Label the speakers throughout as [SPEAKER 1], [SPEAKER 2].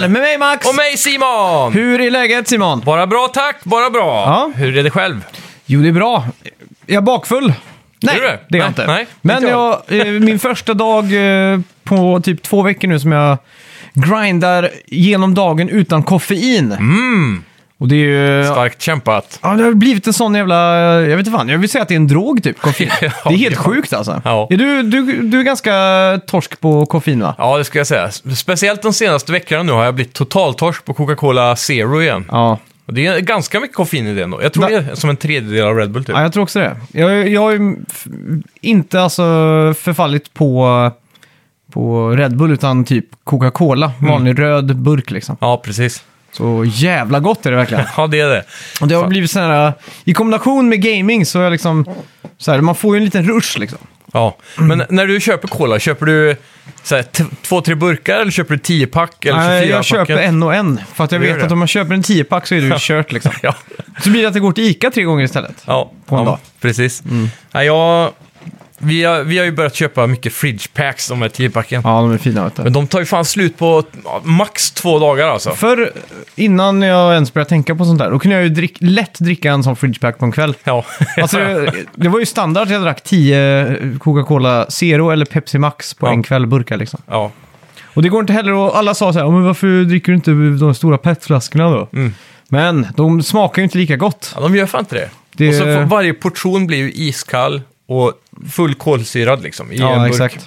[SPEAKER 1] Med mig Max!
[SPEAKER 2] Och mig Simon!
[SPEAKER 1] Hur är läget Simon?
[SPEAKER 2] Bara bra tack, bara bra.
[SPEAKER 1] Ja.
[SPEAKER 2] Hur är det själv?
[SPEAKER 1] Jo, det är bra. Jag är bakfull. Nej,
[SPEAKER 2] du det?
[SPEAKER 1] det är jag
[SPEAKER 2] Nej,
[SPEAKER 1] inte.
[SPEAKER 2] nej,
[SPEAKER 1] Men
[SPEAKER 2] inte
[SPEAKER 1] jag, eh, min första dag eh, på typ två veckor nu som jag grindar genom dagen utan koffein.
[SPEAKER 2] Mm.
[SPEAKER 1] Och det är ju...
[SPEAKER 2] Starkt kämpat.
[SPEAKER 1] Ja, det har blivit en sån jävla... eh, Jag vet inte fan, jag vill säga att det är en drog typ, koffein.
[SPEAKER 2] Ja,
[SPEAKER 1] det är helt
[SPEAKER 2] ja.
[SPEAKER 1] sjukt alltså.
[SPEAKER 2] Ja.
[SPEAKER 1] Är du, du, du är ganska torsk på koffein va?
[SPEAKER 2] Ja, det ska jag säga. Speciellt de senaste veckorna nu har jag blivit totaltorsk på Coca-Cola Zero igen.
[SPEAKER 1] Ja.
[SPEAKER 2] Och det är ganska mycket koffein i det ändå. Jag tror
[SPEAKER 1] Nej.
[SPEAKER 2] det är som en tredjedel av Red Bull typ.
[SPEAKER 1] Ja, jag tror också det. Jag, jag har ju f- inte alltså förfallit på, på Red Bull utan typ Coca-Cola.
[SPEAKER 2] Mm.
[SPEAKER 1] Vanlig röd burk liksom.
[SPEAKER 2] Ja, precis.
[SPEAKER 1] Så jävla gott är det verkligen.
[SPEAKER 2] Ja, det är det.
[SPEAKER 1] Och det har blivit sån här, i kombination med gaming så är liksom, så här, man får ju en liten rush liksom.
[SPEAKER 2] Ja. Men när du köper cola, köper du så här, t- två, tre burkar eller köper du 10-pack eller 24-pack?
[SPEAKER 1] Nej, jag köper en och en. För att jag
[SPEAKER 2] Du gör
[SPEAKER 1] vet
[SPEAKER 2] det?
[SPEAKER 1] att om man köper en 10-pack så är det ju kört liksom.
[SPEAKER 2] Ja,
[SPEAKER 1] Så blir det att det går till Ica tre gånger istället.
[SPEAKER 2] ja.
[SPEAKER 1] På en
[SPEAKER 2] ja,
[SPEAKER 1] dag. Mm.
[SPEAKER 2] precis. Ja, jag... Vi har, vi har ju börjat köpa mycket fridge packs, de här 10-packen.
[SPEAKER 1] Ja, de är fina vet du.
[SPEAKER 2] Men de tar ju fan slut på ja, max två dagar alltså.
[SPEAKER 1] Förr, innan jag ens började tänka på sånt där, då kunde jag ju drick, lätt dricka en sån fridge pack på en kväll.
[SPEAKER 2] Ja.
[SPEAKER 1] Alltså, det, det var ju standard att jag drack 10 Coca-Cola Zero eller Pepsi Max på
[SPEAKER 2] Ja.
[SPEAKER 1] en kväll burkar liksom.
[SPEAKER 2] ja.
[SPEAKER 1] Och det går inte heller att... Alla sa så här, "Ja, men varför dricker du inte de stora petflaskorna då?
[SPEAKER 2] Mm.
[SPEAKER 1] Men de smakar ju inte lika gott.
[SPEAKER 2] ja, de gör fan inte det.
[SPEAKER 1] Det-
[SPEAKER 2] Och så får varje portion blir ju iskall och full kolsyrad liksom. I en burk.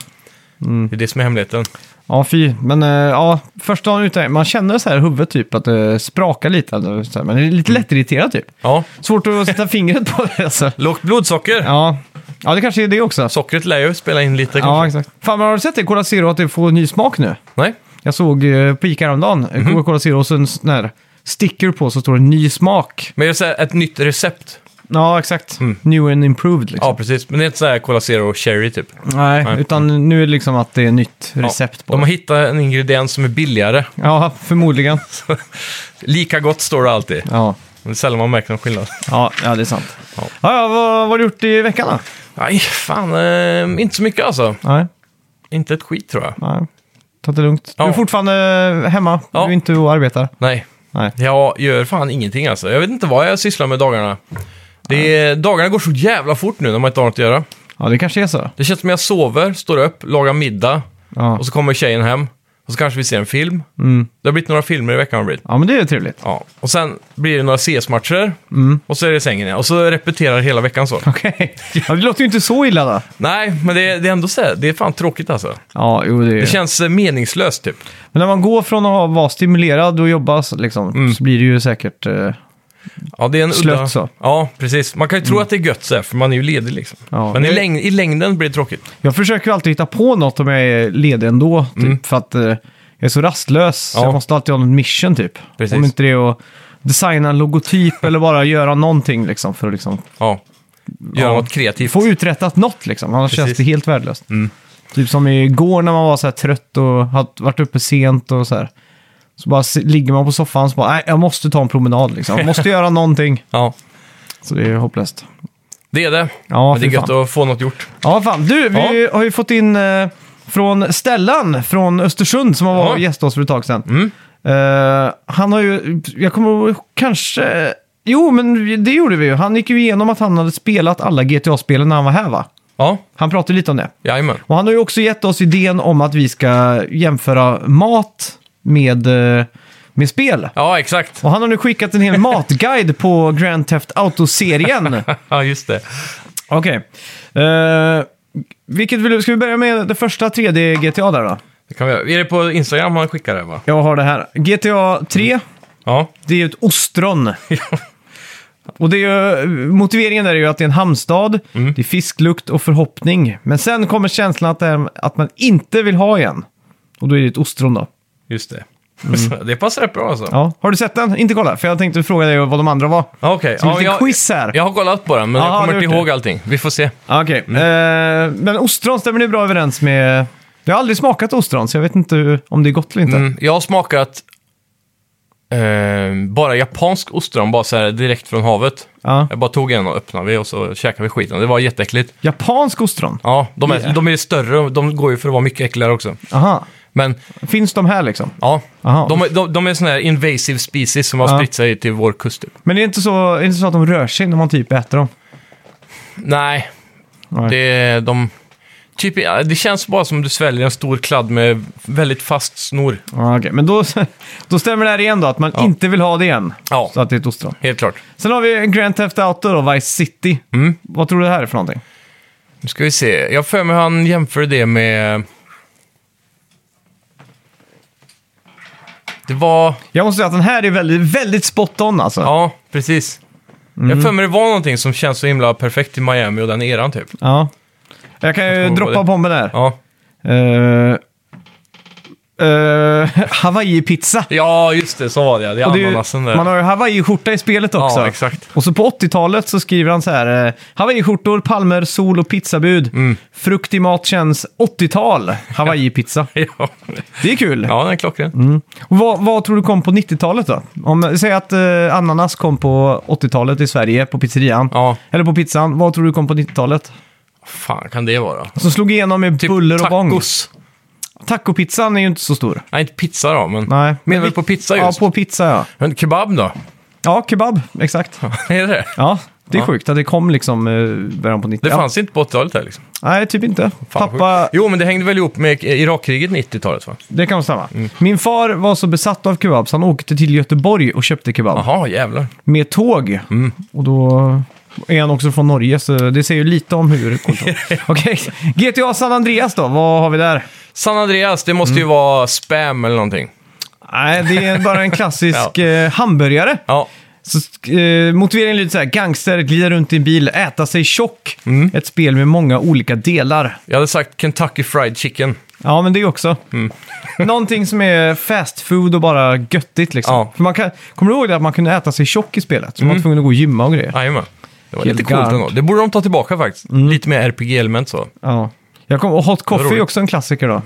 [SPEAKER 1] Mm.
[SPEAKER 2] Det är det som är hemligheten.
[SPEAKER 1] Ja, fy. Men eh, ja, första dagen ute, man känner så här i huvudet typ att det sprakar lite. eller så här, Men det är lite
[SPEAKER 2] Mm.
[SPEAKER 1] lättirriterad typ.
[SPEAKER 2] Ja.
[SPEAKER 1] Svårt att sätta fingret på det alltså.
[SPEAKER 2] Lågt blodsocker.
[SPEAKER 1] Ja. ja, det kanske är det också.
[SPEAKER 2] Sockret lär ju spela in lite
[SPEAKER 1] Ja,
[SPEAKER 2] kanske.
[SPEAKER 1] exakt. Fan, men har du sett det? Cola Zero att det får ny smak nu.
[SPEAKER 2] Nej?
[SPEAKER 1] Jag såg eh, på Ica häromdagen,
[SPEAKER 2] Mhm.
[SPEAKER 1] mm Coca-Cola Zero, och så en sån här sticker på så står det ny smak.
[SPEAKER 2] Men det är så här ett nytt recept.
[SPEAKER 1] Ja, exakt. New and improved liksom.
[SPEAKER 2] Ja, precis. Men det är inte så här Cola Zero och Cherry typ.
[SPEAKER 1] Nej,
[SPEAKER 2] Nej.
[SPEAKER 1] utan nu är det liksom att det är nytt
[SPEAKER 2] Ja.
[SPEAKER 1] recept på.
[SPEAKER 2] De har hittat en ingrediens som är billigare.
[SPEAKER 1] Ja, förmodligen.
[SPEAKER 2] Lika gott står det alltid.
[SPEAKER 1] Ja,
[SPEAKER 2] Det är sällan man märker någon skillnad.
[SPEAKER 1] ja, ja det är sant. Ja,
[SPEAKER 2] Ja.
[SPEAKER 1] ja vad, vad har du gjort i veckan då?
[SPEAKER 2] Nej, fan. Eh, inte så mycket alltså.
[SPEAKER 1] Nej,
[SPEAKER 2] Inte ett skit tror jag.
[SPEAKER 1] nej. Ta det lugnt. Du är
[SPEAKER 2] Ja.
[SPEAKER 1] fortfarande hemma.
[SPEAKER 2] Ja.
[SPEAKER 1] Du är inte och arbetar.
[SPEAKER 2] Nej,
[SPEAKER 1] Nej.
[SPEAKER 2] Jag gör fan ingenting alltså. Jag vet inte vad jag sysslar med dagarna. Det är, dagarna går så jävla fort nu när man inte har något att göra.
[SPEAKER 1] Ja, det kanske är så.
[SPEAKER 2] Det känns som jag sover, står upp, lagar middag
[SPEAKER 1] Ja,
[SPEAKER 2] och så kommer tjejen hem. Och så kanske vi ser en film.
[SPEAKER 1] mm.
[SPEAKER 2] Det har blivit några filmer i veckan. har det blivit.
[SPEAKER 1] ja men det är ju trevligt.
[SPEAKER 2] Ja. Och sen blir det några CS-matcher
[SPEAKER 1] Mm.
[SPEAKER 2] och så är det i sängen igen. Och så repeterar hela veckan så.
[SPEAKER 1] Okej. Ja, det låter ju inte så illa då.
[SPEAKER 2] Nej, men det, det är ändå så här, det är fan tråkigt alltså.
[SPEAKER 1] Ja, jo, det är...
[SPEAKER 2] Det känns eh, meningslöst typ.
[SPEAKER 1] Men när man går från att ha- vara stimulerad och jobba så- liksom,
[SPEAKER 2] Mm.
[SPEAKER 1] så blir det ju säkert... eh,
[SPEAKER 2] Ja, det är en
[SPEAKER 1] Slött
[SPEAKER 2] udda...
[SPEAKER 1] så. Mm.
[SPEAKER 2] Ja, precis. Man kan ju tro att det är gött så här, för man är ju ledig liksom.
[SPEAKER 1] Ja.
[SPEAKER 2] Men i,
[SPEAKER 1] Jag-
[SPEAKER 2] läng- i längden blir det tråkigt.
[SPEAKER 1] Jag försöker ju alltid hitta på något om jag är ledig ändå. Typ, För att eh, jag är så rastlös.
[SPEAKER 2] Mm. Ja.
[SPEAKER 1] Jag måste alltid ha något mission typ.
[SPEAKER 2] Precis.
[SPEAKER 1] Om inte det är att designa en logotyp eller bara göra någonting liksom, för att liksom,
[SPEAKER 2] Ja. Göra
[SPEAKER 1] Ja.
[SPEAKER 2] något kreativt.
[SPEAKER 1] få uträttat något. Liksom. Annars
[SPEAKER 2] Precis. Mm.
[SPEAKER 1] känns det helt värdelöst. Typ som igår när man var så här trött och hade varit uppe sent och så här. Så bara s- ligger man på soffan och så bara, nej, jag måste ta en promenad liksom. Jag måste göra någonting.
[SPEAKER 2] Ja,
[SPEAKER 1] Så det är hopplöst.
[SPEAKER 2] det är det.
[SPEAKER 1] Ja,
[SPEAKER 2] Men det är
[SPEAKER 1] fy
[SPEAKER 2] gött att få något gjort.
[SPEAKER 1] Ja, fan. Du, vi har ju fått in eh, från Stellan från Östersund som har varit
[SPEAKER 2] Ja.
[SPEAKER 1] och gästat oss för ett tag sedan. Eh, han har ju, jag kommer ihåg, kanske, jo men vi- det gjorde vi ju. Han gick ju igenom att han hade spelat alla GTA-spelen när han var här va?
[SPEAKER 2] Ja,
[SPEAKER 1] Han pratade lite om det.
[SPEAKER 2] jajamän.
[SPEAKER 1] Och han har ju också gett oss idén om att vi ska jämföra mat med, eh, med spel.
[SPEAKER 2] Ja, exakt.
[SPEAKER 1] Och han har nu skickat en hel matguide på Grand Theft Auto-serien.
[SPEAKER 2] Ja, just det.
[SPEAKER 1] Okej. Eh, vilket vill du, ska vi börja med det första 3D GTA där då?
[SPEAKER 2] det kan vi göra. Är det på Instagram man skickar det, va?
[SPEAKER 1] Jag har det här. GTA 3,
[SPEAKER 2] Ja,
[SPEAKER 1] det är ju ett ostron. och det är ju, motiveringen där är ju att det är en hamnstad,
[SPEAKER 2] Mm.
[SPEAKER 1] det är fisklukt och förhoppning. Men sen kommer känslan att, det är, att man inte vill ha igen. Och då är det ett ostron då.
[SPEAKER 2] just det. det passar rätt bra alltså. Ja.
[SPEAKER 1] Mm. Ja. Har du sett den? Inte kolla, för jag tänkte fråga dig vad de andra var.
[SPEAKER 2] Okej.
[SPEAKER 1] Så
[SPEAKER 2] Ja, Mm.
[SPEAKER 1] lite
[SPEAKER 2] jag,
[SPEAKER 1] quiz här.
[SPEAKER 2] jag har kollat på den, men
[SPEAKER 1] Aha,
[SPEAKER 2] jag kommer
[SPEAKER 1] du har
[SPEAKER 2] inte
[SPEAKER 1] gjort
[SPEAKER 2] ihåg allting. Vi får se.
[SPEAKER 1] Ja, Okej, Eh, men ostron stämmer ju bra överens med... Jag har aldrig smakat ostron, så jag vet inte hur- om det är gott eller inte.
[SPEAKER 2] Mm, jag har smakat eh, bara japansk ostron, bara så här direkt från havet.
[SPEAKER 1] Ja.
[SPEAKER 2] Jag bara tog en och öppnade vi och så käkade vi skiten. Det var jätteäckligt.
[SPEAKER 1] Japansk ostron?
[SPEAKER 2] Ja, de är,
[SPEAKER 1] Yeah.
[SPEAKER 2] de är större och de går ju för att vara mycket äckligare också.
[SPEAKER 1] Aha.
[SPEAKER 2] Men
[SPEAKER 1] Finns de här liksom?
[SPEAKER 2] ja,
[SPEAKER 1] Aha.
[SPEAKER 2] de, de, de är sådana här invasive species som har
[SPEAKER 1] Ja.
[SPEAKER 2] spritt sig till vår kust. Typ.
[SPEAKER 1] Men det är inte så, är det inte så att de rör sig när man typ äter dem?
[SPEAKER 2] Nej,
[SPEAKER 1] Nej.
[SPEAKER 2] det, de, typ, ja, det känns bara som du sväljer en stor kladd med väldigt fast snor.
[SPEAKER 1] Ja, okej. Men då, då stämmer det här igen då, att man
[SPEAKER 2] Ja.
[SPEAKER 1] inte vill ha det igen.
[SPEAKER 2] Ja,
[SPEAKER 1] Så att det är ett ostron.
[SPEAKER 2] helt klart.
[SPEAKER 1] Sen har vi Grand Theft Auto då, Vice City.
[SPEAKER 2] Mm.
[SPEAKER 1] Vad tror du det här är för någonting?
[SPEAKER 2] Nu ska vi se. Jag för mig han jämför det med... Det var...
[SPEAKER 1] Jag måste säga att den här är väldigt, väldigt spot on alltså. Ja.
[SPEAKER 2] Ja, precis. Jag
[SPEAKER 1] Mm.
[SPEAKER 2] för mig det var någonting som känns så himla perfekt i Miami och den eran typ.
[SPEAKER 1] Jag kan ju
[SPEAKER 2] Jag tror på
[SPEAKER 1] droppa
[SPEAKER 2] det.
[SPEAKER 1] bomben där.
[SPEAKER 2] Ja,
[SPEAKER 1] Eh, eh, Hawaii-pizza.
[SPEAKER 2] ja just det. Så var det ja. Det är
[SPEAKER 1] Och det är ju-
[SPEAKER 2] ananasen där.
[SPEAKER 1] man har ju Hawaii-skjorta i spelet också.
[SPEAKER 2] Ja, exakt.
[SPEAKER 1] Och så på 80-talet så skriver han så här. eh, Hawaii-skjortor, palmer, sol och pizzabud.
[SPEAKER 2] Mm.
[SPEAKER 1] Frukt i mat känns 80-tal. Hawaii-pizza.
[SPEAKER 2] Ja.
[SPEAKER 1] Det är kul.
[SPEAKER 2] ja, den är klockren.
[SPEAKER 1] Och vad, vad tror du kom på 90-talet då? Om, säg att eh, ananas kom på 80-talet i Sverige på pizzerian.
[SPEAKER 2] Ja,
[SPEAKER 1] Eller på pizzan. Vad tror du kom på 90-talet?
[SPEAKER 2] fan kan det vara?
[SPEAKER 1] Som slog igenom med
[SPEAKER 2] Typ
[SPEAKER 1] buller och bång.
[SPEAKER 2] tacos.
[SPEAKER 1] Tacopizzan är ju inte så stor.
[SPEAKER 2] Nej, inte pizza då, men...
[SPEAKER 1] Nej.
[SPEAKER 2] Menar du
[SPEAKER 1] vi-
[SPEAKER 2] på pizza
[SPEAKER 1] Ja,
[SPEAKER 2] just?
[SPEAKER 1] på pizza ja.
[SPEAKER 2] Men kebab då?
[SPEAKER 1] Ja, kebab. Exakt.
[SPEAKER 2] är det det?
[SPEAKER 1] Ja, det är
[SPEAKER 2] Ja.
[SPEAKER 1] sjukt att det kom liksom eh, början på 90
[SPEAKER 2] Det
[SPEAKER 1] ja.
[SPEAKER 2] fanns inte på 80-talet här liksom.
[SPEAKER 1] Nej, typ inte.
[SPEAKER 2] Fan, vad
[SPEAKER 1] Pappa,
[SPEAKER 2] sjukt. Jo, men det hängde väl ihop med Irakkriget 90-talet va?
[SPEAKER 1] det kan stämma.
[SPEAKER 2] Mm.
[SPEAKER 1] Min far var så besatt av kebab så han åkte till Göteborg och köpte kebab
[SPEAKER 2] Jaha, jävlar.
[SPEAKER 1] med tåg.
[SPEAKER 2] Mm.
[SPEAKER 1] Och då är han också från Norge, så det säger ju lite om hur coolt det var. Okej, GTA San Andreas då, vad har vi där?
[SPEAKER 2] San Andreas, det
[SPEAKER 1] Mm.
[SPEAKER 2] måste ju vara spam eller någonting.
[SPEAKER 1] Nej, det är bara en klassisk eh, hamburgare.
[SPEAKER 2] Ja,
[SPEAKER 1] Så, eh, motiveringen lyder så här, gangster, glida runt i en bil, äta sig tjock.
[SPEAKER 2] Mm.
[SPEAKER 1] Ett spel med många olika delar.
[SPEAKER 2] jag hade sagt Kentucky Fried Chicken.
[SPEAKER 1] Ja, men det också.
[SPEAKER 2] Mm.
[SPEAKER 1] Någonting som är fast food och bara göttigt liksom.
[SPEAKER 2] Ja. Mm.
[SPEAKER 1] För man kan, kommer du ihåg det att man kunde äta sig tjock i spelet? Så man var tvungen att gå och gymma och grejer.
[SPEAKER 2] Jajamän. Det var
[SPEAKER 1] Helt
[SPEAKER 2] lite coolt
[SPEAKER 1] galet. Mm.
[SPEAKER 2] ändå. Det borde de ta tillbaka faktiskt. Lite mer RPG-element så.
[SPEAKER 1] Ja. Jag kom, och hot coffee är
[SPEAKER 2] roligt.
[SPEAKER 1] också en klassiker då.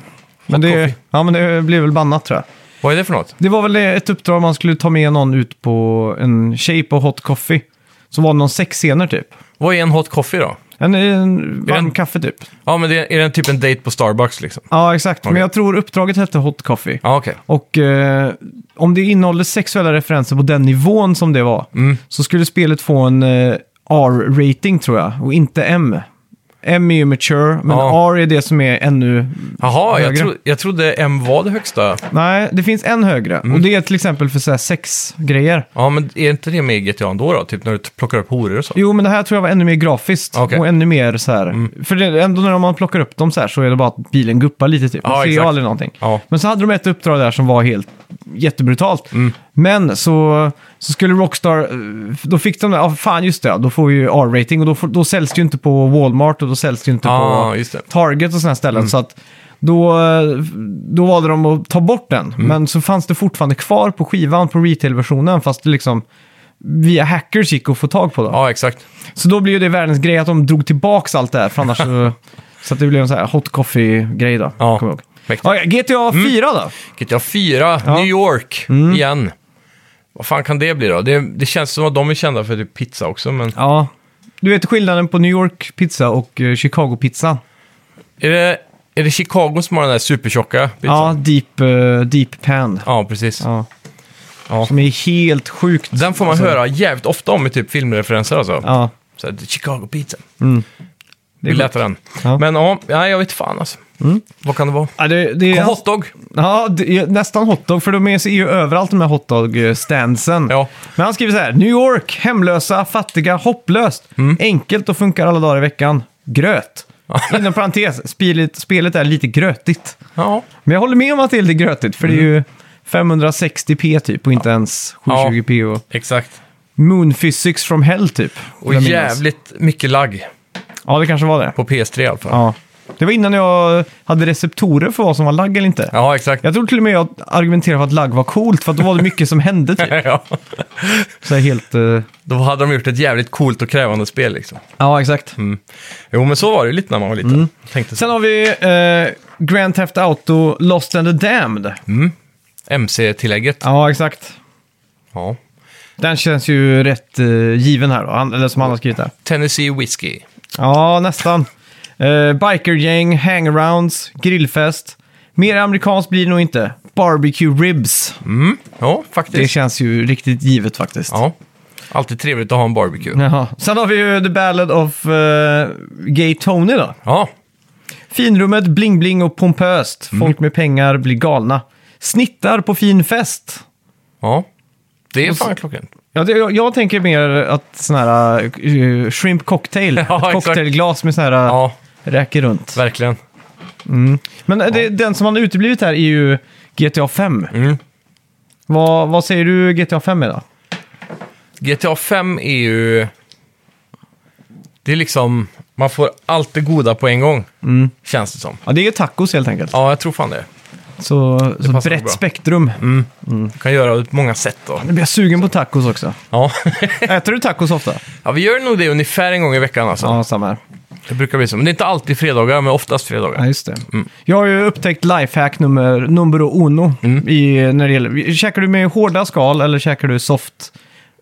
[SPEAKER 1] Men det,
[SPEAKER 2] coffee.
[SPEAKER 1] ja, men det blev väl bannat tror jag.
[SPEAKER 2] Vad är det för något?
[SPEAKER 1] Det var väl ett uppdrag man skulle ta med någon ut på en tjej på hot coffee. Så var det någon sexscener typ.
[SPEAKER 2] Vad är en hot coffee då?
[SPEAKER 1] En, en varm
[SPEAKER 2] En-
[SPEAKER 1] kaffe typ.
[SPEAKER 2] Ja, men det är det typ en date på Starbucks liksom?
[SPEAKER 1] Ja, exakt. Men
[SPEAKER 2] Okej.
[SPEAKER 1] jag tror uppdraget hette hot coffee.
[SPEAKER 2] Ja, okej.
[SPEAKER 1] Och eh, om det innehåller sexuella referenser på den nivån som det var,
[SPEAKER 2] Mm.
[SPEAKER 1] så skulle spelet få en eh, R-rating tror jag, och inte M. M är ju mature, men
[SPEAKER 2] Ja.
[SPEAKER 1] R är det som är ännu...
[SPEAKER 2] Jaha, jag,
[SPEAKER 1] Högre.
[SPEAKER 2] tro, jag trodde M var det högsta.
[SPEAKER 1] Nej, det finns en högre.
[SPEAKER 2] Mm.
[SPEAKER 1] Och det är till exempel för så här, sexgrejer.
[SPEAKER 2] Ja, men är inte det med i GTA ändå då? Typ när du t- plockar upp horor och så?
[SPEAKER 1] Jo, men det här tror jag var ännu mer grafiskt.
[SPEAKER 2] Okej. Mm.
[SPEAKER 1] Och ännu mer så här... För det, ändå när man plockar upp dem så här så är det bara att bilen guppar lite typ. Man
[SPEAKER 2] Ja,
[SPEAKER 1] ser ju
[SPEAKER 2] exakt.
[SPEAKER 1] aldrig någonting.
[SPEAKER 2] Ja.
[SPEAKER 1] Men så hade de ett uppdrag där som var helt jättebrutalt.
[SPEAKER 2] Mm.
[SPEAKER 1] Men så, så skulle Rockstar, eh, då fick de, ja fan just det, ja, då får vi ju R-rating och då, får, då säljs det ju inte på Walmart och då säljs det ju inte
[SPEAKER 2] Ja,
[SPEAKER 1] på
[SPEAKER 2] Ah, just det.
[SPEAKER 1] Target och sådana
[SPEAKER 2] Mm.
[SPEAKER 1] ställen. Så att då, eh, då valde de att ta bort den,
[SPEAKER 2] Mm.
[SPEAKER 1] men så fanns det fortfarande kvar på skivan på retail-versionen fast det liksom via hackers gick att få tag på dem.
[SPEAKER 2] Ja, exakt.
[SPEAKER 1] Så då blir ju det världens grej att de drog tillbaks allt det här, för annars så... Så att det blev en sån här hot coffee-grej då.
[SPEAKER 2] Ja. Mm.
[SPEAKER 1] kommer jag ihåg.
[SPEAKER 2] Mäktigt.
[SPEAKER 1] Ja, GTA 4 då?
[SPEAKER 2] GTA 4, New York,
[SPEAKER 1] Mm.
[SPEAKER 2] igen. Vad fan kan det bli då? Det, det känns som att de är kända för typ pizza också, men...
[SPEAKER 1] Ja. Du vet skillnaden på New York-pizza och eh, Chicago-pizza?
[SPEAKER 2] Är det, är det Chicago som har den där supertjocka pizzan?
[SPEAKER 1] Ja, deep, eh, deep pan.
[SPEAKER 2] Ja, precis.
[SPEAKER 1] Ja.
[SPEAKER 2] Ja.
[SPEAKER 1] Som är helt sjukt.
[SPEAKER 2] Den får man
[SPEAKER 1] Alltså,
[SPEAKER 2] höra jävligt ofta om i typ filmreferenser alltså.
[SPEAKER 1] Ja.
[SPEAKER 2] Så här, Chicago pizza.
[SPEAKER 1] Det
[SPEAKER 2] Det
[SPEAKER 1] är
[SPEAKER 2] är lätt den.
[SPEAKER 1] Ja. Mm.
[SPEAKER 2] Men ja, nej, jag vet fan alltså. Vad kan det vara?
[SPEAKER 1] Ja, det, det är,
[SPEAKER 2] Ja. Hotdog?
[SPEAKER 1] ja, det är nästan hotdog, för de är är ju överallt de här hotdog-standsen.
[SPEAKER 2] Ja.
[SPEAKER 1] Men han skriver så här, New York, hemlösa, fattiga, hopplöst.
[SPEAKER 2] Mm.
[SPEAKER 1] Enkelt och funkar alla dagar i veckan. Gröt. Inom parentes, spelet, spelet är lite grötigt.
[SPEAKER 2] Ja.
[SPEAKER 1] Men jag håller med om att det är lite grötigt, för det är ju 560p typ och inte ens 720p. Och
[SPEAKER 2] Exakt.
[SPEAKER 1] moon physics from hell typ.
[SPEAKER 2] Och
[SPEAKER 1] Jag minns.
[SPEAKER 2] jävligt mycket lagg
[SPEAKER 1] Ja, det kanske var det.
[SPEAKER 2] på PS3 i alla fall. Ja,
[SPEAKER 1] Ja. Det var innan jag hade receptorer för vad som var lagg eller inte.
[SPEAKER 2] exakt.
[SPEAKER 1] Jag tror till och med jag argumenterade för att lagg var coolt, för att då var det mycket som hände typ.
[SPEAKER 2] ja.
[SPEAKER 1] Så här helt... eh,
[SPEAKER 2] Då hade de gjort ett jävligt coolt och krävande spel liksom.
[SPEAKER 1] Ja, exakt.
[SPEAKER 2] Jo, men så var det ju lite när man var liten. Tänkte så.
[SPEAKER 1] Mm. Sen har vi eh, Grand Theft Auto Lost and the Damned.
[SPEAKER 2] MC-tillägget. Ja.
[SPEAKER 1] Ja, exakt. Den känns ju rätt eh, given här då, han, eller som han har skrivit där.
[SPEAKER 2] Tennessee Whiskey.
[SPEAKER 1] Ja, nästan. Eh, bikergäng, hangarounds, grillfest, Mer amerikanskt blir det nog inte. Barbecue ribs.
[SPEAKER 2] Mm. Ja,
[SPEAKER 1] Det
[SPEAKER 2] faktiskt.
[SPEAKER 1] känns ju riktigt givet faktiskt.
[SPEAKER 2] Ja. Alltid trevligt att ha en barbecue.
[SPEAKER 1] Jaha. Sen har vi ju The Ballad of eh, Gay Tony då.
[SPEAKER 2] Ja,
[SPEAKER 1] Finrummet, bling-bling och pompöst.
[SPEAKER 2] Mm.
[SPEAKER 1] Folk med pengar blir galna. Snittar på fin fest.
[SPEAKER 2] ja. Det är fan klockan.
[SPEAKER 1] Ja, det, jag, jag tänker mer att sån här eh, shrimp cocktail.
[SPEAKER 2] Ja, exakt.
[SPEAKER 1] cocktailglas med sån här eh,
[SPEAKER 2] Ja,
[SPEAKER 1] räker runt.
[SPEAKER 2] verkligen.
[SPEAKER 1] Men eh, det, den som har uteblivit här är ju GTA 5.
[SPEAKER 2] Mm.
[SPEAKER 1] Vad, vad säger du GTA 5 är då?
[SPEAKER 2] GTA 5 är ju... Det är liksom... Man får allt det goda på en gång, känns det som.
[SPEAKER 1] Ja, det är tacos helt enkelt.
[SPEAKER 2] Ja, jag tror fan det.
[SPEAKER 1] Så, så
[SPEAKER 2] passar
[SPEAKER 1] brett
[SPEAKER 2] bra.
[SPEAKER 1] spektrum.
[SPEAKER 2] Du kan göra det på många sätt då.
[SPEAKER 1] Nu blir jag sugen på tacos också.
[SPEAKER 2] Ja.
[SPEAKER 1] Äter du tacos ofta?
[SPEAKER 2] ja, vi gör nog det ungefär en gång i veckan alltså.
[SPEAKER 1] Ja, samma här.
[SPEAKER 2] Det brukar bli så. Men det är inte alltid fredagar, men oftast
[SPEAKER 1] Ja,
[SPEAKER 2] fredagar.
[SPEAKER 1] just det. Jag har ju upptäckt lifehack nummer, nummer uno. I, när det gäller, käkar du med hårda skal eller käkar du soft?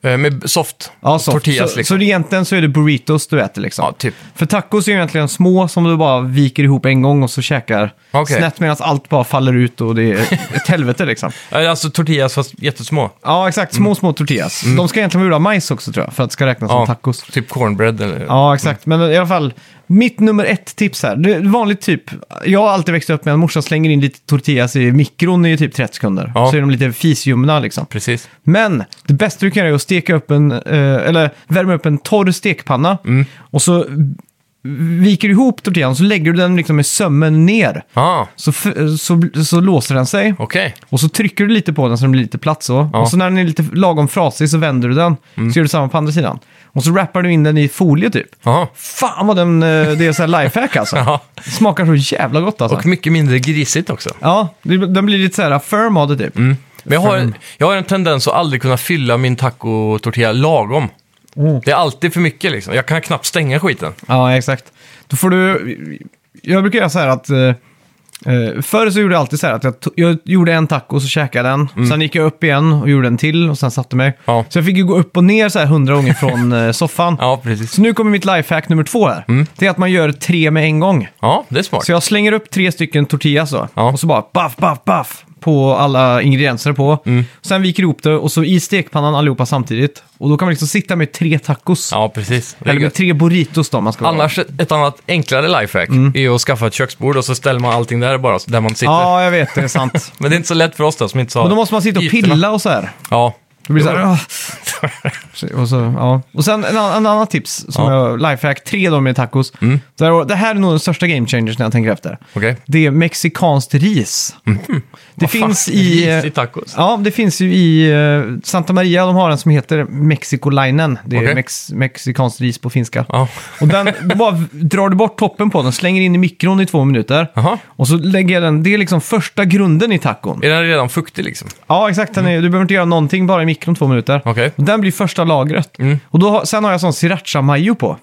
[SPEAKER 2] Eh, Med soft.
[SPEAKER 1] Ja, soft.
[SPEAKER 2] Tortillas
[SPEAKER 1] så,
[SPEAKER 2] liksom.
[SPEAKER 1] så egentligen så är det burritos du äter liksom.
[SPEAKER 2] Ja, typ.
[SPEAKER 1] För tacos är ju egentligen små som du bara viker ihop en gång och så käkar
[SPEAKER 2] Okej.
[SPEAKER 1] snett medan allt bara faller ut och det är ett helvete liksom.
[SPEAKER 2] Eh, Alltså tortillas fast jättesmå.
[SPEAKER 1] Ja, exakt. Små, små tortillas. De ska egentligen vara gjorda av majs också tror jag, för att det ska räknas
[SPEAKER 2] Mm. Ja, Mm.
[SPEAKER 1] som tacos.
[SPEAKER 2] Typ cornbread eller...
[SPEAKER 1] Ja, exakt. Men i alla fall, mitt nummer ett tips här. Det är vanligt typ, jag har alltid växt upp med att morsan slänger in lite tortillas i mikron i typ 30 sekunder.
[SPEAKER 2] Ja.
[SPEAKER 1] Så är de lite fisljumna liksom.
[SPEAKER 2] Precis.
[SPEAKER 1] Men det bästa du kan göra är att steka upp en, eh, eller värma upp en torr stekpanna.
[SPEAKER 2] Mm.
[SPEAKER 1] Och så viker du ihop tortillan så lägger du den liksom med sömmen ner.
[SPEAKER 2] Ah,
[SPEAKER 1] Så, f- så, så låser den sig.
[SPEAKER 2] okej.
[SPEAKER 1] Och så trycker du lite på den så den blir lite platt så.
[SPEAKER 2] Ja. Mm.
[SPEAKER 1] Och så när den är lite lagom frasig så vänder du den. Så gör du samma på andra sidan. Och så wrappar du in den i folie typ.
[SPEAKER 2] Ja.
[SPEAKER 1] Fan vad den, eh, det är så här lifehack alltså.
[SPEAKER 2] Ja.
[SPEAKER 1] Det Smakar så jävla gott alltså.
[SPEAKER 2] Och mycket mindre grisigt också.
[SPEAKER 1] Ja, det- den blir lite så här firm av det typ.
[SPEAKER 2] Men jag har, jag har en tendens att aldrig kunna fylla min taco-tortilla lagom. Det är alltid för mycket liksom. Jag kan knappt stänga skiten.
[SPEAKER 1] Mm. Ja, exakt. Då får du... Jag brukar göra så här att... eh, eh, förr så gjorde jag alltid så här att jag, to- jag gjorde en taco och så käkade jag den. Sen gick jag upp igen och gjorde en till och sen satte mig.
[SPEAKER 2] Mm. Ja.
[SPEAKER 1] Så jag fick ju gå upp och ner så här hundra gånger från eh, soffan.
[SPEAKER 2] Ja, precis.
[SPEAKER 1] Så nu kommer mitt lifehack nummer två här.
[SPEAKER 2] Mm.
[SPEAKER 1] Det är att man gör tre med en gång.
[SPEAKER 2] Ja, det är smart.
[SPEAKER 1] Så jag slänger upp tre stycken tortillas då.
[SPEAKER 2] Ja.
[SPEAKER 1] Och så bara baff, baff, baff på alla ingredienser på.
[SPEAKER 2] Mm.
[SPEAKER 1] Sen viker ihop det och så i stekpannan allihopa samtidigt. Och då kan man liksom sitta med tre tacos.
[SPEAKER 2] Ja, precis. Det är
[SPEAKER 1] Eller med
[SPEAKER 2] gött.
[SPEAKER 1] tre burritos då om man ska vara-
[SPEAKER 2] Annars, ett annat enklare lifehack
[SPEAKER 1] Mm.
[SPEAKER 2] är att skaffa ett köksbord och så ställer man allting där bara, så där man sitter.
[SPEAKER 1] Ja, jag vet. Det är sant.
[SPEAKER 2] Men det är inte så lätt för oss då, som inte har
[SPEAKER 1] Men då måste man sitta och
[SPEAKER 2] ytorna.
[SPEAKER 1] pilla och så här.
[SPEAKER 2] Ja.
[SPEAKER 1] Det blir så här... "Åh." Och, så, ja. och sen en, an- en annan tips som
[SPEAKER 2] Ja. Mm.
[SPEAKER 1] jag lifehack, tre då med tacos. Där, det här är nog den största game changers när jag tänker efter.
[SPEAKER 2] Okej.
[SPEAKER 1] Det är mexikanskt ris. Det finns
[SPEAKER 2] Mhm. Fan,
[SPEAKER 1] i... eh,
[SPEAKER 2] ris i tacos.
[SPEAKER 1] Ja, det finns ju i eh, Santa Maria, de har en som heter Mexicolinen. Det är
[SPEAKER 2] Okej.
[SPEAKER 1] mex, mexikanskt ris på finska.
[SPEAKER 2] Ja.
[SPEAKER 1] Och den, då bara v- drar du bort toppen på den, slänger in i mikron i två minuter.
[SPEAKER 2] Jaha.
[SPEAKER 1] Och så lägger jag den, det är liksom första grunden i tacon.
[SPEAKER 2] Är den redan fuktig liksom?
[SPEAKER 1] Ja, exakt. Den är, Du behöver inte göra någonting, bara i mikron två minuter.
[SPEAKER 2] Okej. Mm.
[SPEAKER 1] Och Den blir första lagret. Och då, har- sen har jag sån sriracha-majo på.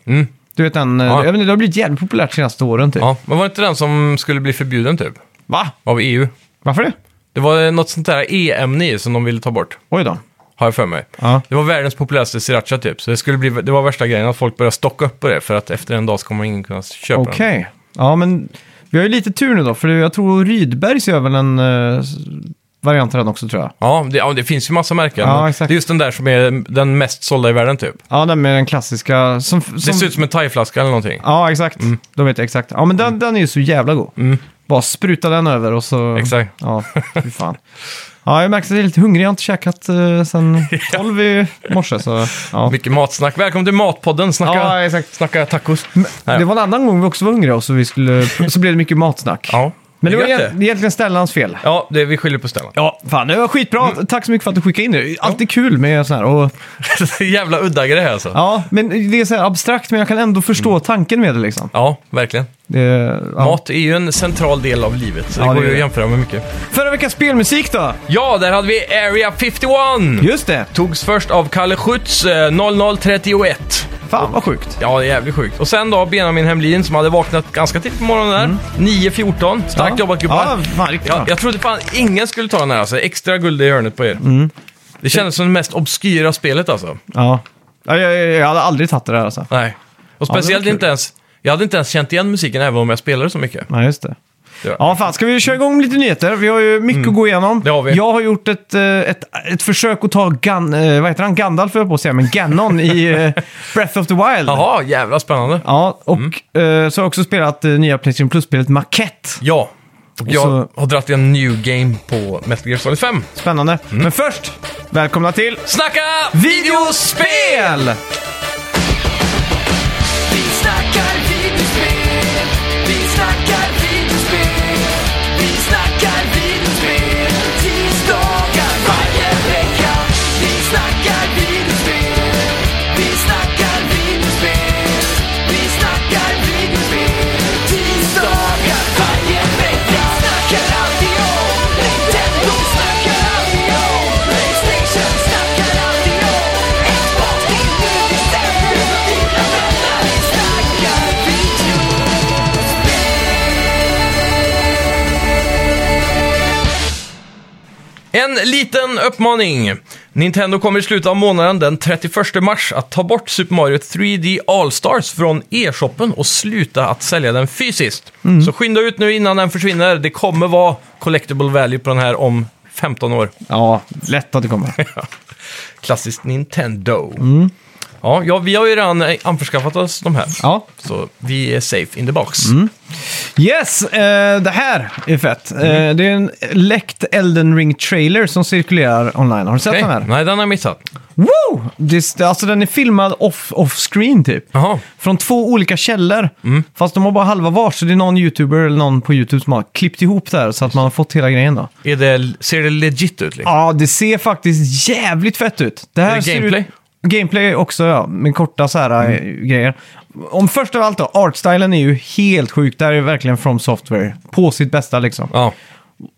[SPEAKER 1] Du vet den, eh,
[SPEAKER 2] Ja.
[SPEAKER 1] jag vet inte, det har blivit jävligt populärt de senaste åren typ.
[SPEAKER 2] Ja. Men var det inte den som skulle bli förbjuden typ?
[SPEAKER 1] Va?
[SPEAKER 2] Av EU?
[SPEAKER 1] Varför det?
[SPEAKER 2] Det var något sånt där E-ämne i som de ville ta bort.
[SPEAKER 1] Oj då.
[SPEAKER 2] Har jag för mig.
[SPEAKER 1] Ja.
[SPEAKER 2] Det var världens populäraste sriracha typ. Så det, skulle bli, det var värsta grejen att folk började stocka upp på det. För att efter en dag så kommer ingen kunna köpa
[SPEAKER 1] Okej.
[SPEAKER 2] den.
[SPEAKER 1] Ja, men vi har ju lite tur nu då, för jag tror Rydbergs gör väl en eh, variant av den också tror jag.
[SPEAKER 2] Ja det, ja, det finns ju massa märken.
[SPEAKER 1] Ja,
[SPEAKER 2] men
[SPEAKER 1] exakt.
[SPEAKER 2] Det är just den där som är den mest sålda i världen typ.
[SPEAKER 1] Ja, den med den klassiska. Som, som,
[SPEAKER 2] Det ser ut Mm. som en thaiflaska eller någonting.
[SPEAKER 1] Ja, exakt. Då vet jag exakt. Ja, men
[SPEAKER 2] Mm.
[SPEAKER 1] den, den är ju så jävla god. Bara spruta den över och så...
[SPEAKER 2] Exakt.
[SPEAKER 1] Ja, fy fan. Ja, jag märker att jag är lite hungrig. Jag har inte käkat eh, sen 12 i morse. Så, ja.
[SPEAKER 2] Mycket matsnack. Välkommen till Matpodden. Snacka,
[SPEAKER 1] ja, exakt.
[SPEAKER 2] snacka tacos. Nej.
[SPEAKER 1] Det var en annan gång vi också var hungriga och så, vi skulle, så blev det mycket matsnack.
[SPEAKER 2] Ja,
[SPEAKER 1] men det var
[SPEAKER 2] gött
[SPEAKER 1] egent- det är egentligen Stellans fel.
[SPEAKER 2] Ja, det, vi skyller på Stellan.
[SPEAKER 1] Ja, fan det var skitbra.
[SPEAKER 2] Mm.
[SPEAKER 1] Tack så mycket för att du skickade in det. Alltid kul med sån här. Och,
[SPEAKER 2] Jävla udda grej alltså. Ja,
[SPEAKER 1] ja, men det är så här abstrakt men jag kan ändå förstå
[SPEAKER 2] Mm.
[SPEAKER 1] tanken med det liksom.
[SPEAKER 2] verkligen.
[SPEAKER 1] Det, ja.
[SPEAKER 2] Mat är ju en central del av livet. Så det
[SPEAKER 1] Ja, det
[SPEAKER 2] går
[SPEAKER 1] är
[SPEAKER 2] ju att
[SPEAKER 1] det.
[SPEAKER 2] jämföra med mycket.
[SPEAKER 1] Förra veckans spelmusik då?
[SPEAKER 2] Ja, där hade vi Area 51!
[SPEAKER 1] Just det.
[SPEAKER 2] Togs först av Kalle Schütz, eh, 0031.
[SPEAKER 1] Fan vad sjukt.
[SPEAKER 2] Ja, det är jävligt sjukt. Och sen då Benjamin Hemlin som hade vaknat ganska tidigt på morgonen där. 9.14. Starkt jobbat gubbar.
[SPEAKER 1] Mm. Ja, fan riktigt
[SPEAKER 2] Ja,
[SPEAKER 1] bra.
[SPEAKER 2] jag trodde fan ingen skulle ta den här alltså. Extra guld i hörnet på er.
[SPEAKER 1] Mm.
[SPEAKER 2] Det kändes som det mest obskyra spelet alltså.
[SPEAKER 1] Ja. Ja, jag, jag, jag hade aldrig tagit det där alltså.
[SPEAKER 2] Nej. Och
[SPEAKER 1] var
[SPEAKER 2] speciellt
[SPEAKER 1] kul.
[SPEAKER 2] inte ens... Jag hade inte ens känt igen musiken även om jag spelade så mycket.
[SPEAKER 1] Nej, just det.
[SPEAKER 2] Ja. Mm.
[SPEAKER 1] Ja, fan. Ska vi köra igång med lite nyheter? Vi har ju mycket att gå igenom.
[SPEAKER 2] Det har vi.
[SPEAKER 1] Jag har gjort ett, eh, ett, ett försök att ta Gan, eh, vad heter han? Gandalf, höll jag på att säga, men Ganon i eh, Breath of the Wild.
[SPEAKER 2] Jaha, jävla spännande.
[SPEAKER 1] Ja, och eh, så har jag också spelat eh, nya Playstation Plus-spelet Maquette.
[SPEAKER 2] Ja. Och jag
[SPEAKER 1] så-
[SPEAKER 2] har dragit en new game på Metal Gear Solid 5.
[SPEAKER 1] Spännande. Men först, välkomna till
[SPEAKER 2] Snacka
[SPEAKER 1] videospel!
[SPEAKER 3] Vi snackar videospel, vi snackar videospel, vi snackar videospel, tisdagar varje vecka. Vi snackar videospel, vi snackar videospel, vi snackar videospel, tisdagar varje vecka. Snackar alltid om Nintendo, snackar alltid om Playstation, snackar alltid om Xbox, det är nu vi sänder för dina vänner. Vi snackar videospel.
[SPEAKER 2] En liten uppmaning. Nintendo kommer i slutet av månaden den 31 mars att ta bort Super Mario 3D All-Stars från e-shoppen och sluta att sälja den fysiskt.
[SPEAKER 1] Mm.
[SPEAKER 2] Så skynda ut nu innan den försvinner. Det kommer vara collectible value på den här om 15 år.
[SPEAKER 1] Ja, lätt att det kommer.
[SPEAKER 2] Klassiskt Nintendo.
[SPEAKER 1] Mm.
[SPEAKER 2] Ja, ja, vi har ju redan eh, anförskaffat oss de här.
[SPEAKER 1] Ja. Mm.
[SPEAKER 2] Så vi är safe in the box.
[SPEAKER 1] Yes, eh, det här är fett. Eh, det är en läckt Elden Ring-trailer som cirkulerar online. Har du sett
[SPEAKER 2] Okej. Mm.
[SPEAKER 1] den här?
[SPEAKER 2] Nej, den har jag missat.
[SPEAKER 1] Woo! Det, alltså den är filmad off, off-screen typ.
[SPEAKER 2] Jaha.
[SPEAKER 1] Från två olika källor. Fast de har bara halva var, så det är någon YouTuber eller någon på YouTube som har klippt ihop det här så att man har fått hela grejen då.
[SPEAKER 2] Är det, ser det legit ut? Liksom?
[SPEAKER 1] Ja, det ser faktiskt jävligt fett ut. Det här
[SPEAKER 2] Är det
[SPEAKER 1] ser
[SPEAKER 2] gameplay? Mm.
[SPEAKER 1] Ut, gameplay också, ja. Med korta så här eh, grejer. Om först av allt då, artstylen är ju helt sjuk. Det här är verkligen from software. På sitt bästa liksom.
[SPEAKER 2] Ja.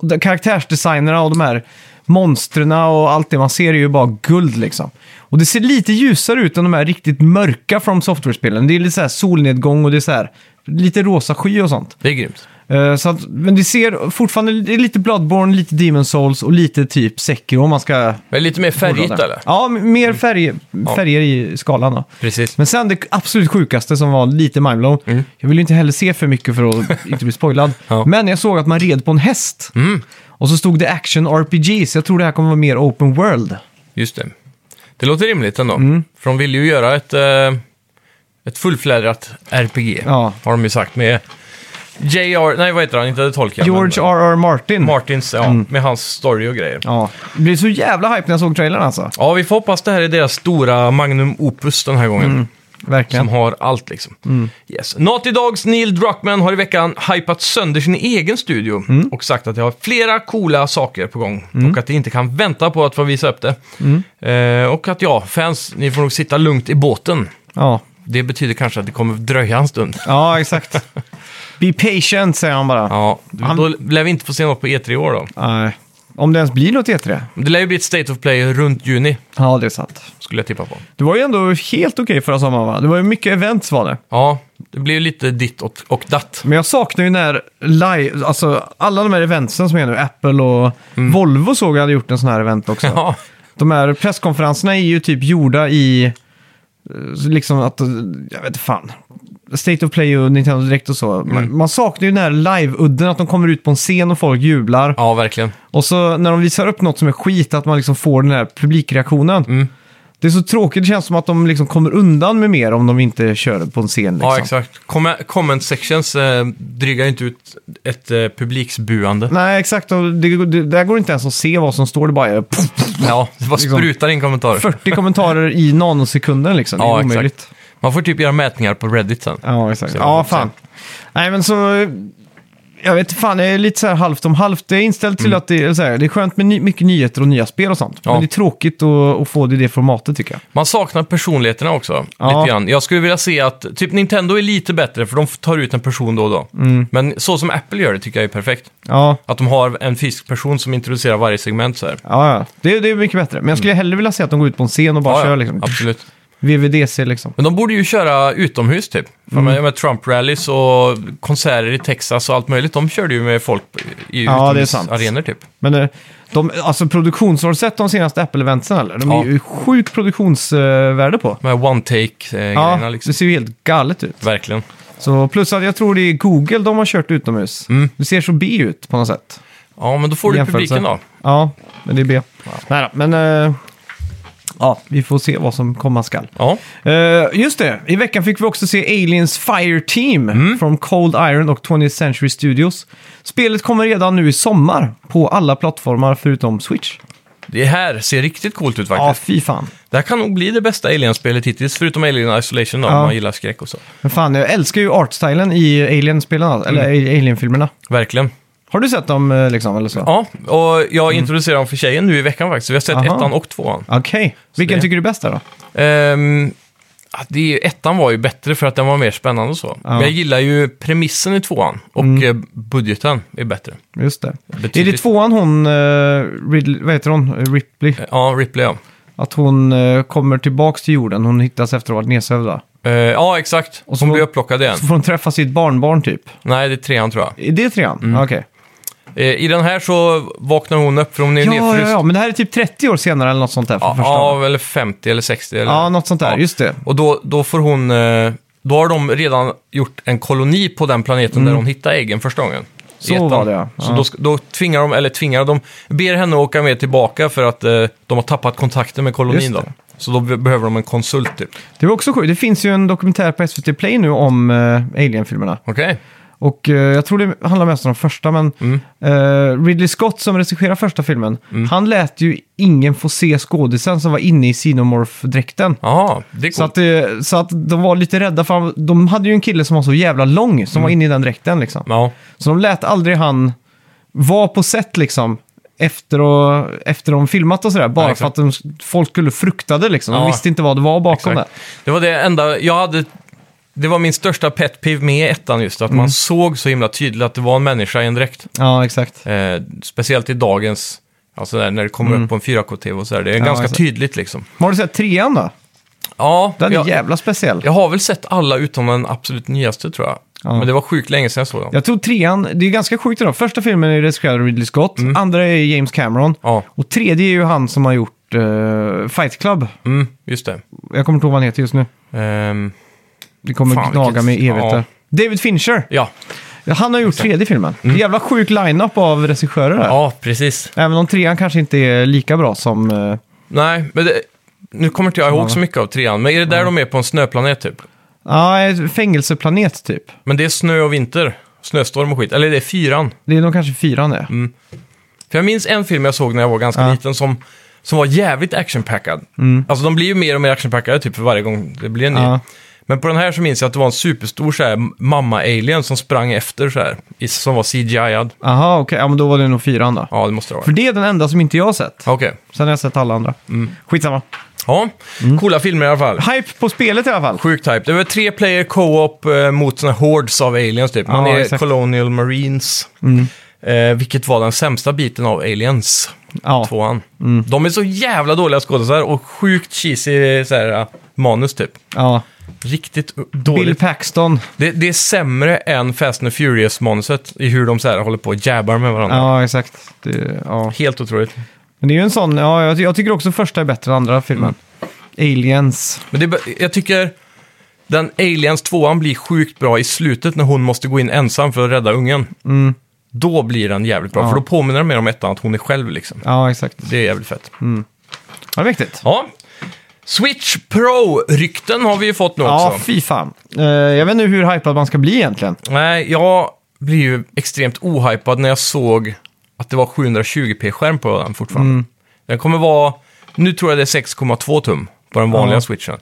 [SPEAKER 1] De- Karaktärsdesignerna och de här monstren och allt det man ser är ju bara guld liksom. Och det ser lite ljusare ut än de här riktigt mörka from software-spelen. Det är lite så här solnedgång och det är så här lite rosa sky och sånt.
[SPEAKER 2] Det är grymt.
[SPEAKER 1] Eh, Så att, men det ser fortfarande, det är lite Bloodborne, lite Demon Souls och lite typ Sekiro om man ska...
[SPEAKER 2] Det är lite mer färgigt eller? Mm.
[SPEAKER 1] Ja, m- mer färg, färger i skalan då.
[SPEAKER 2] Precis. Mm.
[SPEAKER 1] Men sen det absolut sjukaste som var lite mindblown. Jag vill ju inte heller se för mycket för att inte bli spoilad.
[SPEAKER 2] Ja. Mm.
[SPEAKER 1] Men jag såg att man red på en häst. Och så stod det action RPG, så jag tror det här kommer vara mer open world.
[SPEAKER 2] Just det. Det låter rimligt ändå.
[SPEAKER 1] Mm.
[SPEAKER 2] För de vill ju göra ett, eh, ett fullflädrat RPG.
[SPEAKER 1] Ja.
[SPEAKER 2] Har de ju sagt med J.R. Nej, vad heter han? Inte Tolkien.
[SPEAKER 1] George
[SPEAKER 2] men,
[SPEAKER 1] R.R. Martin.
[SPEAKER 2] Martins, ja. Med hans story och grejer. Ja.
[SPEAKER 1] ja. Det blev så jävla hype när jag såg trailern alltså.
[SPEAKER 2] vi får hoppas det här är deras stora magnum opus den här gången.
[SPEAKER 1] Mm. Verkligen.
[SPEAKER 2] Som har allt liksom. Yes. Naughty Dogs Neil Druckmann har i veckan hypat sönder sin egen studio och sagt att jag har flera coola saker på gång och att de inte kan vänta på att få visa upp det. Eh, och att ja, fans, ni får nog sitta lugnt i båten.
[SPEAKER 1] Ja.
[SPEAKER 2] Det betyder kanske att det kommer dröja en stund.
[SPEAKER 1] ja, exakt. Be patient, säger han bara.
[SPEAKER 2] Ja, då lär vi inte få se något på E3 i år då.
[SPEAKER 1] Nej. Om det ens blir något E3.
[SPEAKER 2] Det lär ju bli ett State of Play runt juni,
[SPEAKER 1] Ja, det är sant.
[SPEAKER 2] skulle jag tippa på.
[SPEAKER 1] Det var ju ändå helt okej förra sommaren va? Det var ju mycket events var det.
[SPEAKER 2] Ja, det blir ju lite ditt och, och datt.
[SPEAKER 1] Men jag saknar ju när live, alltså alla de här eventsen som är nu, Apple och Volvo såg jag hade gjort en sån här event också.
[SPEAKER 2] Mm. Ja,
[SPEAKER 1] De här presskonferenserna är ju typ gjorda i, eh, liksom att, eh, jag vet inte fan, State of Play och Nintendo Direct och så.
[SPEAKER 2] Mm.
[SPEAKER 1] Man, man saknar ju den här live-udden, att de kommer ut på en scen och folk jublar.
[SPEAKER 2] ja verkligen.
[SPEAKER 1] Och så när de visar upp något som är skit, att man liksom får den här publikreaktionen.
[SPEAKER 2] Mm.
[SPEAKER 1] Det är så tråkigt, det känns som att de liksom kommer undan med mer om de inte kör på en scen. Liksom.
[SPEAKER 2] Ja, exakt. Kom- Comment sections eh, drygar ju inte ut ett eh, publiksbuande.
[SPEAKER 1] Nej, exakt. Och det, det, där går det inte ens att se vad som står. Det bara är pff,
[SPEAKER 2] Ja, det bara
[SPEAKER 1] Liksom.
[SPEAKER 2] sprutar in kommentarer.
[SPEAKER 1] 40 kommentarer i nanosekunden liksom. Det är
[SPEAKER 2] Ja, exakt.
[SPEAKER 1] omöjligt.
[SPEAKER 2] Man får typ göra mätningar på Reddit sen.
[SPEAKER 1] Ja, exakt.
[SPEAKER 2] Så-
[SPEAKER 1] Ja, fan. Nej, men så... eh, Jag vet inte, fan, det är lite så här halvt om halvt. Det är inställt till att det är, så här, det är skönt med ny, mycket nyheter och nya spel och sånt.
[SPEAKER 2] Mm. Ja.
[SPEAKER 1] Men det är tråkigt att, att få det i det formatet tycker jag.
[SPEAKER 2] Man saknar personligheterna också.
[SPEAKER 1] Ja.
[SPEAKER 2] Lite grann. Jag skulle vilja se att, typ Nintendo är lite bättre för de tar ut en person då och då.
[SPEAKER 1] Mm.
[SPEAKER 2] Men så som Apple gör det tycker jag är perfekt.
[SPEAKER 1] Ja,
[SPEAKER 2] Att de har en fysisk person som introducerar varje segment så här.
[SPEAKER 1] ja, ja. Det, det är mycket bättre. Men jag skulle hellre vilja se att de går ut på en scen och bara
[SPEAKER 2] Mm. Ja, ja,
[SPEAKER 1] kör liksom.
[SPEAKER 2] Absolut.
[SPEAKER 1] VVDC liksom.
[SPEAKER 2] Men de borde ju köra utomhus typ. För
[SPEAKER 1] Mm.
[SPEAKER 2] med, med Trump-rallys och konserter i Texas och allt möjligt. De körde ju med folk i
[SPEAKER 1] Ja, det är sant.
[SPEAKER 2] utomhusarenor typ.
[SPEAKER 1] Men eh, de, alltså produktions... Har du sett de senaste Apple-eventsen eller? De
[SPEAKER 2] Ja.
[SPEAKER 1] är ju sjukt produktionsvärde på.
[SPEAKER 2] De här one-take-grejerna
[SPEAKER 1] Ja,
[SPEAKER 2] liksom.
[SPEAKER 1] det ser ju helt galet ut.
[SPEAKER 2] Verkligen.
[SPEAKER 1] Så plus att jag tror det är Google de har kört utomhus.
[SPEAKER 2] Mm.
[SPEAKER 1] Det ser så B ut på något sätt.
[SPEAKER 2] Ja, men då får du
[SPEAKER 1] jämförelse.
[SPEAKER 2] publiken då.
[SPEAKER 1] Ja, men det är B. Nej då, men eh, ja, vi får se vad som komma skall.
[SPEAKER 2] Ja.
[SPEAKER 1] Eh, just det, i veckan fick vi också se Aliens Fire Team
[SPEAKER 2] Mm.
[SPEAKER 1] från Cold Iron och 20th Century Studios. Spelet kommer redan nu i sommar på alla plattformar förutom Switch.
[SPEAKER 2] Det här ser riktigt coolt ut
[SPEAKER 1] Ja,
[SPEAKER 2] faktiskt.
[SPEAKER 1] fy fan.
[SPEAKER 2] Det här kan nog bli det bästa Alien-spelet hittills, förutom Alien Isolation då, om
[SPEAKER 1] Ja.
[SPEAKER 2] man gillar skräck och så.
[SPEAKER 1] Men fan, jag älskar ju artstylen i Alien-spelen, alltså, eller
[SPEAKER 2] Mm.
[SPEAKER 1] A- Alien-filmerna.
[SPEAKER 2] Verkligen.
[SPEAKER 1] Har du sett dem eh, liksom, eller så?
[SPEAKER 2] Ja, och jag introducerade dem för tjejen nu i veckan faktiskt. Vi har sett
[SPEAKER 1] Mm. Aha.
[SPEAKER 2] ettan och tvåan.
[SPEAKER 1] Okej, vilken
[SPEAKER 2] det-
[SPEAKER 1] tycker du är bäst där då?
[SPEAKER 2] Ehm, ja, det, är- ettan var ju bättre för att den var mer spännande och så. Men jag gillar ju premissen i tvåan och
[SPEAKER 1] Mm.
[SPEAKER 2] eh, budgeten är bättre.
[SPEAKER 1] Just det. Är det
[SPEAKER 2] Betydligt-
[SPEAKER 1] tvåan hon, eh, Ridley, vad heter hon, Eh, Ripley?
[SPEAKER 2] Ja, Ripley ja.
[SPEAKER 1] Att hon eh, kommer tillbaks till jorden, hon hittas efter att ha varit nedsövd va?
[SPEAKER 2] Eh, ja, exakt.
[SPEAKER 1] Och
[SPEAKER 2] Och
[SPEAKER 1] så
[SPEAKER 2] så Hon
[SPEAKER 1] var-
[SPEAKER 2] blir upplockad igen.
[SPEAKER 1] Så får hon träffa sitt barnbarn typ.
[SPEAKER 2] Nej, det är trean tror jag.
[SPEAKER 1] Är det trean?
[SPEAKER 2] Mm.
[SPEAKER 1] Ah, Okej.
[SPEAKER 2] Eh, I den här så vaknar hon upp för hon är
[SPEAKER 1] Ja, ja,
[SPEAKER 2] nedfryst.
[SPEAKER 1] ja, men det här är typ 30 år senare eller något sånt där. För
[SPEAKER 2] Ja,
[SPEAKER 1] första gången.
[SPEAKER 2] eller 50 eller 60 eller...
[SPEAKER 1] ja, något sånt där.
[SPEAKER 2] Ja.
[SPEAKER 1] Just det.
[SPEAKER 2] Och då, då får hon... eh, Då har de redan gjort en koloni på den planeten där hon hittade äggen första gången. I
[SPEAKER 1] Mm. Så
[SPEAKER 2] ettan.
[SPEAKER 1] var det, ja.
[SPEAKER 2] Så
[SPEAKER 1] Ja.
[SPEAKER 2] då, ska- då tvingar de, eller tvingar, de ber henne åka med tillbaka för att eh, de har tappat kontakten med kolonin
[SPEAKER 1] Just
[SPEAKER 2] då.
[SPEAKER 1] det.
[SPEAKER 2] Så då be- behöver de en konsult typ.
[SPEAKER 1] Det var också sjukt. Det finns ju en dokumentär på SVT Play nu om eh, Alien-filmerna.
[SPEAKER 2] Okej?
[SPEAKER 1] Och eh, jag tror det handlar mest om de första, men
[SPEAKER 2] Mm.
[SPEAKER 1] eh, Ridley Scott som regisserar första filmen, han lät ju ingen få se skådisen som var inne i Xenomorph-dräkten.
[SPEAKER 2] Jaha, det är coolt.
[SPEAKER 1] Så att, eh, så att de var lite rädda, för han- de hade ju en kille som var så jävla lång som var
[SPEAKER 2] Mm.
[SPEAKER 1] inne i den dräkten liksom.
[SPEAKER 2] Ja,
[SPEAKER 1] Så de lät aldrig han vara på set liksom. Efter, och, efter de filmat och sådär. Bara
[SPEAKER 2] Ja,
[SPEAKER 1] för att
[SPEAKER 2] exakt.
[SPEAKER 1] de, folk skulle frukta det liksom. De
[SPEAKER 2] Ja.
[SPEAKER 1] visste inte vad det var bakom
[SPEAKER 2] exakt. Det var det enda jag hade... Det var min största pet peeve med ettan just, att
[SPEAKER 1] Mm.
[SPEAKER 2] man såg så himla tydligt att det var en människa i en dräkt.
[SPEAKER 1] det. Ja, exakt.
[SPEAKER 2] Eh, speciellt i dagens, alltså där, när det kommer upp på en 4K-TV och sådär. Det är
[SPEAKER 1] Mm. Ja,
[SPEAKER 2] ganska
[SPEAKER 1] exakt.
[SPEAKER 2] tydligt liksom.
[SPEAKER 1] Men har du sett trean då?
[SPEAKER 2] Ja,
[SPEAKER 1] Den är
[SPEAKER 2] jag,
[SPEAKER 1] jävla speciell.
[SPEAKER 2] jag har väl sett alla utom den absolut nyaste tror jag.
[SPEAKER 1] Ja.
[SPEAKER 2] Men det var sjukt länge sedan jag såg dem.
[SPEAKER 1] Jag tror trean, det är ganska sjukt idag. Första filmen är regisserad av Ridley Scott,
[SPEAKER 2] Mm.
[SPEAKER 1] andra är James Cameron.
[SPEAKER 2] Ja,
[SPEAKER 1] Och tredje är ju han som har gjort eh, Fight Club.
[SPEAKER 2] mm, just det.
[SPEAKER 1] Jag kommer inte ihåg vad han heter just nu.
[SPEAKER 2] Ehm,
[SPEAKER 1] Det kommer
[SPEAKER 2] Fan,
[SPEAKER 1] gnaga
[SPEAKER 2] vilket-
[SPEAKER 1] mig i evigheter.
[SPEAKER 2] ja.
[SPEAKER 1] David Fincher,
[SPEAKER 2] ja.
[SPEAKER 1] han har gjort tredje filmen. Jävla sjuk line-up av regissörer där.
[SPEAKER 2] Mm. ja, precis.
[SPEAKER 1] Även om trean kanske inte är lika bra som... eh,
[SPEAKER 2] Nej, men det, nu kommer inte jag ihåg så mycket av trean. Men är det där de är på en snöplanet typ?
[SPEAKER 1] Ja, ett fängelseplanet typ.
[SPEAKER 2] Men det är snö och vinter. Snöstorm och skit. Eller det är fyran.
[SPEAKER 1] Det är nog kanske fyran det.
[SPEAKER 2] Mm. För jag minns en film jag såg när jag var ganska
[SPEAKER 1] Ja. Mm.
[SPEAKER 2] liten som, som var jävligt actionpackad. Alltså de blir ju mer och mer actionpackade typ för varje gång det blir en ny.
[SPEAKER 1] Ja.
[SPEAKER 2] Men på den här så minns jag att det var en superstor så här, mamma-alien som sprang efter så här, i- som var CGI-ad.
[SPEAKER 1] Aha, okej. Ja, men då var det nog fyran då.
[SPEAKER 2] Ja, det måste det
[SPEAKER 1] För
[SPEAKER 2] vara.
[SPEAKER 1] det är den enda som inte jag har sett.
[SPEAKER 2] Okej.
[SPEAKER 1] Sen har jag sett alla andra.
[SPEAKER 2] Mm.
[SPEAKER 1] Skitsamma.
[SPEAKER 2] Ja,
[SPEAKER 1] Mm.
[SPEAKER 2] coola filmer i alla fall.
[SPEAKER 1] Hype på spelet i alla fall.
[SPEAKER 2] Sjukt hype. Det var tre player co-op eh, mot såna hordes av aliens typ. Man
[SPEAKER 1] Ja,
[SPEAKER 2] är
[SPEAKER 1] exakt. Mm.
[SPEAKER 2] Colonial Marines. Eh, vilket var den sämsta biten av Aliens,
[SPEAKER 1] Ja. Mm.
[SPEAKER 2] tvåan. De är så jävla dåliga skådisar och sjukt cheesy så här, eh, manus typ.
[SPEAKER 1] ja.
[SPEAKER 2] Riktigt eh,
[SPEAKER 1] Bill
[SPEAKER 2] dåligt.
[SPEAKER 1] Paxton.
[SPEAKER 2] Det, det är sämre än Fast and Furious-manuset i hur de så här, håller på och jabbar med varandra.
[SPEAKER 1] Ja, exakt. Det, ja.
[SPEAKER 2] Helt otroligt.
[SPEAKER 1] Men det är ju en sån... Ja, jag, jag tycker också första är bättre än andra filmen.
[SPEAKER 2] Mm.
[SPEAKER 1] Aliens.
[SPEAKER 2] Men det, är bara- jag tycker den Aliens 2 blir sjukt bra i slutet när hon måste gå in ensam för att rädda ungen. Då blir den jävligt bra,
[SPEAKER 1] Mm. Ja.
[SPEAKER 2] för då påminner den mer om ettan att hon är själv liksom.
[SPEAKER 1] Ja, exakt.
[SPEAKER 2] Det är jävligt fett.
[SPEAKER 1] Mm. Ja, det är mäktigt.
[SPEAKER 2] Ja. Switch Pro-rykten har vi ju fått nu
[SPEAKER 1] Ja,
[SPEAKER 2] också.
[SPEAKER 1] fy fan. Eh, jag vet inte hur hypad man ska bli egentligen.
[SPEAKER 2] Nej, jag blev ju extremt ohypad när jag såg att det var 720p-skärm på den fortfarande.
[SPEAKER 1] Mm.
[SPEAKER 2] Den kommer vara, nu tror jag det är 6,2 tum på den vanliga
[SPEAKER 1] Ja.
[SPEAKER 2] switchen.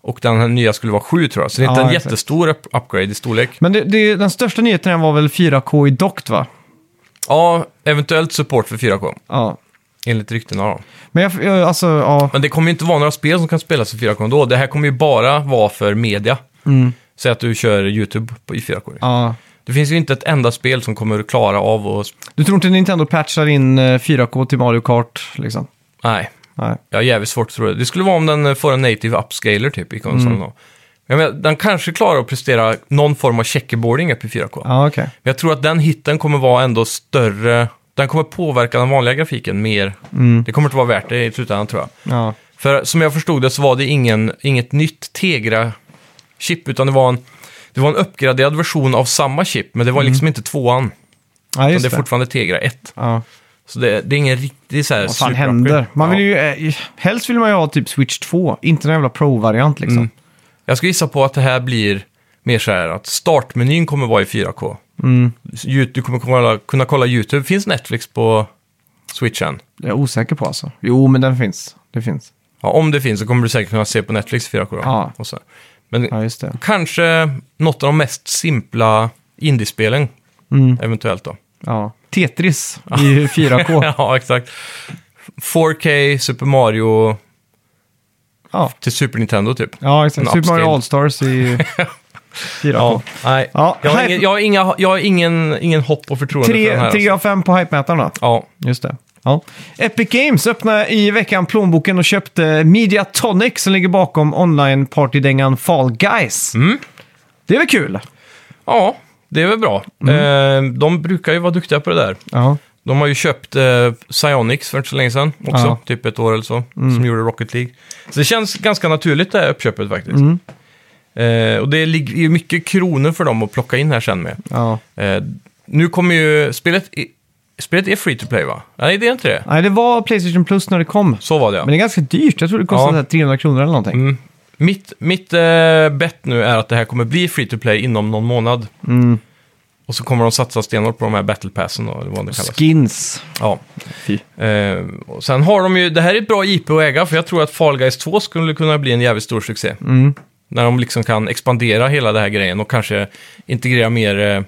[SPEAKER 2] Och den här nya skulle vara 7 tror jag, så det är inte
[SPEAKER 1] Ja,
[SPEAKER 2] en
[SPEAKER 1] exakt.
[SPEAKER 2] jättestor up- upgrade i storlek.
[SPEAKER 1] Men det, det, den största nyheten var väl 4K i dokt, va?
[SPEAKER 2] Ja, eventuellt support för 4K,
[SPEAKER 1] Ja.
[SPEAKER 2] enligt ryktena. då.
[SPEAKER 1] Men jag, jag, alltså, ja.
[SPEAKER 2] Men det kommer ju inte vara några spel som kan spelas i 4K ändå. Det här kommer ju bara vara för media. Mm. Säg att du kör YouTube på, i 4K.
[SPEAKER 1] ja.
[SPEAKER 2] Det finns ju inte ett enda spel som kommer att klara av att... sp-
[SPEAKER 1] Du tror inte Nintendo patchar in eh, 4K till Mario Kart, liksom?
[SPEAKER 2] Nej,
[SPEAKER 1] Nej.
[SPEAKER 2] jag har jävligt svårt att tro det. Det skulle vara om den eh, får en native upscaler typ i konsolen.
[SPEAKER 1] Mm.
[SPEAKER 2] då. Jag menar, den kanske klarar att prestera någon form av checkerboarding upp i 4K.
[SPEAKER 1] Ja, okej.
[SPEAKER 2] Men jag tror att den hitten kommer vara ändå större. Den kommer påverka den vanliga grafiken mer.
[SPEAKER 1] Mm.
[SPEAKER 2] Det kommer inte vara värt det i slutändan tror jag.
[SPEAKER 1] Ja.
[SPEAKER 2] För som jag förstod det så var det ingen, inget nytt Tegra-chip, utan det var en... Det var en uppgraderad version av samma chip, men det var liksom inte tvåan.
[SPEAKER 1] Ja,
[SPEAKER 2] Men
[SPEAKER 1] Mm. just
[SPEAKER 2] det
[SPEAKER 1] det.
[SPEAKER 2] är fortfarande Tegra 1.
[SPEAKER 1] ja.
[SPEAKER 2] Så det, det är ingen riktig så här
[SPEAKER 1] Vad fan
[SPEAKER 2] superupgrade.
[SPEAKER 1] händer? Man vill
[SPEAKER 2] Ja.
[SPEAKER 1] ju, eh, helst vill man ju ha typ Switch 2, inte någon jävla Pro-variant liksom.
[SPEAKER 2] Jag ska gissa på att det här blir mer så här att startmenyn kommer vara i 4K.
[SPEAKER 1] Mm.
[SPEAKER 2] Youtube- Du kommer kunna- kunna kolla YouTube. Finns Netflix på Switchen?
[SPEAKER 1] Det är jag osäker på alltså. Jo, men den finns. Det finns.
[SPEAKER 2] Ja, om det finns så kommer du säkert kunna se på Netflix 4K. då.
[SPEAKER 1] Ja.
[SPEAKER 2] Och så. Men
[SPEAKER 1] Ja, just det.
[SPEAKER 2] kanske något av de mest simpla indiespelen
[SPEAKER 1] Mm.
[SPEAKER 2] eventuellt då.
[SPEAKER 1] Ja. Tetris i 4K.
[SPEAKER 2] ja, exakt. 4K, Super Mario
[SPEAKER 1] Ja,
[SPEAKER 2] till Super Nintendo typ.
[SPEAKER 1] ja exakt.
[SPEAKER 2] En
[SPEAKER 1] Super Mario
[SPEAKER 2] upscale.
[SPEAKER 1] All-Stars i 4K.
[SPEAKER 2] Ja, nej.
[SPEAKER 1] Ja,
[SPEAKER 2] jag har,
[SPEAKER 1] hype-
[SPEAKER 2] ingen, jag har, inga, jag har ingen, ingen hopp och förtroende för den
[SPEAKER 1] Tre,
[SPEAKER 2] här.
[SPEAKER 1] tre
[SPEAKER 2] alltså.
[SPEAKER 1] av fem på hype-mätaren då.
[SPEAKER 2] Ja,
[SPEAKER 1] Just det. Ja. Epic Games öppnade i veckan plånboken och köpte Media Tonic som ligger bakom online-partydängan Fall Guys. Det är väl kul?
[SPEAKER 2] ja, det är väl bra.
[SPEAKER 1] Mm.
[SPEAKER 2] Eh, de brukar ju vara duktiga på det där.
[SPEAKER 1] Ja.
[SPEAKER 2] De har ju köpt eh, Psyonix för inte så länge sedan också,
[SPEAKER 1] Ja. Mm.
[SPEAKER 2] typ ett år eller så, som gjorde Rocket League. Så det känns ganska naturligt det här uppköpet faktiskt.
[SPEAKER 1] Mm.
[SPEAKER 2] Eh, och det ligger ju mycket kronor för dem att plocka in här sen med.
[SPEAKER 1] ja.
[SPEAKER 2] Eh, nu kommer ju spelet... i- Spelet är free to play va? Nej, det är inte det.
[SPEAKER 1] Nej, det var Playstation Plus när det kom.
[SPEAKER 2] Så var det ja.
[SPEAKER 1] Men det är ganska dyrt. Jag tror det kostade
[SPEAKER 2] Ja.
[SPEAKER 1] så här 300 kronor eller någonting.
[SPEAKER 2] Mm. Mitt, mitt eh, bett nu är att det här kommer bli free to play inom någon månad.
[SPEAKER 1] Mm.
[SPEAKER 2] Och så kommer de satsa stenhårt på de här battle passen då, eller vad det kallas.
[SPEAKER 1] Skins.
[SPEAKER 2] Ja.
[SPEAKER 1] Fy.
[SPEAKER 2] Eh, och sen har de ju, det här är ett bra IP att äga, för jag tror att Fall Guys 2 skulle kunna bli en jävligt stor succé.
[SPEAKER 1] Mm.
[SPEAKER 2] När de liksom kan expandera hela den här grejen och kanske integrera mer, eh, eh,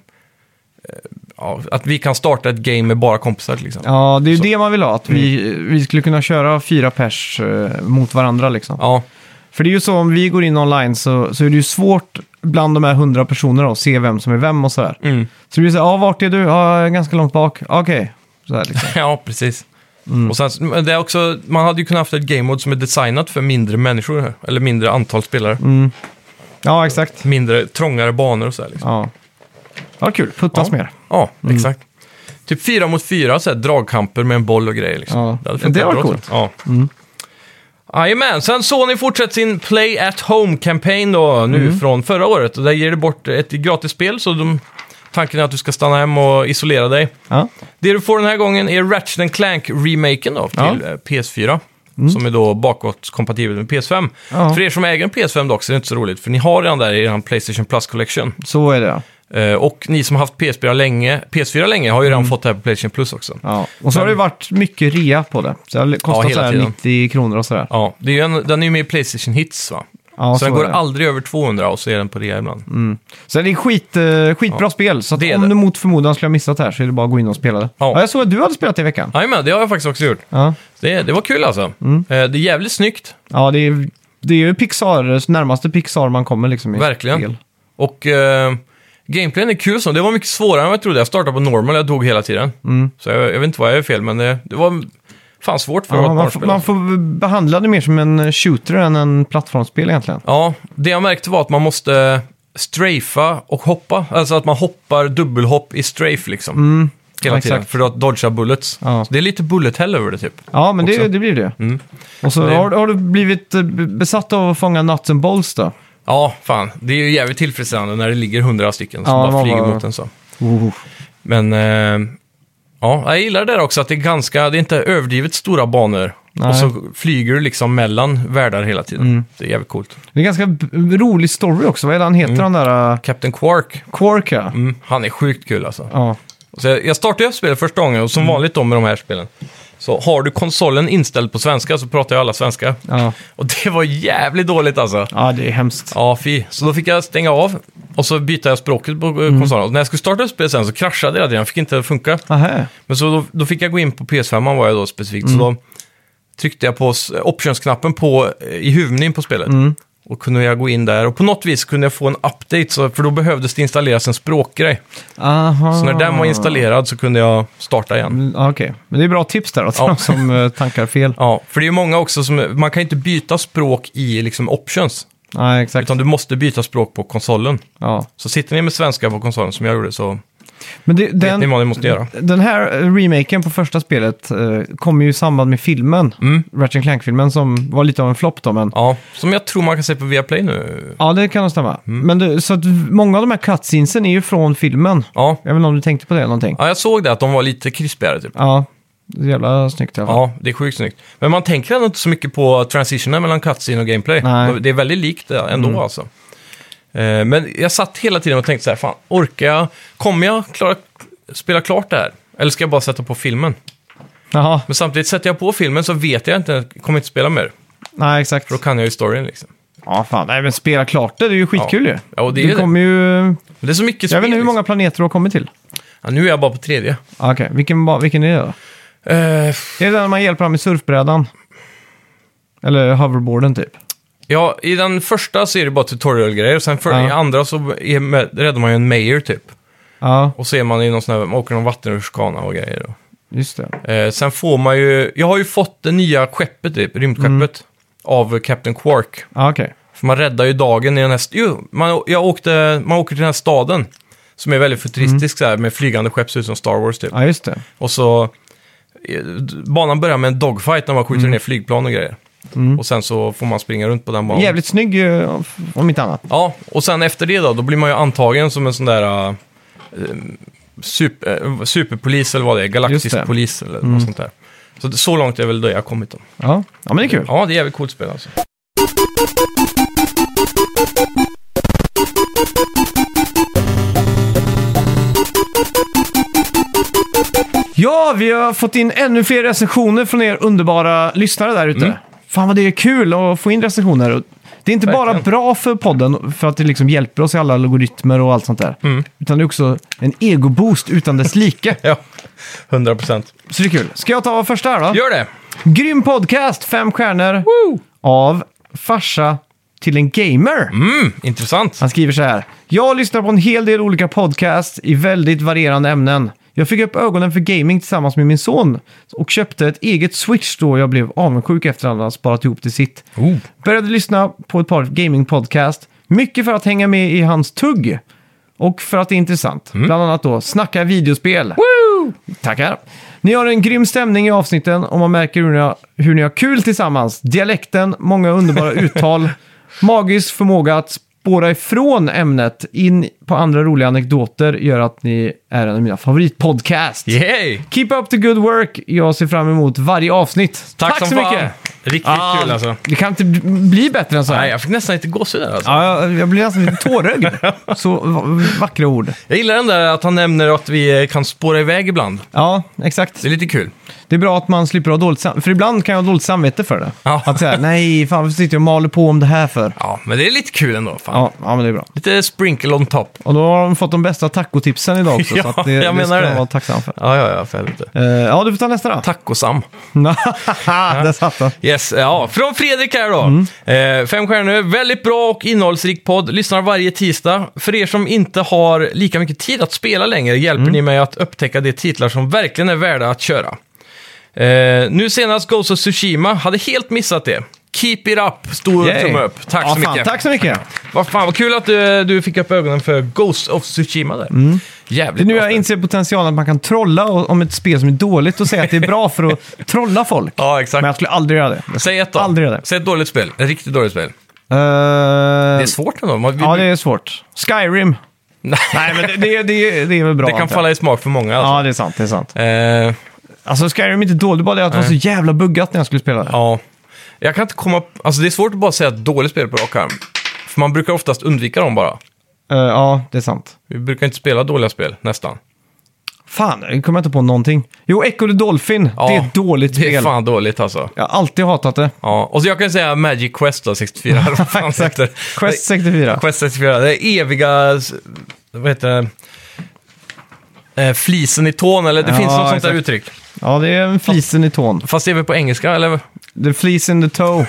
[SPEAKER 2] ja, att vi kan starta ett game med bara kompisar liksom. till exempel.
[SPEAKER 1] Ja, det är ju det man vill ha. Att vi,
[SPEAKER 2] Mm.
[SPEAKER 1] vi skulle kunna köra fyra pers eh, mot varandra liksom.
[SPEAKER 2] Ja,
[SPEAKER 1] För det är ju så, om vi går in online så, så är det ju svårt bland de här hundra personerna att se vem som är vem och sådär.
[SPEAKER 2] Mm.
[SPEAKER 1] Så det blir så här, ja, vart är du? Ja, jag är ganska långt bak. Ja, Okej. Så här liksom.
[SPEAKER 2] ja precis.
[SPEAKER 1] Mm.
[SPEAKER 2] Och sen, men det är också, man hade ju kunnat haft ett game mode som är designat för mindre människor, eller mindre antal spelare.
[SPEAKER 1] Mm. Ja, exakt.
[SPEAKER 2] Mindre, trångare banor och sådär. Liksom.
[SPEAKER 1] Ja. Ja, kul. Puttas
[SPEAKER 2] Ja.
[SPEAKER 1] mer.
[SPEAKER 2] Ja, exakt. Typ fyra mot fyra, så här, dragkamper med en boll och grejer. Liksom.
[SPEAKER 1] Ja,
[SPEAKER 2] hade funkat
[SPEAKER 1] det var
[SPEAKER 2] bra,
[SPEAKER 1] coolt.
[SPEAKER 2] tror jag. Ja. Jajamän, sen Sony fortsätter sin Play at Home-campaign då, nu
[SPEAKER 1] Mm.
[SPEAKER 2] från förra året. Och där ger det bort ett gratis spel, så de, tanken är att du ska stanna hem och isolera dig.
[SPEAKER 1] Ja.
[SPEAKER 2] Det du får den här gången är Ratchet Clank-remaken då, till
[SPEAKER 1] Ja. Mm.
[SPEAKER 2] eh, PS4. Som är då bakåtkompatibel med PS5.
[SPEAKER 1] Ja.
[SPEAKER 2] För er som äger en PS5 dock så är det inte så roligt, för ni har den där i er Playstation Plus Collection.
[SPEAKER 1] Så är det ja.
[SPEAKER 2] Eh, och ni som har haft PS4 länge, PS4 länge har ju
[SPEAKER 1] Mm.
[SPEAKER 2] redan fått det här på Playstation Plus också. Ja.
[SPEAKER 1] ja. Och så har det ju varit mycket rea på det. Så det har
[SPEAKER 2] Ja,
[SPEAKER 1] kostat
[SPEAKER 2] hela
[SPEAKER 1] så här
[SPEAKER 2] tiden.
[SPEAKER 1] 90 kronor och sådär.
[SPEAKER 2] det är ju en, den är ju med i Playstation Hits va?
[SPEAKER 1] Ja,
[SPEAKER 2] så,
[SPEAKER 1] så
[SPEAKER 2] den
[SPEAKER 1] är
[SPEAKER 2] går
[SPEAKER 1] det. Mm.
[SPEAKER 2] aldrig över 200 och så är den på rea ibland.
[SPEAKER 1] Så det är skit, eh, skitbra spel, så att
[SPEAKER 2] Det är
[SPEAKER 1] om
[SPEAKER 2] det.
[SPEAKER 1] du mot förmodan skulle ha missat här så är det bara att gå in och spela det.
[SPEAKER 2] Ja.
[SPEAKER 1] Ja, jag såg att du hade spelat det i veckan.
[SPEAKER 2] Jajamän, det har jag faktiskt också gjort.
[SPEAKER 1] Ja,
[SPEAKER 2] Det, det var kul alltså.
[SPEAKER 1] Mm.
[SPEAKER 2] Eh, det är jävligt snyggt,
[SPEAKER 1] ja det, är, det är ju Pixar, närmaste Pixar man kommer liksom i
[SPEAKER 2] verkligen.
[SPEAKER 1] spel.
[SPEAKER 2] Och eh, gameplayen är kul som. Det var mycket svårare än vad jag trodde. Jag startade på normal, jag dog hela tiden.
[SPEAKER 1] Mm.
[SPEAKER 2] Så jag, jag vet inte vad jag är fel, men det, det var fan svårt för att
[SPEAKER 1] Ja,
[SPEAKER 2] vara
[SPEAKER 1] man,
[SPEAKER 2] ett
[SPEAKER 1] får-
[SPEAKER 2] barnspel.
[SPEAKER 1] man får behandla det mer som en shooter än en plattformsspel egentligen.
[SPEAKER 2] Ja, det jag märkte var att man måste strafa och hoppa. Alltså att man hoppar dubbelhopp i strafe liksom. Hela
[SPEAKER 1] Mm. Ja,
[SPEAKER 2] tiden,
[SPEAKER 1] exakt.
[SPEAKER 2] för att dodga bullets.
[SPEAKER 1] Ja.
[SPEAKER 2] Så det är lite bullet hell över det typ.
[SPEAKER 1] Ja, men det,
[SPEAKER 2] Också. Mm.
[SPEAKER 1] det blir det. Och så
[SPEAKER 2] Det-
[SPEAKER 1] har, har du blivit eh, b- besatt av att fånga nuts and balls då?
[SPEAKER 2] Ja, fan. Det är ju jävligt tillfredsställande när det ligger hundra stycken som
[SPEAKER 1] Ja,
[SPEAKER 2] bara
[SPEAKER 1] man
[SPEAKER 2] flyger
[SPEAKER 1] bara-
[SPEAKER 2] mot en så.
[SPEAKER 1] Oh.
[SPEAKER 2] Men eh, ja, jag gillar det där också att det är ganska, det är inte överdrivet stora banor.
[SPEAKER 1] Nej. Mm.
[SPEAKER 2] Och så flyger du liksom mellan världar hela tiden. Det är jävligt coolt.
[SPEAKER 1] Det är en ganska b- rolig story också. Vad är det han heter, han där uh,
[SPEAKER 2] Captain Quark,
[SPEAKER 1] Quark? ja?
[SPEAKER 2] mm, han är sjukt kul alltså.
[SPEAKER 1] Ja.
[SPEAKER 2] Så jag, jag startade upp spelet första gången, och som vanligt då med de här spelen. Så har du konsolen inställd på svenska så pratar jag alla svenska.
[SPEAKER 1] Ja.
[SPEAKER 2] Och det var jävligt dåligt alltså.
[SPEAKER 1] ja, det är hemskt.
[SPEAKER 2] Ja, fy. Så då fick jag stänga av och så bytte jag språket på eh, konsolen. Och när jag skulle starta upp spelet sen så kraschade hela tiden, jag fick inte det att funka.
[SPEAKER 1] Aha.
[SPEAKER 2] Men så då, då fick jag gå in på PS5 var jag då specifikt, så då tryckte jag på s- optionsknappen på, eh, i huvudmenyn på spelet. Och kunde jag gå in där och på något vis kunde jag få en update, så, för då behövdes det installeras en språkgrej.
[SPEAKER 1] Aha.
[SPEAKER 2] Så när den var installerad så kunde jag starta igen.
[SPEAKER 1] Mm, ja, Okej, men det är bra tips där då, till
[SPEAKER 2] Ja.
[SPEAKER 1] de som eh, tankar fel.
[SPEAKER 2] Ja, för det är ju många också som, man kan ju inte byta språk i liksom options,
[SPEAKER 1] Nej, exakt.
[SPEAKER 2] utan du måste byta språk på konsolen.
[SPEAKER 1] Ja.
[SPEAKER 2] Så sitter ni med svenska på konsolen som jag gjorde så
[SPEAKER 1] Men det, den,
[SPEAKER 2] ni vad ni måste
[SPEAKER 1] Mm.
[SPEAKER 2] göra?
[SPEAKER 1] Den här eh, remaken på första spelet eh, kom ju i samband med filmen. Mm. Ratchet Clank-filmen som var lite av en flopp då, men...
[SPEAKER 2] Ja, som jag tror man kan se på Viaplay nu.
[SPEAKER 1] Ja, det kan nog stämma.
[SPEAKER 2] Mm.
[SPEAKER 1] Men det, så att många av de här cutscenesen är ju från filmen.
[SPEAKER 2] Ja.
[SPEAKER 1] Jag vet inte om du tänkte på det eller någonting.
[SPEAKER 2] ja, jag såg det att de var lite krispigare typ.
[SPEAKER 1] Ja, det är jävla snyggt i alla fall.
[SPEAKER 2] Ja, det är sjukt snyggt. Men man tänker ändå inte så mycket på transitionen mellan cutscene och gameplay.
[SPEAKER 1] Nej. Mm.
[SPEAKER 2] Det är väldigt likt det ändå alltså. Eh, Men jag satt hela tiden och tänkte så här, fan, orkar jag? Kommer jag klara, spela klart det här? Eller ska jag bara sätta på filmen?
[SPEAKER 1] Jaha,
[SPEAKER 2] Men samtidigt, sätter jag på filmen så vet jag inte, jag kommer inte spela mer.
[SPEAKER 1] nej exakt.
[SPEAKER 2] Då kan jag ju storyn liksom.
[SPEAKER 1] Ja, fan. Nej, men spela klart det, det är ju skitkul ju.
[SPEAKER 2] Ja, och det är
[SPEAKER 1] du
[SPEAKER 2] det.
[SPEAKER 1] kommer ju...
[SPEAKER 2] Men det är så mycket
[SPEAKER 1] Jag vet
[SPEAKER 2] spel,
[SPEAKER 1] inte hur
[SPEAKER 2] liksom.
[SPEAKER 1] många planeter du har kommit till.
[SPEAKER 2] ja, Nu är jag bara på tredje.
[SPEAKER 1] Ah, Okej, vilken, ba- vilken är det då?
[SPEAKER 2] Eh,
[SPEAKER 1] Är det den man hjälper honom med surfbrädan? Eller hoverboarden typ?
[SPEAKER 2] ja, i den första så är det bara tutorial-grejer. Sen för,
[SPEAKER 1] Ja.
[SPEAKER 2] i andra så är, med- räddar man ju en mayor typ.
[SPEAKER 1] Ja,
[SPEAKER 2] Och så är man i någon sån här, man åker någon vattenrutschkana och grejer. Och.
[SPEAKER 1] just det.
[SPEAKER 2] Eh, sen får man ju, jag har ju fått det nya skeppet, typ, rymdskeppet, av Captain Quark.
[SPEAKER 1] Ja, okej.
[SPEAKER 2] För man räddar ju dagen i den här, st- jo, man, jag åkte, man åker till den här staden. Som är väldigt futuristisk så här, med flygande skepp, ser ut som Star Wars typ.
[SPEAKER 1] Ja, just det.
[SPEAKER 2] Och så, eh, d- banan börjar med en dogfight när man skjuter ner flygplan och grejer. Och sen så får man springa runt på den banan.
[SPEAKER 1] Jävligt snygg eh, om- om inte annat.
[SPEAKER 2] Ja, och sen efter det då, då blir man ju antagen som en sån där eh, super, eh, superpolis eller vad det är, galaktisk
[SPEAKER 1] Just det. Mm.
[SPEAKER 2] polis eller något sånt där. Så, det- så långt är väl det jag har kommit då.
[SPEAKER 1] Ja, ja men det är kul.
[SPEAKER 2] Ja, det är jävligt coolt spel alltså.
[SPEAKER 1] Ja, vi har fått in ännu fler recensioner från er underbara lyssnare där
[SPEAKER 2] Mm.
[SPEAKER 1] ute. Fan vad det är kul att få in recensioner. Och Det är inte bara
[SPEAKER 2] Verkligen.
[SPEAKER 1] bra för podden, för att det liksom hjälper oss i alla algoritmer och allt sånt där.
[SPEAKER 2] Mm.
[SPEAKER 1] Utan det är också en egoboost utan dess like.
[SPEAKER 2] Ja, 100 procent.
[SPEAKER 1] Så det är kul. Ska jag ta första här då?
[SPEAKER 2] Gör det!
[SPEAKER 1] Grym podcast, fem stjärnor av farsa till en gamer.
[SPEAKER 2] Mm, intressant.
[SPEAKER 1] Han skriver så här. Jag lyssnar på en hel del olika podcasts i väldigt varierande ämnen. Jag fick upp ögonen för gaming tillsammans med min son och köpte ett eget Switch då jag blev avundsjuk efter att han hade sparat ihop till sitt.
[SPEAKER 2] Oh.
[SPEAKER 1] Började lyssna på ett par gamingpodcast, mycket för att hänga med i hans tugg och för att det är intressant.
[SPEAKER 2] Mm.
[SPEAKER 1] Bland annat då Snacka videospel. Tackar. Ni har en grym stämning i avsnitten och man märker hur ni har, hur ni har kul tillsammans. Dialekten, många underbara uttal, magisk förmåga att spåra ifrån ämnet in på andra roliga anekdoter gör att ni är en av mina favoritpodcast.
[SPEAKER 2] Yay!
[SPEAKER 1] Keep up the good work. Jag ser fram emot varje avsnitt.
[SPEAKER 2] Tack,
[SPEAKER 1] så
[SPEAKER 2] som fan.
[SPEAKER 1] mycket.
[SPEAKER 2] Riktigt
[SPEAKER 1] Ja,
[SPEAKER 2] kul alltså.
[SPEAKER 1] Ah. Det kan inte bli bättre än så här.
[SPEAKER 2] Nej, jag fick nästan lite gåshud där alltså.
[SPEAKER 1] Ja, jag, jag blir nästan lite tårögd. Så va- vackra ord.
[SPEAKER 2] Jag gillar den där att han nämner att vi eh, kan spåra iväg ibland.
[SPEAKER 1] Ja, exakt.
[SPEAKER 2] Det är lite kul.
[SPEAKER 1] Det är bra att man slipper ha dåligt samvete. För ibland kan jag ha dåligt samvete för det.
[SPEAKER 2] Ja.
[SPEAKER 1] Att säga, nej, fan varför sitter jag och maler på om det här för?
[SPEAKER 2] Ja, men det är lite kul ändå. Fan.
[SPEAKER 1] Ja, ja men det är bra.
[SPEAKER 2] Lite sprinkle on top.
[SPEAKER 1] Och då har de fått de bästa tacotipsen idag också.
[SPEAKER 2] Ja,
[SPEAKER 1] så att det,
[SPEAKER 2] jag
[SPEAKER 1] det
[SPEAKER 2] menar
[SPEAKER 1] ska man
[SPEAKER 2] det.
[SPEAKER 1] vara tacksam för.
[SPEAKER 2] Ja, ja, ja, för helvete.
[SPEAKER 1] Eh, ja, du får ta nästa då.
[SPEAKER 2] Tacosam.
[SPEAKER 1] Där satt den.
[SPEAKER 2] Yes, ja. Från Fredrik här då.
[SPEAKER 1] Mm.
[SPEAKER 2] Eh, fem stjärnor. Väldigt bra och innehållsrik podd. Lyssnar varje tisdag. För er som inte har lika mycket tid att spela längre hjälper
[SPEAKER 1] Mm.
[SPEAKER 2] ni mig att upptäcka de titlar som verkligen är värda att köra. Eh, nu senast Ghost of Tsushima. Hade helt missat det. Keep it up. Stor
[SPEAKER 1] Yay.
[SPEAKER 2] tumme upp. Tack
[SPEAKER 1] ja,
[SPEAKER 2] så
[SPEAKER 1] fan,
[SPEAKER 2] mycket.
[SPEAKER 1] Tack så mycket.
[SPEAKER 2] Vad fan, vad kul att du, du fick upp ögonen för Ghost of Tsushima där.
[SPEAKER 1] Det är
[SPEAKER 2] Jävligt
[SPEAKER 1] Mm. nu
[SPEAKER 2] bra
[SPEAKER 1] jag
[SPEAKER 2] spel.
[SPEAKER 1] inser potentialen att man kan trolla o- om ett spel som är dåligt och säga att det är bra för att trolla folk.
[SPEAKER 2] Ja, exakt.
[SPEAKER 1] Men jag skulle aldrig göra det.
[SPEAKER 2] Säg ett då.
[SPEAKER 1] Aldrig det.
[SPEAKER 2] Säg ett dåligt spel. Ett riktigt dåligt spel. Det
[SPEAKER 1] Eh,
[SPEAKER 2] är svårt ändå. Man,
[SPEAKER 1] Ja, det är svårt. Skyrim. Nej, men det, det, det, det är väl bra.
[SPEAKER 2] Det kan
[SPEAKER 1] antar jag.
[SPEAKER 2] falla i smak för många. Alltså.
[SPEAKER 1] Ja, det är sant. Det är sant.
[SPEAKER 2] Eh,
[SPEAKER 1] Alltså, Skyrim är inte dålig, bara det att det var så jävla buggat när jag skulle spela det.
[SPEAKER 2] ja. Jag kan inte komma... Alltså det är svårt att bara säga ett dåligt spel på rak arm. För man brukar oftast undvika dem bara.
[SPEAKER 1] Eh, ja, det är sant.
[SPEAKER 2] Vi brukar inte spela dåliga spel, nästan.
[SPEAKER 1] Fan, jag kommer inte på någonting. Jo, Echo the Dolphin.
[SPEAKER 2] Ja,
[SPEAKER 1] det är ett dåligt
[SPEAKER 2] Det är
[SPEAKER 1] spel.
[SPEAKER 2] fan dåligt alltså.
[SPEAKER 1] Jag har alltid hatat det.
[SPEAKER 2] Ja. Och så jag kan säga Magic Quest då, 64. Vad fan
[SPEAKER 1] Exakt.
[SPEAKER 2] heter det?
[SPEAKER 1] Quest 64.
[SPEAKER 2] Quest 64. Det är eviga... s- Vad heter det? Eh, Flisen i tån, eller det
[SPEAKER 1] Ja,
[SPEAKER 2] finns något sånt där
[SPEAKER 1] exakt.
[SPEAKER 2] uttryck.
[SPEAKER 1] Ja, det är en flisen i tån.
[SPEAKER 2] Fast det är väl på engelska, eller?
[SPEAKER 1] The fleece in the toe.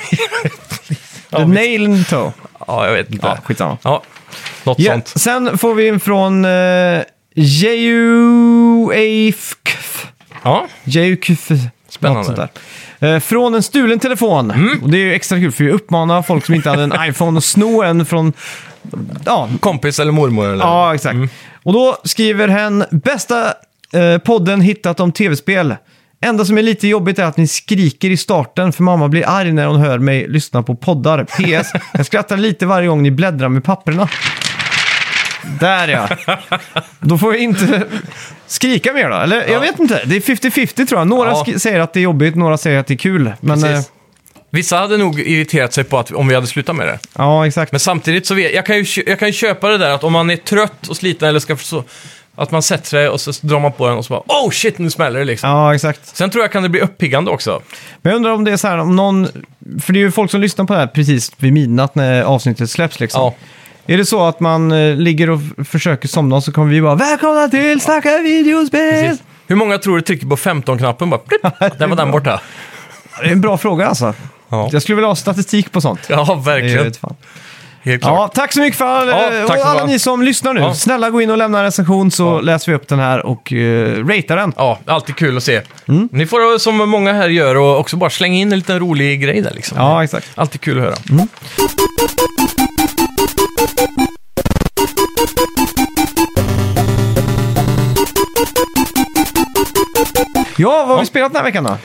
[SPEAKER 1] the nail in the toe.
[SPEAKER 2] Ja, jag vet inte.
[SPEAKER 1] Ja, skitsamma.
[SPEAKER 2] Ja, något
[SPEAKER 1] Ja,
[SPEAKER 2] sånt.
[SPEAKER 1] Sen får vi in från eh, uh, Jeuafkf.
[SPEAKER 2] Ja,
[SPEAKER 1] Jeukf. Något sånt
[SPEAKER 2] Spännande.
[SPEAKER 1] där. Eh, Från en stulen telefon. Och det är ju extra kul för vi uppmanar folk som inte hade en iPhone att sno en från... Ja,
[SPEAKER 2] Kompis eller mormor eller?
[SPEAKER 1] ja exakt.
[SPEAKER 2] Mm.
[SPEAKER 1] Och då skriver hen “Bästa eh, podden hittat om tv-spel. Enda som är lite jobbigt är att ni skriker i starten för mamma blir arg när hon hör mig lyssna på poddar. PS. Jag skrattar lite varje gång ni bläddrar med papperna. Där ja. Då får jag inte skrika mer då. Eller jag
[SPEAKER 2] Ja.
[SPEAKER 1] vet inte. Det är 50-50 tror jag. Några
[SPEAKER 2] Ja.
[SPEAKER 1] sk- säger att det är jobbigt, några säger att det är kul. Men eh,
[SPEAKER 2] Precis. Vissa hade nog irriterat sig på att om vi hade slutat med det.
[SPEAKER 1] ja, exakt.
[SPEAKER 2] Men samtidigt så vet jag, kan ju, kö- jag kan ju köpa det där att om man är trött och sliten eller ska så, att man sätter sig och så drar man på den och så bara oh shit nu smäller det liksom.
[SPEAKER 1] Ja, exakt.
[SPEAKER 2] Sen tror jag kan det bli uppiggande också.
[SPEAKER 1] Men jag undrar om det är så här, om någon... För det är ju folk som lyssnar på det här precis vid midnatt när avsnittet släpps liksom.
[SPEAKER 2] Ja.
[SPEAKER 1] Är det så att man eh, ligger och f- försöker somna och så kommer vi bara “Välkomna till Snacka videospel!”
[SPEAKER 2] Precis. Hur många tror du trycker på 15-knappen bara plipp, där var den borta.
[SPEAKER 1] Det är en bra fråga alltså.
[SPEAKER 2] Ja,
[SPEAKER 1] Jag skulle vilja ha statistik på sånt.
[SPEAKER 2] ja
[SPEAKER 1] Det är
[SPEAKER 2] verkligen.
[SPEAKER 1] ett fan.
[SPEAKER 2] Helt klart.
[SPEAKER 1] Ja, tack så mycket för all,
[SPEAKER 2] Ja,
[SPEAKER 1] eh,
[SPEAKER 2] tack
[SPEAKER 1] och
[SPEAKER 2] så
[SPEAKER 1] alla
[SPEAKER 2] fan.
[SPEAKER 1] ni som lyssnar nu.
[SPEAKER 2] Ja.
[SPEAKER 1] Snälla gå in och lämna en recension så läser vi upp den här och uh, ratear den.
[SPEAKER 2] Ja, alltid kul att se. Ni får som många här gör och också bara slänga in en liten rolig grej där liksom.
[SPEAKER 1] Ja, exakt.
[SPEAKER 2] Alltid kul att höra.
[SPEAKER 1] Ja, vad har vi spelat den här veckan då?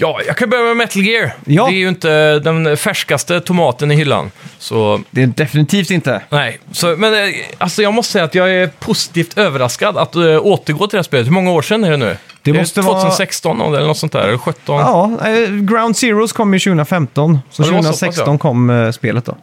[SPEAKER 2] Ja, jag kan börja med Metal Gear.
[SPEAKER 1] Ja.
[SPEAKER 2] Det är ju inte den färskaste tomaten i hyllan. Så
[SPEAKER 1] Det är definitivt inte.
[SPEAKER 2] Nej, så, men eh, alltså jag måste säga att jag är positivt överraskad att äh, återgå till det här spelet. Hur många år sedan är det nu?
[SPEAKER 1] Det
[SPEAKER 2] Är
[SPEAKER 1] måste vara-
[SPEAKER 2] 2016 eller något sånt där, eller 17? Ja.
[SPEAKER 1] Ja, eh, Ground Zeroes kom ju 2015, så
[SPEAKER 2] Ja, det var så pass,
[SPEAKER 1] 2016
[SPEAKER 2] ja.
[SPEAKER 1] kom eh, spelet då.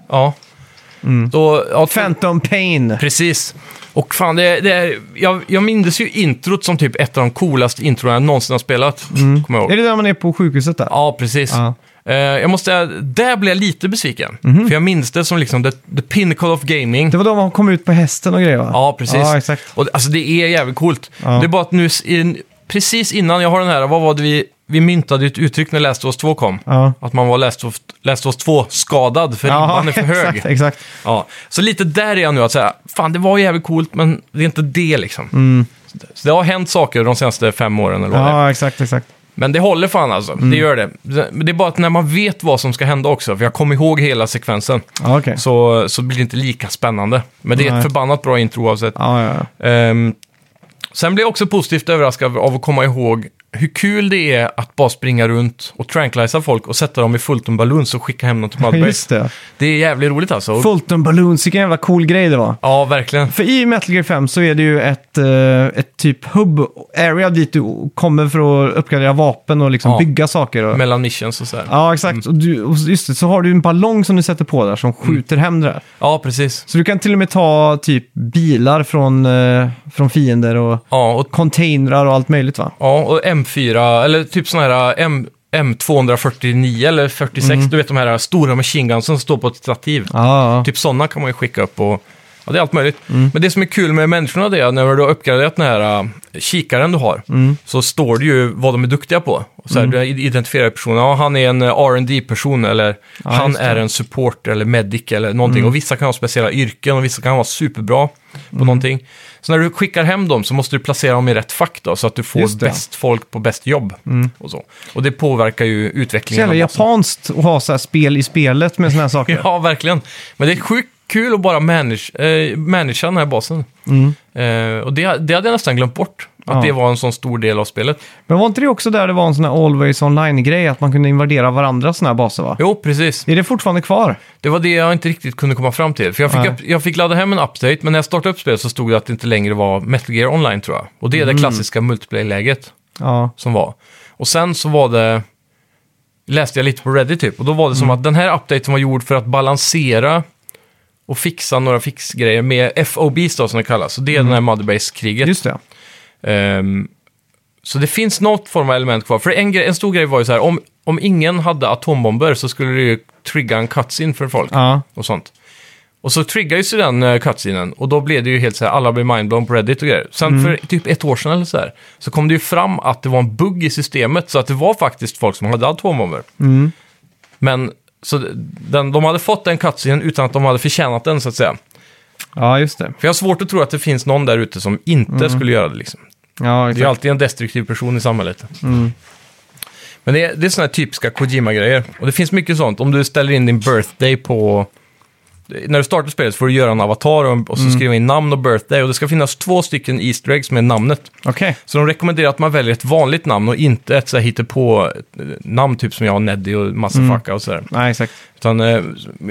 [SPEAKER 1] Mm.
[SPEAKER 2] Då, ja,
[SPEAKER 1] Phantom Pain.
[SPEAKER 2] Precis. Och fan, det, det är, jag, jag mindes ju introt som typ ett av de coolaste introna jag någonsin har spelat. Kommer jag
[SPEAKER 1] Mm. Är
[SPEAKER 2] ihåg.
[SPEAKER 1] det där man är på sjukhuset där?
[SPEAKER 2] Ja, precis.
[SPEAKER 1] Ja. Mhm.
[SPEAKER 2] Eh, jag måste säga, där blev jag lite besviken. För jag minns det som liksom the, the pinnacle of gaming.
[SPEAKER 1] Det var då man kom ut på hästen och grejer va?
[SPEAKER 2] Ja, precis.
[SPEAKER 1] Ja, exakt.
[SPEAKER 2] Och, alltså det är jävligt coolt.
[SPEAKER 1] Ja.
[SPEAKER 2] Det är bara att nu, s- in, precis innan jag har den här, vad var det vi, vi myntade ju ett uttryck när Last of Us 2 kom?
[SPEAKER 1] Ja.
[SPEAKER 2] Att man var Last of, Last of Us 2-skadad för ribban är för hög.
[SPEAKER 1] exakt, exakt.
[SPEAKER 2] Ja. Så lite där är jag nu, att säga, fan det var jävligt coolt, men det är inte det liksom. Så det- Så det har hänt saker de senaste fem åren eller vad det är.
[SPEAKER 1] Mm. Ja, Mm. exakt, exakt.
[SPEAKER 2] Men det håller fan alltså, det gör det. Det- Men det är bara att när man vet vad som ska hända också, för jag kommer ihåg hela sekvensen,
[SPEAKER 1] Ja, okej.
[SPEAKER 2] så, så blir det inte lika spännande. Men det är
[SPEAKER 1] Nej.
[SPEAKER 2] ett förbannat bra intro oavsett.
[SPEAKER 1] Ja, ja, ja.
[SPEAKER 2] Ehm, sen blev jag också positivt överraskad av att komma ihåg hur kul det är att bara springa runt och tranquiliza folk och sätta dem i Fulton Balloons och skicka hem dem till Mudbase.
[SPEAKER 1] Just det.
[SPEAKER 2] Det är jävligt roligt alltså. Och-
[SPEAKER 1] Fulton Balloons, vilken jävla cool grej det var.
[SPEAKER 2] Ja, verkligen.
[SPEAKER 1] För i Metal Gear 5 så är det ju ett, eh, ett typ hub area dit du kommer för att uppgradera vapen och liksom
[SPEAKER 2] Ja.
[SPEAKER 1] bygga saker. Och...
[SPEAKER 2] Mellan missions och sådär. Ja,
[SPEAKER 1] Ja, exakt. Och, du, och just det, så har du en ballong som du sätter på där som
[SPEAKER 2] Mm.
[SPEAKER 1] skjuter hem det där.
[SPEAKER 2] precis.
[SPEAKER 1] Så du kan till och med ta typ bilar från, eh, från fiender och
[SPEAKER 2] Ja och,
[SPEAKER 1] containrar och allt möjligt va?
[SPEAKER 2] ja, och M4, eller typ sådana här M, M249 eller 46, du vet de här stora machine gunsen som står på ett stativ.
[SPEAKER 1] Ja,
[SPEAKER 2] Typ sådana kan man ju skicka upp och... Ja, det är allt möjligt. Men det som är kul med människorna det är att när du har uppgraderat den här äh, kikaren du har
[SPEAKER 1] Mm.
[SPEAKER 2] så står det ju vad de är duktiga på. Och så här, Du identifierar personen, ja han är en äh, rd person eller han
[SPEAKER 1] just det. Mm.
[SPEAKER 2] är en support eller medic eller någonting. Och vissa kan ha speciella yrken och vissa kan vara superbra på någonting. Så när du skickar hem dem så måste du placera dem i rätt fack då, så att du
[SPEAKER 1] Just
[SPEAKER 2] får
[SPEAKER 1] det. Mm.
[SPEAKER 2] bäst folk på bäst jobb. Och, så. och det påverkar ju
[SPEAKER 1] Så
[SPEAKER 2] utvecklingen.
[SPEAKER 1] jävla
[SPEAKER 2] av massa-
[SPEAKER 1] japanskt att ha så här spel i spelet med såna här saker.
[SPEAKER 2] Ja, verkligen. Men det är sjukt kul att bara manage, eh, managea den här basen. Eh, och det, det hade jag nästan glömt bort, att
[SPEAKER 1] Mm. Ja.
[SPEAKER 2] det var en sån stor del av spelet.
[SPEAKER 1] Men var inte det också där det var en sån här always online-grej, att man kunde invadera varandras såna här baser va?
[SPEAKER 2] Jo, precis.
[SPEAKER 1] Är det fortfarande kvar?
[SPEAKER 2] Det var det jag inte riktigt kunde komma fram till. För jag fick,
[SPEAKER 1] Nej.
[SPEAKER 2] upp, jag fick ladda hem en update, men när jag startade upp spelet så stod det att det inte längre var Metal Gear Online, tror jag. Och det är
[SPEAKER 1] Mm.
[SPEAKER 2] det klassiska multiplayer-läget
[SPEAKER 1] Ja,
[SPEAKER 2] som var. Och sen så var det... Läste jag lite på Reddit typ, och då var det
[SPEAKER 1] Mm.
[SPEAKER 2] som att den här updaten var gjord för att balansera och fixa några fixgrejer med FOBs då, som det kallas. Så det är den här Mudbase-kriget.
[SPEAKER 1] Mm. just det.
[SPEAKER 2] Ehm, så det finns något form av element kvar. För en, grej, en stor grej var ju så här, om, om ingen hade atombomber så skulle det ju trigga en cutscene för folk
[SPEAKER 1] Ja,
[SPEAKER 2] och sånt. Och så triggades ju den uh, cutscenen och då blev det ju helt så här, alla blev mindblown på Reddit och grejer. Sen för typ ett år sedan eller så här, så kom det ju fram att det var en bugg i systemet, så att det var faktiskt folk som hade atombomber. Men så den, de hade fått den cutscenen utan att de hade förtjänat den, så att säga.
[SPEAKER 1] ja just det.
[SPEAKER 2] För jag har svårt att tro att det finns någon där ute som inte skulle göra det liksom.
[SPEAKER 1] Ja,
[SPEAKER 2] Det är
[SPEAKER 1] exakt.
[SPEAKER 2] alltid en destruktiv person i samhället. Men det är, det är såna här typiska Kojima-grejer. Och det finns mycket sånt. Om du ställer in din birthday på... När du startar spelet får du göra en avatar och, och så skriva in namn och birthday. Och det ska finnas två stycken Easter eggs med namnet.
[SPEAKER 1] Okej.
[SPEAKER 2] Så de rekommenderar att man väljer ett vanligt namn och inte ett så här hittepå eh, namn typ som jag och Neddy och Massafaka och sådär.
[SPEAKER 1] Nej, exakt.
[SPEAKER 2] Utan, eh,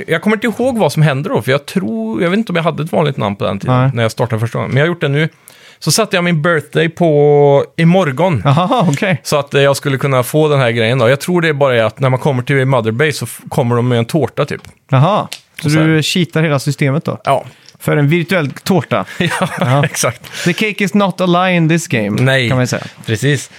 [SPEAKER 2] jag kommer inte ihåg vad som hände då, för jag tror, jag vet inte om jag hade ett vanligt namn på den tiden
[SPEAKER 1] Nej.
[SPEAKER 2] när jag startade första gången. Men jag har gjort det nu. Så satte jag min birthday på imorgon.
[SPEAKER 1] Jaha, okej.
[SPEAKER 2] Så att eh, jag skulle kunna få den här grejen då. Jag tror det är bara är att när man kommer till Motherbase så f- kommer de med en tårta typ.
[SPEAKER 1] Jaha. Så
[SPEAKER 2] Och sen-
[SPEAKER 1] du cheatar hela systemet då?
[SPEAKER 2] Ja,
[SPEAKER 1] För en virtuell tårta.
[SPEAKER 2] ja. exakt.
[SPEAKER 1] The cake is not a lie in this game,
[SPEAKER 2] Nej.
[SPEAKER 1] kan man ju säga.
[SPEAKER 2] Precis.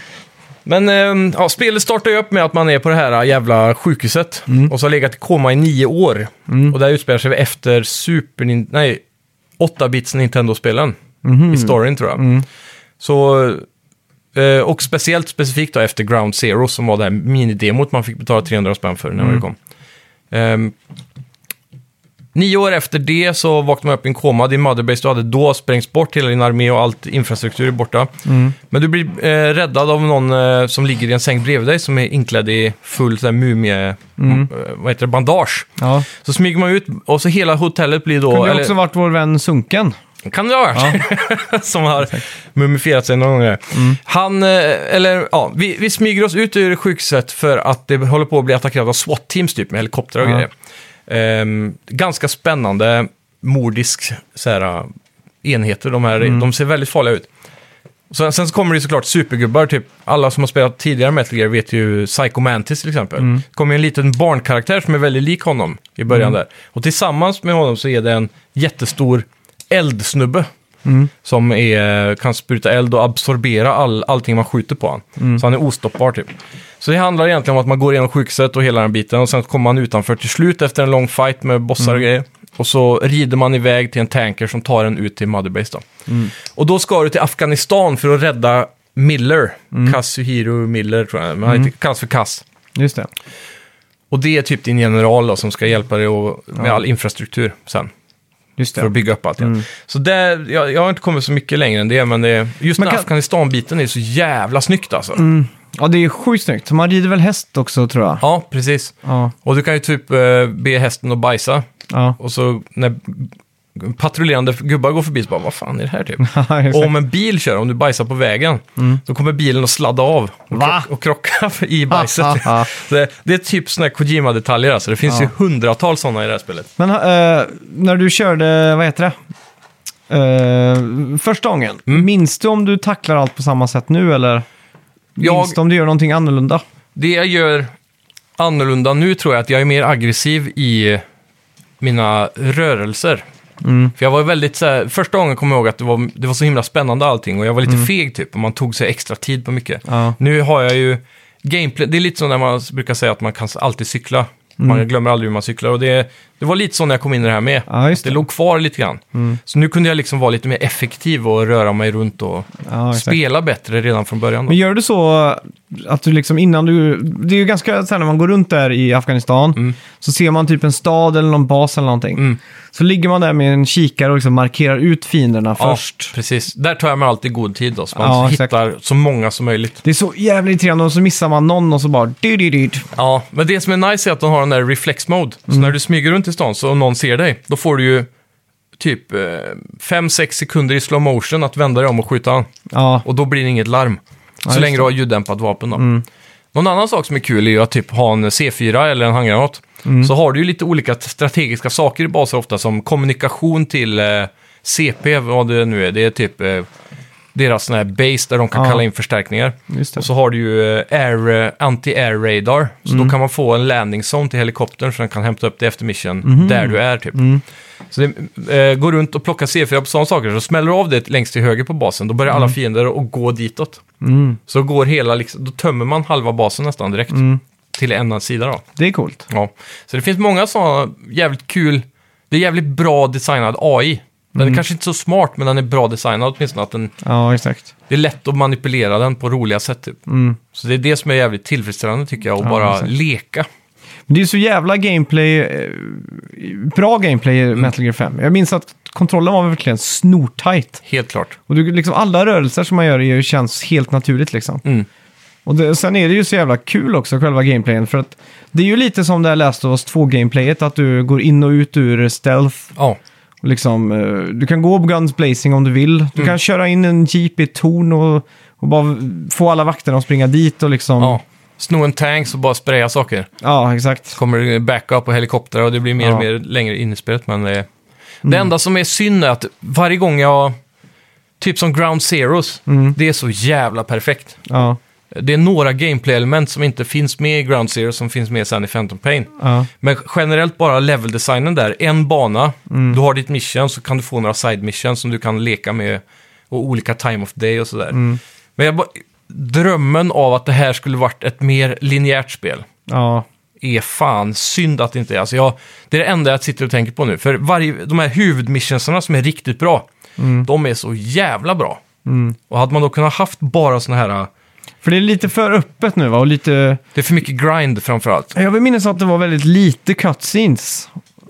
[SPEAKER 2] Men ehm, ja, spelet startar ju upp med att man är på det här jävla sjukhuset
[SPEAKER 1] Mm.
[SPEAKER 2] och så har legat i koma i nio år. Och det här utspelar sig efter Super Nin- nej, 8-bits Nintendo-spelen
[SPEAKER 1] Mhm.
[SPEAKER 2] i storyn tror jag.
[SPEAKER 1] Mm.
[SPEAKER 2] Så, eh, och speciellt specifikt då efter Ground Zero som var det här minidemot man fick betala 300 spänn för när
[SPEAKER 1] Mm.
[SPEAKER 2] det kom. Ehm, Nio år efter det så vaknade man upp i en koma. Din motherbase du hade då sprängs bort, hela din armé och allt infrastruktur är borta.
[SPEAKER 1] Mm.
[SPEAKER 2] Men du blir eh, räddad av någon eh, som ligger i en säng bredvid dig som är inklädd i full så här, mumie...
[SPEAKER 1] Mm.
[SPEAKER 2] m- eh, Vad heter det? Bandage.
[SPEAKER 1] Ja.
[SPEAKER 2] Så smyger man ut och så hela hotellet blir då...
[SPEAKER 1] Kunde ju
[SPEAKER 2] eller-
[SPEAKER 1] också varit vår vän Sunken.
[SPEAKER 2] kan det ha varit. som har mumifierat sig någon gång. Han, eh, eller ja, vi, vi smyger oss ut ur sjukhuset för att det håller på att bli attackerat av SWAT-teams typ med helikoptrar och
[SPEAKER 1] Ja.
[SPEAKER 2] grejer. Ehm, ganska spännande mordisk så här, eh, enheter, de här, de ser väldigt farliga ut. Sen, sen så kommer det ju såklart supergubbar, typ alla som har spelat tidigare Metal Gear vet ju Psycho Mantis till exempel. Det kommer ju en liten barnkaraktär som är väldigt lik honom i början där. Och tillsammans med honom så är det en jättestor eldsnubbe. Som är, kan spruta eld och absorbera all, allting man skjuter på han. Så han är ostoppbar typ. Så det handlar egentligen om att man går igenom sjukhuset och hela den biten och sen kommer man utanför till slut efter en lång fight med bossar och grejer. Och så rider man iväg till en tanker som tar en ut till Motherbase då. Och då ska du till Afghanistan för att rädda Miller. Kazuhiro Miller tror jag, men han heter- kallas för Kass.
[SPEAKER 1] Just det.
[SPEAKER 2] Och det är typ din general då, som ska hjälpa dig och, med all infrastruktur sen.
[SPEAKER 1] Just
[SPEAKER 2] För
[SPEAKER 1] det.
[SPEAKER 2] att bygga upp allt igen.
[SPEAKER 1] Mm.
[SPEAKER 2] Så där, jag, jag har inte kommit så mycket längre än det, men det, är- just
[SPEAKER 1] Men
[SPEAKER 2] den
[SPEAKER 1] kan- Mm.
[SPEAKER 2] Afghanistan-biten är så jävla snyggt alltså.
[SPEAKER 1] Ja, det är sjukt snyggt. Man rider väl häst också, tror jag.
[SPEAKER 2] Ja, precis.
[SPEAKER 1] Ja.
[SPEAKER 2] Och du kan ju typ eh, be hästen att bajsa.
[SPEAKER 1] Ja.
[SPEAKER 2] Och så när g- patrullerande gubbar går förbi så bara, vad fan är det här typ?
[SPEAKER 1] Ja, exakt. Mm.
[SPEAKER 2] och om en bil kör, om du bajsar på vägen, då kommer bilen att sladda av och,
[SPEAKER 1] Va?
[SPEAKER 2] krock- och krocka i bajset.
[SPEAKER 1] Ha, ha, ha.
[SPEAKER 2] Så det, det är typ sådana här Kojima-detaljer alltså. Det finns ju hundratals sådana i det här spelet.
[SPEAKER 1] Men eh, när du körde, vad heter det? Eh, första gången,
[SPEAKER 2] Mm.
[SPEAKER 1] minns du om du tacklar allt på samma sätt nu eller?
[SPEAKER 2] Jag-
[SPEAKER 1] Minns du om du gör någonting annorlunda?
[SPEAKER 2] Det jag gör annorlunda nu tror jag att jag är mer aggressiv i mina rörelser.
[SPEAKER 1] Mm.
[SPEAKER 2] För jag var väldigt så här, första gången kom jag ihåg att det var, det var så himla spännande allting och jag var lite feg typ och man tog sig extra tid på mycket.
[SPEAKER 1] Mm. Ja.
[SPEAKER 2] Nu har jag ju gameplay, det är lite så när man brukar säga att man kan alltid cykla.
[SPEAKER 1] Mm.
[SPEAKER 2] Man glömmer aldrig hur man cyklar och det, det var lite så när jag kom in i det här med.
[SPEAKER 1] Ja, just
[SPEAKER 2] det.
[SPEAKER 1] det. Mm.
[SPEAKER 2] låg kvar lite grann. Så nu kunde jag liksom vara lite mer effektiv och röra mig runt och
[SPEAKER 1] Ja, exakt.
[SPEAKER 2] spela bättre redan från början. Då.
[SPEAKER 1] Men gör du så att du liksom innan du... Det är ju ganska så här när man går runt där i Afghanistan.
[SPEAKER 2] Mm.
[SPEAKER 1] Så ser man typ en stad eller någon bas eller någonting. Så ligger man där med en kikare och liksom markerar ut fienderna först.
[SPEAKER 2] Ja, precis. Där tar jag mig alltid god tid då, så man
[SPEAKER 1] Ja, exakt.
[SPEAKER 2] hittar så många som möjligt.
[SPEAKER 1] Det är så jävla irriterande och så missar man någon och så bara... dyr-dyr-dyr.
[SPEAKER 2] Ja, men det som är nice är att de har den där reflex mode.
[SPEAKER 1] Mm.
[SPEAKER 2] Så när du smyger runt i stan så och någon ser dig, då får du ju typ 5-6 sekunder i slow motion att vända dig om och skjuta han.
[SPEAKER 1] Ja,
[SPEAKER 2] Och då blir det inget larm.
[SPEAKER 1] just
[SPEAKER 2] så
[SPEAKER 1] det. Mm.
[SPEAKER 2] länge du har ljuddämpat vapen då. Någon annan sak som är kul är ju att typ ha en C4 eller en handgranat.
[SPEAKER 1] Mm.
[SPEAKER 2] Så har du ju lite olika strategiska saker i baser ofta som kommunikation till eh, CP, vad det nu är. Det är typ eh, deras sån här base där de kan
[SPEAKER 1] Ja.
[SPEAKER 2] kalla in förstärkningar.
[SPEAKER 1] Just det.
[SPEAKER 2] Och så har du ju eh, air, eh, anti-air radar. Så då kan man få en landing zone till helikoptern så den kan hämta upp dig efter mission där du är typ. Så det, eh, går runt och plockar C4 på sådana saker. Så smäller du av det längst till höger på basen, då börjar alla fiender att gå ditåt. Så går hela, liksom, då tömmer man halva basen nästan direkt. Till en annan sida då.
[SPEAKER 1] det är coolt.
[SPEAKER 2] Ja. Så det finns många sådana jävligt kul, det är jävligt bra designad AI. Den är kanske inte så smart, men den är bra designad åtminstone. Att den,
[SPEAKER 1] Ja, exakt.
[SPEAKER 2] det är lätt att manipulera den på roliga sätt typ. Så det är det som är jävligt tillfredsställande tycker jag, att
[SPEAKER 1] Mm. Ja,
[SPEAKER 2] bara
[SPEAKER 1] exakt.
[SPEAKER 2] leka.
[SPEAKER 1] Men Det är ju så jävla gameplay, eh, bra gameplay
[SPEAKER 2] Mm.
[SPEAKER 1] i Metal Gear 5. Jag minns att kontrollen var verkligen snortajt.
[SPEAKER 2] Helt klart.
[SPEAKER 1] Och du, liksom alla rörelser som man gör är ju- känns helt naturligt liksom.
[SPEAKER 2] Mm.
[SPEAKER 1] Och det, sen är det ju så jävla kul också, själva gameplayen. För att det är ju lite som det här Last of Us 2-gameplayet, att du går in och ut ur stealth.
[SPEAKER 2] Ja.
[SPEAKER 1] Och liksom, eh, du kan gå guns blazing om du vill. Du
[SPEAKER 2] Mm.
[SPEAKER 1] kan köra in en jeep i ett torn och, och bara få alla vakterna att springa dit och liksom...
[SPEAKER 2] ja. Sno en tanks och bara spraya saker.
[SPEAKER 1] Ja, exakt.
[SPEAKER 2] kommer det backup och helikoptrar och det blir mer och
[SPEAKER 1] Ja. Mm.
[SPEAKER 2] mer längre in i spelet. Men eh, det, det enda som är synd är att varje gång jag... Typ som Ground Zeroes,
[SPEAKER 1] Mm.
[SPEAKER 2] det är så jävla perfekt.
[SPEAKER 1] Ja,
[SPEAKER 2] Det är några gameplay-element som inte finns med i Ground Zero som finns med sen i Phantom Pain.
[SPEAKER 1] ja,
[SPEAKER 2] Men generellt bara level-designen där, en bana, du har ditt mission så kan du få några side missions som du kan leka med och olika time of day och sådär. Men jag bara, drömmen av att det här skulle varit ett mer linjärt spel
[SPEAKER 1] ja,
[SPEAKER 2] är fan synd att det inte är. Alltså jag, det är det enda jag sitter och tänker på nu. För varje, de här huvudmissionsarna som är riktigt bra, de är så jävla bra. Och hade man då kunnat haft bara såna här,
[SPEAKER 1] För det är lite för öppet nu va? Och lite...
[SPEAKER 2] det är för mycket grind framförallt.
[SPEAKER 1] Jag vill minnas att det var väldigt lite cutscenes.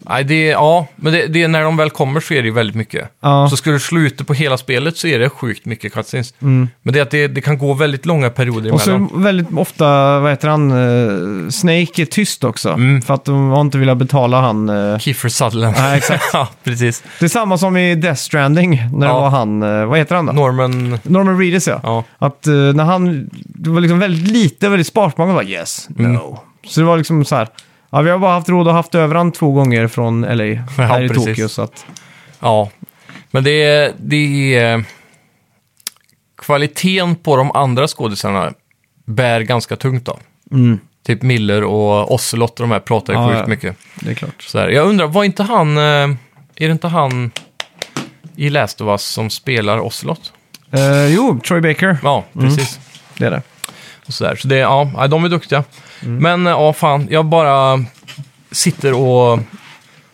[SPEAKER 2] Nej, det är, ja, men det, det är när de väl kommer så är det ju väldigt mycket.
[SPEAKER 1] Ja.
[SPEAKER 2] Så skulle du slå ut det på hela spelet så är det sjukt mycket cutscenes. Men det är att det, det kan gå väldigt långa perioder
[SPEAKER 1] Mm. Och så
[SPEAKER 2] emellan.
[SPEAKER 1] väldigt ofta, vad heter han, eh, Snake är tyst också. För att de har inte velat betala han. eh.
[SPEAKER 2] Kiefer Sutherland.
[SPEAKER 1] Ja, exakt.
[SPEAKER 2] ja, precis.
[SPEAKER 1] Det är samma som i Death Stranding, när
[SPEAKER 2] Ja.
[SPEAKER 1] det var han, eh, vad heter han då?
[SPEAKER 2] Norman...
[SPEAKER 1] Norman Reedus ja.
[SPEAKER 2] Ja.
[SPEAKER 1] Att eh, när han, det var liksom väldigt lite, väldigt spart. Man var bara yes, no. Så det var liksom så här, ja, vi har bara haft råd att haft över han två gånger från LA, här i
[SPEAKER 2] precis.
[SPEAKER 1] Tokyo. Så att,
[SPEAKER 2] Ja, men det är, det är... Kvaliteten på de andra skådisarna bär ganska tungt då. Typ Miller och Ocelot och de här pratar ju
[SPEAKER 1] Mm. Ja,
[SPEAKER 2] sjukt
[SPEAKER 1] ja.
[SPEAKER 2] mycket.
[SPEAKER 1] det är klart.
[SPEAKER 2] Så här, jag undrar, var inte han... eh, Är det inte han i Last of Us som spelar Ocelot?
[SPEAKER 1] Eh, jo, Troy Baker,
[SPEAKER 2] Ja, precis.
[SPEAKER 1] det är det.
[SPEAKER 2] Och så där. Så det, ja, ja, de är duktiga.
[SPEAKER 1] Mm.
[SPEAKER 2] Men eh, ja, fan, jag bara sitter och...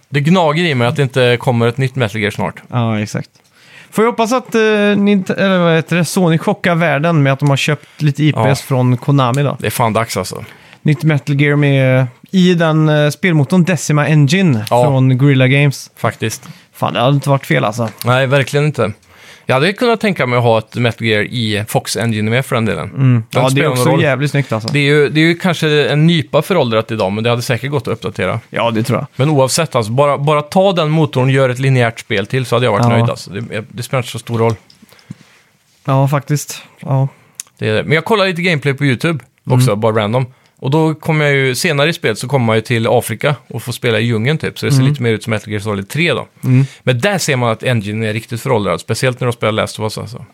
[SPEAKER 2] Det gnager i mig att det inte kommer ett nytt Metal Gear snart.
[SPEAKER 1] Ja, exakt. Får jag hoppas att eh, Nint- eller vad heter det, Sony chockar världen med att de har köpt lite IPS
[SPEAKER 2] Ja.
[SPEAKER 1] från Konami då.
[SPEAKER 2] Det är fan dags alltså.
[SPEAKER 1] Nytt Metal Gear med, i den eh, spelmotorn Decima Engine
[SPEAKER 2] Ja.
[SPEAKER 1] från Guerrilla Games.
[SPEAKER 2] Faktiskt.
[SPEAKER 1] Fan, det hade inte varit fel alltså.
[SPEAKER 2] Nej, verkligen inte. Jag hade kunnat tänka mig att ha ett Metal Gear i Fox Engine med för den delen. Det hade
[SPEAKER 1] Mm. Ja,
[SPEAKER 2] inte
[SPEAKER 1] det är
[SPEAKER 2] spelat någon
[SPEAKER 1] också
[SPEAKER 2] roll.
[SPEAKER 1] jävligt snyggt alltså.
[SPEAKER 2] Det är, ju, det är ju kanske en nypa föråldrat idag, men det hade säkert gått att uppdatera.
[SPEAKER 1] Ja, det tror jag.
[SPEAKER 2] Men oavsett, alltså, bara, bara ta den motorn och gör ett linjärt spel till så hade jag varit
[SPEAKER 1] Ja.
[SPEAKER 2] nöjd. Alltså. Det, det spelar inte så stor roll.
[SPEAKER 1] Ja, faktiskt. Ja.
[SPEAKER 2] Det är det. Men jag kollade lite gameplay på YouTube också,
[SPEAKER 1] Mm.
[SPEAKER 2] bara random. Och då kommer jag ju, senare i spelet så kommer man ju till Afrika och får spela i djungeln typ. Så det ser
[SPEAKER 1] Mm.
[SPEAKER 2] lite mer ut som Metal Gear Solid 3 då. Men där ser man att Engine är riktigt föråldrad, speciellt när de spelar Last of Us alltså.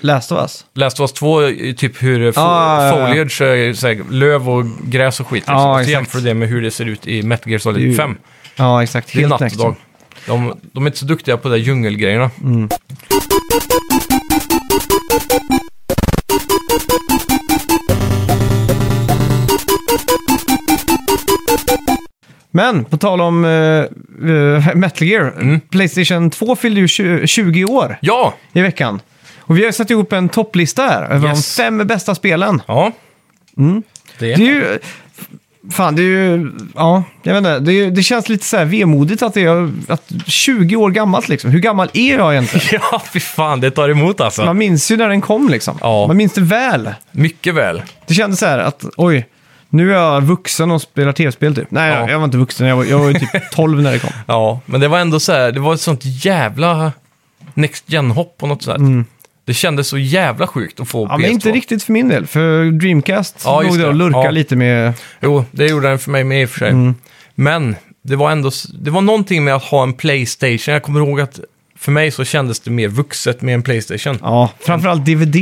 [SPEAKER 1] Last of Us.
[SPEAKER 2] Last of Us 2 är typ hur fo-
[SPEAKER 1] Ah, ja, ja.
[SPEAKER 2] foliage, är så här, löv och gräs och skit. liksom.
[SPEAKER 1] Ja,
[SPEAKER 2] och så
[SPEAKER 1] exakt.
[SPEAKER 2] jämför du det med hur det ser ut i Metal Gear
[SPEAKER 1] Det är
[SPEAKER 2] Solid
[SPEAKER 1] ju
[SPEAKER 2] 5.
[SPEAKER 1] Ja, exakt.
[SPEAKER 2] Det är
[SPEAKER 1] Helt
[SPEAKER 2] natt och
[SPEAKER 1] next.
[SPEAKER 2] dag. De, de är inte så duktiga på de där djungelgrejerna.
[SPEAKER 1] Men på tal om eh, eh, Metal Gear,
[SPEAKER 2] Mm.
[SPEAKER 1] Playstation 2 fyllde ju 20, 20 år
[SPEAKER 2] Ja!
[SPEAKER 1] i veckan. Och vi har ju satt ihop en topplista här över
[SPEAKER 2] Yes.
[SPEAKER 1] de fem bästa spelen.
[SPEAKER 2] Ja. Mm. Det.
[SPEAKER 1] Det är ju... Fan, det är ju... Ja, jag vet inte. Det, är, det känns lite så här vemodigt att det är att 20 år gammalt liksom. Hur gammal är jag egentligen?
[SPEAKER 2] Ja, fy fan, det tar emot alltså.
[SPEAKER 1] Man minns ju när den kom liksom.
[SPEAKER 2] Ja.
[SPEAKER 1] Man minns det väl.
[SPEAKER 2] Mycket väl.
[SPEAKER 1] Det kändes så här att, oj, nu är jag vuxen och spelar tv-spel typ. Nej,
[SPEAKER 2] Ja.
[SPEAKER 1] jag, jag var inte vuxen. Jag var, jag var ju typ 12 när det kom.
[SPEAKER 2] Ja, men det var ändå så här, det var ett sånt jävla next gen-hopp på något sätt. Det kändes så jävla sjukt att få
[SPEAKER 1] Ja,
[SPEAKER 2] PS2.
[SPEAKER 1] men inte riktigt för min del. För Dreamcast
[SPEAKER 2] Ja,
[SPEAKER 1] låg
[SPEAKER 2] just
[SPEAKER 1] där och
[SPEAKER 2] det.
[SPEAKER 1] lurkade
[SPEAKER 2] Ja.
[SPEAKER 1] lite med...
[SPEAKER 2] Jo, det gjorde den för mig med i och för sig. Men det var ändå, s- det var någonting med att ha en Playstation. Jag kommer ihåg att för mig så kändes det mer vuxet med en Playstation. Ja,
[SPEAKER 1] Ja, framförallt DVD.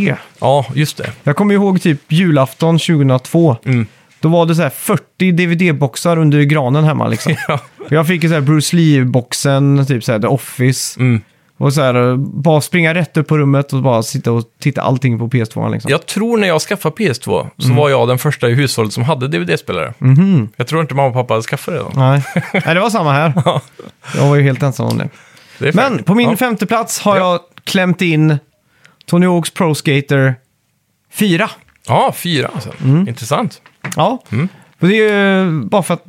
[SPEAKER 2] just det.
[SPEAKER 1] Jag kommer ihåg typ julafton 2002.
[SPEAKER 2] Mm.
[SPEAKER 1] Då var det så här 40 DVD-boxar under granen hemma liksom.
[SPEAKER 2] Ja.
[SPEAKER 1] Jag fick ju så här Bruce Lee-boxen, typ så här The Office.
[SPEAKER 2] Mm.
[SPEAKER 1] Och så här, bara springa rätt upp på rummet och bara sitta och titta allting på PS2. Liksom.
[SPEAKER 2] Jag tror när jag skaffade PS2 så var jag den första i hushållet som hade DVD-spelare. Jag tror inte mamma och pappa hade skaffat det då.
[SPEAKER 1] Nej. Nej, det var samma här.
[SPEAKER 2] Ja.
[SPEAKER 1] Jag var ju helt ensam om det.
[SPEAKER 2] Det är
[SPEAKER 1] Men
[SPEAKER 2] fair.
[SPEAKER 1] på min
[SPEAKER 2] ja.
[SPEAKER 1] femte plats har jag klämt in Tony Hawk's Pro Skater 4.
[SPEAKER 2] ja, fyra alltså.
[SPEAKER 1] Mm.
[SPEAKER 2] Intressant.
[SPEAKER 1] Ja,
[SPEAKER 2] Mm.
[SPEAKER 1] och det är ju eh, bara för att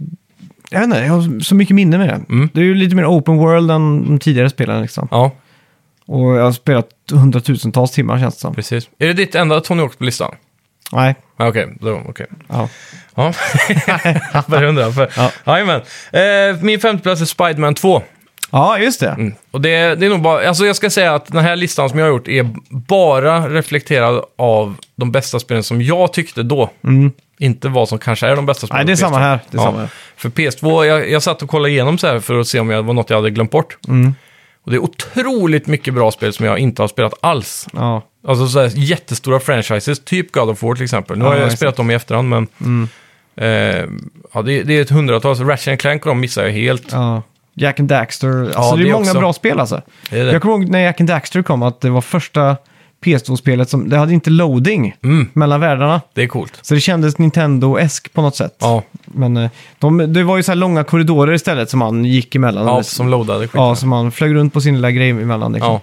[SPEAKER 1] jag vet inte, jag har så mycket minne med det.
[SPEAKER 2] Mm.
[SPEAKER 1] Det är ju lite mer open world än de tidigare spelen liksom.
[SPEAKER 2] Ja,
[SPEAKER 1] Och jag har spelat hundratusentals timmar känns det som.
[SPEAKER 2] precis. Är det ditt enda Tony Hawk på listan?
[SPEAKER 1] Nej,
[SPEAKER 2] Ja, Okej, då- okej.
[SPEAKER 1] Ja.
[SPEAKER 2] Ja, jag bara undrar. För...
[SPEAKER 1] Ja.
[SPEAKER 2] Jajamän. Eh, min femteplats är Spiderman 2.
[SPEAKER 1] ja, just det.
[SPEAKER 2] Mm. Och det, det är nog bara, alltså jag ska säga att den här listan som jag har gjort är bara reflekterad av de bästa spelen som jag tyckte då. Inte vad som kanske är de bästa spelen.
[SPEAKER 1] Mm. Nej, det är
[SPEAKER 2] på
[SPEAKER 1] samma
[SPEAKER 2] PS2.
[SPEAKER 1] här, det är
[SPEAKER 2] Ja.
[SPEAKER 1] samma här.
[SPEAKER 2] För PS2, jag, jag satt och kollade igenom så här för att se om jag var något jag hade glömt bort.
[SPEAKER 1] Mm.
[SPEAKER 2] Och det är otroligt mycket bra spel som jag inte har spelat alls.
[SPEAKER 1] Ja.
[SPEAKER 2] Alltså så här, jättestora franchises, typ God of War till exempel. Nu har
[SPEAKER 1] Ja,
[SPEAKER 2] jag
[SPEAKER 1] exakt. Mm.
[SPEAKER 2] spelat dem i efterhand, men... Eh, ja, det, det är ett hundratal, så Ratchet Clank och de missar jag helt.
[SPEAKER 1] ja. Jack and Daxter. Alltså, det är
[SPEAKER 2] det
[SPEAKER 1] många
[SPEAKER 2] också.
[SPEAKER 1] bra spel alltså.
[SPEAKER 2] Det är det.
[SPEAKER 1] Jag kommer ihåg när Jack and Daxter kom att det var första PS2-spelet som, det hade inte loading
[SPEAKER 2] Mm.
[SPEAKER 1] mellan världarna.
[SPEAKER 2] Det är coolt.
[SPEAKER 1] Så det kändes Nintendo-esk på något sätt.
[SPEAKER 2] Ja,
[SPEAKER 1] Men eh, de, det var ju så här långa korridorer istället som man gick emellan.
[SPEAKER 2] ja
[SPEAKER 1] Eller-
[SPEAKER 2] som loadade skiten.
[SPEAKER 1] ja, som man flög runt på sin lilla grej emellan. Liksom.
[SPEAKER 2] Ja.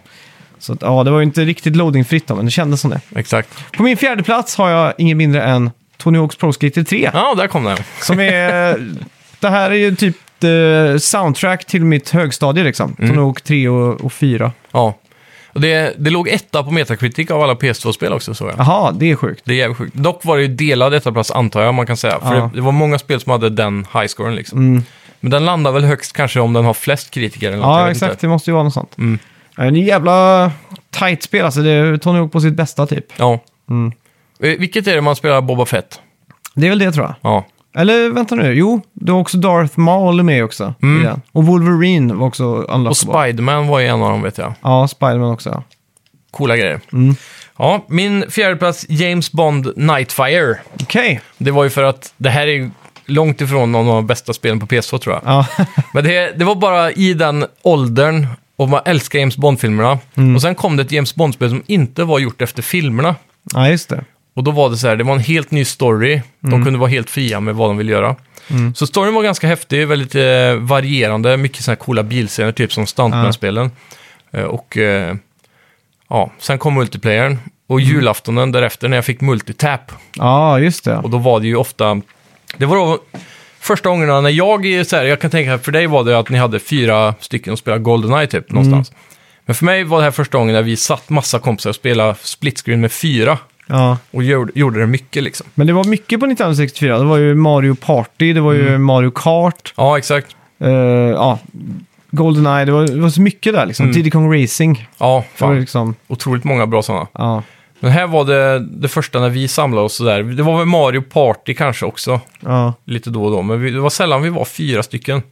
[SPEAKER 1] Så att, ja, det var ju inte riktigt loadingfritt då, men det kändes som det.
[SPEAKER 2] Exakt.
[SPEAKER 1] På min fjärde plats har jag ingen mindre än Tony Hawk's Pro Skater 3.
[SPEAKER 2] Ja, där kom den.
[SPEAKER 1] Som är... det här är ju typ eh, soundtrack till mitt högstadie liksom.
[SPEAKER 2] Mm.
[SPEAKER 1] Tony Hawk 3 och, och 4.
[SPEAKER 2] Ja. Och det, det låg etta på Metacritic av alla PS2-spel också, såg jag.
[SPEAKER 1] Jaha, det är sjukt.
[SPEAKER 2] Det är jävligt sjukt. Dock var det ju delad ettaplats, antar jag man kan säga. För
[SPEAKER 1] Ja.
[SPEAKER 2] det, det var många spel som hade den highscoren liksom. Men den landar väl högst kanske om den har flest kritiker eller något, jag
[SPEAKER 1] Ja,
[SPEAKER 2] vet
[SPEAKER 1] exakt.
[SPEAKER 2] Inte.
[SPEAKER 1] Det måste ju vara något sånt.
[SPEAKER 2] Mm.
[SPEAKER 1] Ja, en jävla tight spel alltså. Det är Tony Hawk på sitt bästa typ.
[SPEAKER 2] Ja. Eh, Vilket är det man spelar Boba Fett?
[SPEAKER 1] Det är väl det tror jag.
[SPEAKER 2] Ja.
[SPEAKER 1] Eller vänta nu, jo, du har också Darth Maul med också. I den. Och Wolverine var också
[SPEAKER 2] Mm. Och
[SPEAKER 1] unlockable.
[SPEAKER 2] Spiderman var ju en av dem vet jag.
[SPEAKER 1] ja, Spiderman också. ja.
[SPEAKER 2] Coola grejer. Ja, min fjärdeplats James Bond Nightfire.
[SPEAKER 1] Okej,
[SPEAKER 2] Det var ju för att det här är ju långt ifrån någon av de bästa spelen på PS2 tror jag.
[SPEAKER 1] ja.
[SPEAKER 2] Men det, det var bara i den åldern och man älskar James Bond-filmerna. Och sen kom det ett James Bond-spel som inte var gjort efter filmerna.
[SPEAKER 1] ja, just det.
[SPEAKER 2] Och då var det så här, det var en helt ny story. De kunde vara helt fria med vad de ville göra. Så storyn var ganska häftig, väldigt eh, varierande. Mycket sådana här coola bilscener, typ som Stuntman-spelen. Eh, och eh, ja, sen kom multiplayern. Och julaftonen därefter när jag fick multitap.
[SPEAKER 1] Ja, just det.
[SPEAKER 2] Och då var det ju ofta... Det var då första gångerna när jag... är Så här, jag kan tänka, för dig var det att ni hade fyra stycken och spelade Goldeneye typ någonstans. Men för mig var det här första gången när vi satt massa kompisar och spelade split screen med fyra.
[SPEAKER 1] Ja.
[SPEAKER 2] Och gjorde, gjorde det mycket liksom.
[SPEAKER 1] Men det var mycket på 1964. Det var ju Mario Party, det var ju
[SPEAKER 2] Mm.
[SPEAKER 1] Mario Kart,
[SPEAKER 2] Ja, exakt.
[SPEAKER 1] eh, ja, Goldeneye. Det var, det var så mycket där liksom. Diddy Kong Racing.
[SPEAKER 2] Ja,
[SPEAKER 1] Det var ju
[SPEAKER 2] Mm. fan.
[SPEAKER 1] liksom,
[SPEAKER 2] Otroligt många bra sådana.
[SPEAKER 1] ja.
[SPEAKER 2] Men här var det det första när vi samlade oss sådär. Det var väl Mario Party kanske också.
[SPEAKER 1] ja.
[SPEAKER 2] Lite då och då. Men vi, det var sällan vi var fyra stycken.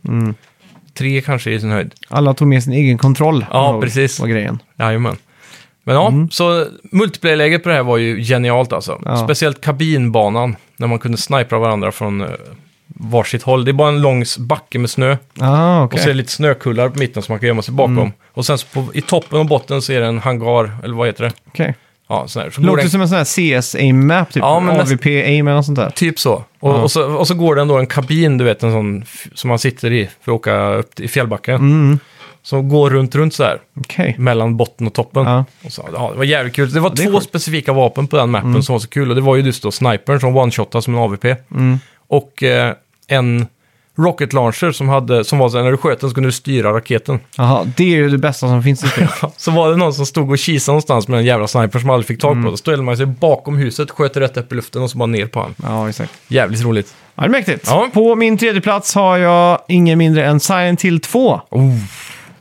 [SPEAKER 2] Tre kanske i sin höjd.
[SPEAKER 1] Alla tog med sin egen kontroll.
[SPEAKER 2] Ja,
[SPEAKER 1] var-
[SPEAKER 2] precis.
[SPEAKER 1] Var grejen.
[SPEAKER 2] Jajamän. Men ja, så multiplayer-läget på det här var ju genialt alltså.
[SPEAKER 1] Mm. Ja.
[SPEAKER 2] Speciellt kabinbanan, när man kunde snipra varandra från eh, varsitt håll. Det är bara en lång s- backe med snö
[SPEAKER 1] Ah,
[SPEAKER 2] och
[SPEAKER 1] okej. Mm.
[SPEAKER 2] så är det lite snökullar på mitten som man kan gömma sig bakom. Och sen så på, i toppen och botten så är det en hangar, eller vad heter det?
[SPEAKER 1] Okej.
[SPEAKER 2] Ja, sån här. Så går
[SPEAKER 1] Låter
[SPEAKER 2] den,
[SPEAKER 1] som en sån här CS-aim-map, typ.
[SPEAKER 2] Ja, men näst-
[SPEAKER 1] AVP-aim eller något sånt där.
[SPEAKER 2] Typ så. Och,
[SPEAKER 1] Ja.
[SPEAKER 2] och så. och så går det ändå en kabin, du vet, en sån f- som man sitter i för att åka upp till- i fjällbacken.
[SPEAKER 1] Mm.
[SPEAKER 2] Som går runt, runt så här.
[SPEAKER 1] Okej.
[SPEAKER 2] mellan botten och toppen.
[SPEAKER 1] Ja.
[SPEAKER 2] Och så, ja, det var jävligt kul. Det var
[SPEAKER 1] det är
[SPEAKER 2] två
[SPEAKER 1] sjukt.
[SPEAKER 2] specifika vapen på den mappen som var så kul. Och det var ju just då snipern som one-shotade som en AVP. Och eh, en rocket launcher som, hade, som var så här, när du sköt den så kunde du styra raketen.
[SPEAKER 1] Jaha, det är ju det bästa som finns typ. i spel.
[SPEAKER 2] Så var det någon som stod och kisade någonstans med en jävla sniper som aldrig fick tag på. Så ställde man sig bakom huset, sköt rätt upp i luften och så bara ner på han.
[SPEAKER 1] ja, exakt.
[SPEAKER 2] Jävligt roligt.
[SPEAKER 1] Ja, det är mäktigt.
[SPEAKER 2] Ja.
[SPEAKER 1] På min tredje plats har jag ingen mindre än Silent Hill 2.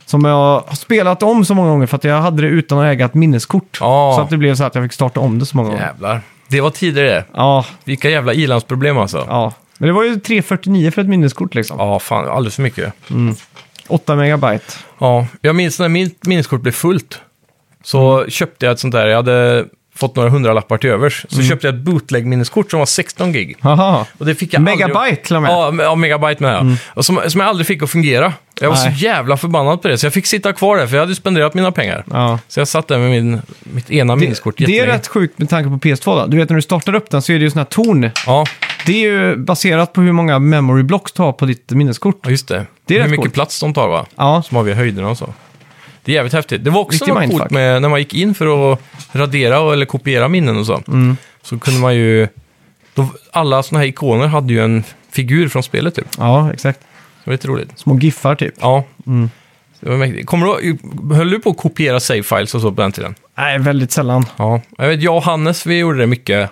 [SPEAKER 1] Som jag har spelat om så många gånger för att jag hade det utan att äga ett minneskort.
[SPEAKER 2] Ja.
[SPEAKER 1] Så att det blev så att jag fick starta om det så många gånger.
[SPEAKER 2] Jävlar. Det var tidigare.
[SPEAKER 1] Ja,
[SPEAKER 2] Vilka jävla ilandsproblem alltså. Ja.
[SPEAKER 1] ja. Men det var ju 349 för ett minneskort liksom.
[SPEAKER 2] fan. Alldeles för mycket.
[SPEAKER 1] 8 megabyte.
[SPEAKER 2] Ja, jag minns när mitt minneskort blev fullt. Så
[SPEAKER 1] Mm.
[SPEAKER 2] köpte jag ett sånt där, jag hade fått några hundralappar till övers. Så
[SPEAKER 1] Mm.
[SPEAKER 2] köpte jag ett bootleg-minneskort som var 16 gig.
[SPEAKER 1] Haha.
[SPEAKER 2] Och det fick jag
[SPEAKER 1] Megabyte
[SPEAKER 2] aldrig...
[SPEAKER 1] till och med. Mm.
[SPEAKER 2] Ja, me- ja, megabyte med. ja. Och som, som jag aldrig fick att fungera. Jag var
[SPEAKER 1] Nej.
[SPEAKER 2] så jävla förbannad på det, så jag fick sitta kvar där, för jag hade ju spenderat mina pengar.
[SPEAKER 1] Ja.
[SPEAKER 2] Så jag satt där med min, mitt ena minneskort
[SPEAKER 1] Det är
[SPEAKER 2] jättelänge.
[SPEAKER 1] rätt sjukt med tanke på PS2 då. Du vet när du startar upp den så är det ju sådana här torn.
[SPEAKER 2] Ja,
[SPEAKER 1] Det är ju baserat på hur många memory blocks du har på ditt minneskort.
[SPEAKER 2] ja, just det.
[SPEAKER 1] Det är
[SPEAKER 2] Hur
[SPEAKER 1] rätt
[SPEAKER 2] mycket
[SPEAKER 1] coolt.
[SPEAKER 2] plats de tar va?
[SPEAKER 1] Ja,
[SPEAKER 2] Som avgör höjderna och så. Det är jävligt häftigt. Det var också
[SPEAKER 1] Riktig
[SPEAKER 2] något coolt
[SPEAKER 1] mindfuck.
[SPEAKER 2] med när man gick in för att radera och- eller kopiera minnen och så.
[SPEAKER 1] Mm.
[SPEAKER 2] Så kunde man ju... Då, alla sådana här ikoner hade ju en figur från spelet typ.
[SPEAKER 1] ja exakt.
[SPEAKER 2] Det var lite roligt.
[SPEAKER 1] Små giffar typ.
[SPEAKER 2] Ja. Det var mäktigt. Kommer du, höll du på att kopiera save files och så på den tiden?
[SPEAKER 1] Nej, väldigt sällan. Mm.
[SPEAKER 2] Ja. Jag vet, jag och Hannes, vi gjorde det mycket.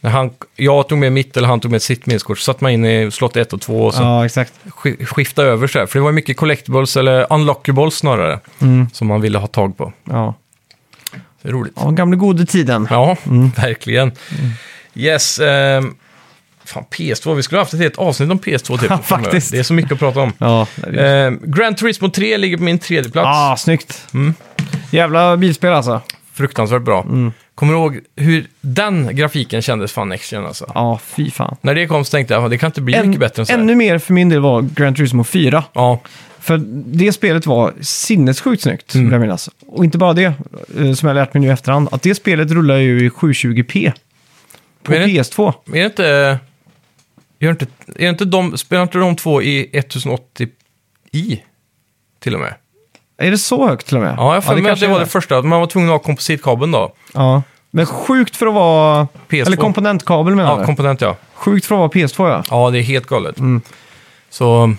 [SPEAKER 2] När han, jag tog med mitt eller han tog med sitt minneskort, så satte man in i slott 1 och 2 och så
[SPEAKER 1] Ja, exakt.
[SPEAKER 2] sk- skifta över så här. För det var ju mycket collectibles eller unlockables snarare,
[SPEAKER 1] Mm.
[SPEAKER 2] som man ville ha tag på.
[SPEAKER 1] Ja,
[SPEAKER 2] Så det är roligt.
[SPEAKER 1] ja Mm. gamla gode tiden.
[SPEAKER 2] Ja, verkligen. Yes. ehm, fan, PS2. Vi skulle ha haft ett helt avsnitt om PS2 typ.
[SPEAKER 1] Ja,
[SPEAKER 2] framöver.
[SPEAKER 1] faktiskt.
[SPEAKER 2] Det är så mycket att prata om.
[SPEAKER 1] Ja,
[SPEAKER 2] Ehm, Gran Turismo 3 ligger på min tredje plats.
[SPEAKER 1] ah, snyggt.
[SPEAKER 2] Mm.
[SPEAKER 1] Jävla bilspel alltså.
[SPEAKER 2] Fruktansvärt bra.
[SPEAKER 1] Mm.
[SPEAKER 2] Kommer du ihåg hur den grafiken kändes fan Next Gen alltså?
[SPEAKER 1] Ja, fy fan.
[SPEAKER 2] När det kom så tänkte jag, det kan inte bli
[SPEAKER 1] Än-
[SPEAKER 2] mycket bättre än så här.
[SPEAKER 1] ännu mer för min del var Gran Turismo 4.
[SPEAKER 2] Ja,
[SPEAKER 1] För det spelet var sinnessjukt snyggt,
[SPEAKER 2] Mm.
[SPEAKER 1] vill jag minnas. Och inte bara det, eh, som jag lärt mig nu i efterhand, att det spelet rullar ju i 720p. På
[SPEAKER 2] Men är det-
[SPEAKER 1] PS2.
[SPEAKER 2] men är det inte... Gör inte, är det inte de, spelar inte de två i 1080i? Till och med.
[SPEAKER 1] Är det så högt till och med?
[SPEAKER 2] Ja, jag har för mig att
[SPEAKER 1] kanske
[SPEAKER 2] det var
[SPEAKER 1] är
[SPEAKER 2] det första. att Man var tvungen att ha kompositkabeln då.
[SPEAKER 1] Ja. Men sjukt för att vara...
[SPEAKER 2] PS2.
[SPEAKER 1] Eller komponentkabel menar
[SPEAKER 2] Ja,
[SPEAKER 1] jag.
[SPEAKER 2] komponent ja.
[SPEAKER 1] Sjukt för att vara PS2 ja.
[SPEAKER 2] Ja, det är helt galet. Så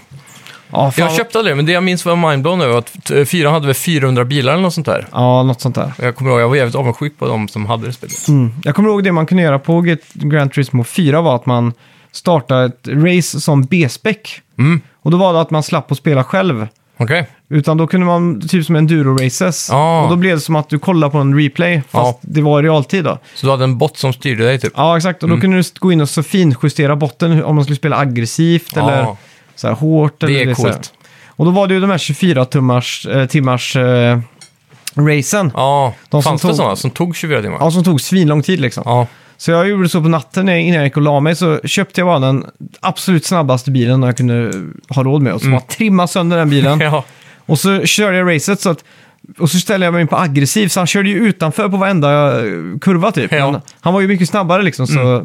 [SPEAKER 1] Ja, Mm. fan.
[SPEAKER 2] jag köpte aldrig det, men det jag minns var mindblown över att t- fyran hade väl 400 bilar eller något sånt där.
[SPEAKER 1] ja, något sånt där.
[SPEAKER 2] Och Jag kommer ihåg, jag var jävligt avundsjuk på de som hade det spelet.
[SPEAKER 1] Mm. Jag kommer ihåg det man kunde göra på Get- Gran Turismo 4 var att man startade ett race som B-spec.
[SPEAKER 2] Mm.
[SPEAKER 1] Och då var det att man slapp att spela själv.
[SPEAKER 2] Okej.
[SPEAKER 1] Utan då kunde man, typ som enduro-races.
[SPEAKER 2] Ja.
[SPEAKER 1] Och då blev det som att du kollade på en replay, fast
[SPEAKER 2] Ja.
[SPEAKER 1] det var i realtid då.
[SPEAKER 2] Så du hade en bot som styrde dig typ?
[SPEAKER 1] Ja, exakt. Och då kunde du gå in och så finjustera botten hur- om man skulle spela aggressivt
[SPEAKER 2] Ja.
[SPEAKER 1] eller så här hårt.
[SPEAKER 2] Det
[SPEAKER 1] eller
[SPEAKER 2] är
[SPEAKER 1] så här.
[SPEAKER 2] coolt.
[SPEAKER 1] Och då var det ju de här 24-timmars eh, timmars eh, racen. Ja.
[SPEAKER 2] Ja,
[SPEAKER 1] De som
[SPEAKER 2] fanns det
[SPEAKER 1] tog-
[SPEAKER 2] sådana som tog 24 timmar?
[SPEAKER 1] som tog svinlång tid liksom.
[SPEAKER 2] Ja.
[SPEAKER 1] Så jag gjorde så på natten när jag- innan jag gick och la mig så köpte jag bara den absolut snabbaste bilen jag kunde ha råd med. Och så bara trimma sönder den bilen.
[SPEAKER 2] Mm. ja.
[SPEAKER 1] Och så körde jag racet så att... Och så ställde jag mig in på aggressiv, så han körde ju utanför på varenda eh, kurva typ.
[SPEAKER 2] Ja. Mm.
[SPEAKER 1] Men han var ju mycket snabbare liksom, så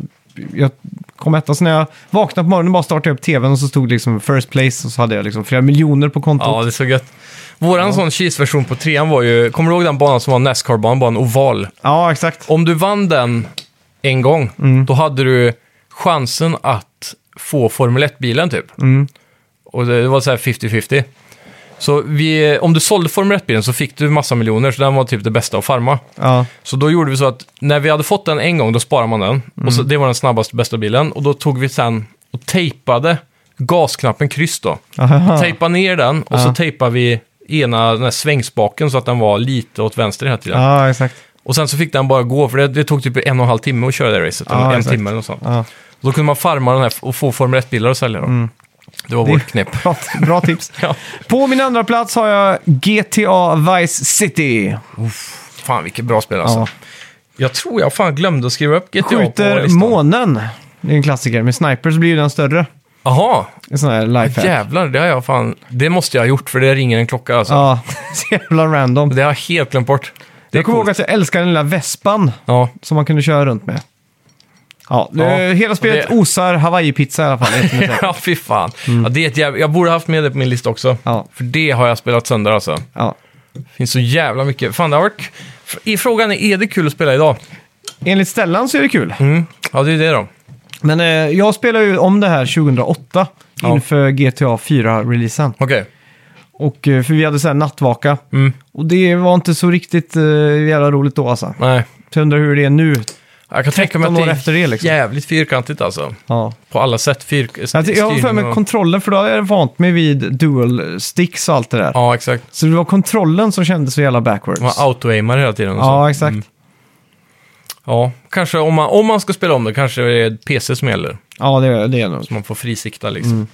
[SPEAKER 1] jag kom etta. Så när jag vaknade på morgonen bara startade jag upp tvn och så stod det liksom first place och så hade jag liksom flera miljoner på kontot.
[SPEAKER 2] ja, det är så gött. Våran sån cheese-version på trean var ju, kommer du ihåg den banan som var Nascar-banan, bara en oval?
[SPEAKER 1] Ja, exakt.
[SPEAKER 2] Om du vann den en gång, då hade du chansen att få Formel 1-bilen typ. Och det var så här 50-50. Så vi, om du sålde Formel 1-bilen så fick du massa miljoner, så den var typ det bästa att farma.
[SPEAKER 1] Ja,
[SPEAKER 2] Så då gjorde vi så att när vi hade fått den en gång, då sparade man den. Och så, det var den snabbaste, bästa bilen. Och då tog vi sen och tejpade gasknappen kryss då.
[SPEAKER 1] Aha.
[SPEAKER 2] Tejpade ner den och så tejpade vi ena den här svängspaken så att den var lite åt vänster hela tiden.
[SPEAKER 1] ja exakt.
[SPEAKER 2] Och sen så fick den bara gå, för det, det tog typ en och en halv timme att köra det racet.
[SPEAKER 1] Ja,
[SPEAKER 2] en
[SPEAKER 1] exakt.
[SPEAKER 2] timme eller något sånt.
[SPEAKER 1] Ja. Mm.
[SPEAKER 2] Då kunde man farma den här och få Formel 1-bilar att sälja dem. Det var vårt knep.
[SPEAKER 1] Bra, bra tips.
[SPEAKER 2] Ja.
[SPEAKER 1] På min andra plats har jag GTA Vice City.
[SPEAKER 2] Fan vilket bra spel alltså.
[SPEAKER 1] Ja.
[SPEAKER 2] Jag tror jag fan glömde att skriva upp GTA på
[SPEAKER 1] Skjuter
[SPEAKER 2] listan.
[SPEAKER 1] månen. Det är en klassiker. Med snipers blir ju den större.
[SPEAKER 2] Jaha,
[SPEAKER 1] En sån här lifehack.
[SPEAKER 2] jävlar. Det har jag fan... Det måste jag ha gjort för det ringer en klocka alltså.
[SPEAKER 1] Ja, så jävla random.
[SPEAKER 2] Det har jag helt glömt bort. Det är
[SPEAKER 1] Jag kommer
[SPEAKER 2] coolt.
[SPEAKER 1] ihåg att jag älskade den lilla vespan
[SPEAKER 2] Ja.
[SPEAKER 1] som man kunde köra runt med. Ja, det-
[SPEAKER 2] Ja,
[SPEAKER 1] hela spelet
[SPEAKER 2] det-
[SPEAKER 1] osar Hawaii-pizza i alla fall. Det är inte mycket.
[SPEAKER 2] ja, fy fan. Ja, det är ett jävla... Jag borde haft med det på min lista också.
[SPEAKER 1] Mm. Ja.
[SPEAKER 2] För det har jag spelat sönder alltså. Det
[SPEAKER 1] ja.
[SPEAKER 2] finns så jävla mycket. Fan, det har varit... I frågan är, är det kul att spela idag?
[SPEAKER 1] Enligt Stellan så är det kul.
[SPEAKER 2] Mm. Ja, det är det då.
[SPEAKER 1] Men eh, jag spelade ju om det här 2008
[SPEAKER 2] Ja.
[SPEAKER 1] inför GTA 4-releasen.
[SPEAKER 2] Okej.
[SPEAKER 1] Och, eh, för vi hade så här nattvaka.
[SPEAKER 2] Mm.
[SPEAKER 1] Och det var inte så riktigt eh, jävla roligt då alltså.
[SPEAKER 2] Nej.
[SPEAKER 1] Så jag undrar hur det är nu.
[SPEAKER 2] Jag kan tänka mig att
[SPEAKER 1] 13
[SPEAKER 2] det
[SPEAKER 1] år
[SPEAKER 2] är
[SPEAKER 1] efter det, liksom.
[SPEAKER 2] jävligt fyrkantigt alltså.
[SPEAKER 1] Ja.
[SPEAKER 2] På alla sätt. Fyr...
[SPEAKER 1] Jag, jag har för mig kontrollen, för då hade jag vant mig vid dual sticks och allt det där.
[SPEAKER 2] Ja, exakt.
[SPEAKER 1] Så det var kontrollen som kändes så jävla backwards.
[SPEAKER 2] Man auto-aimar hela tiden och så. Mm.
[SPEAKER 1] Ja, exakt.
[SPEAKER 2] ja. Kanske om man, om man ska spela om det, kanske det är PC som gäller.
[SPEAKER 1] Ja, det, det är nog.
[SPEAKER 2] Man får frisikta liksom.
[SPEAKER 1] Mm.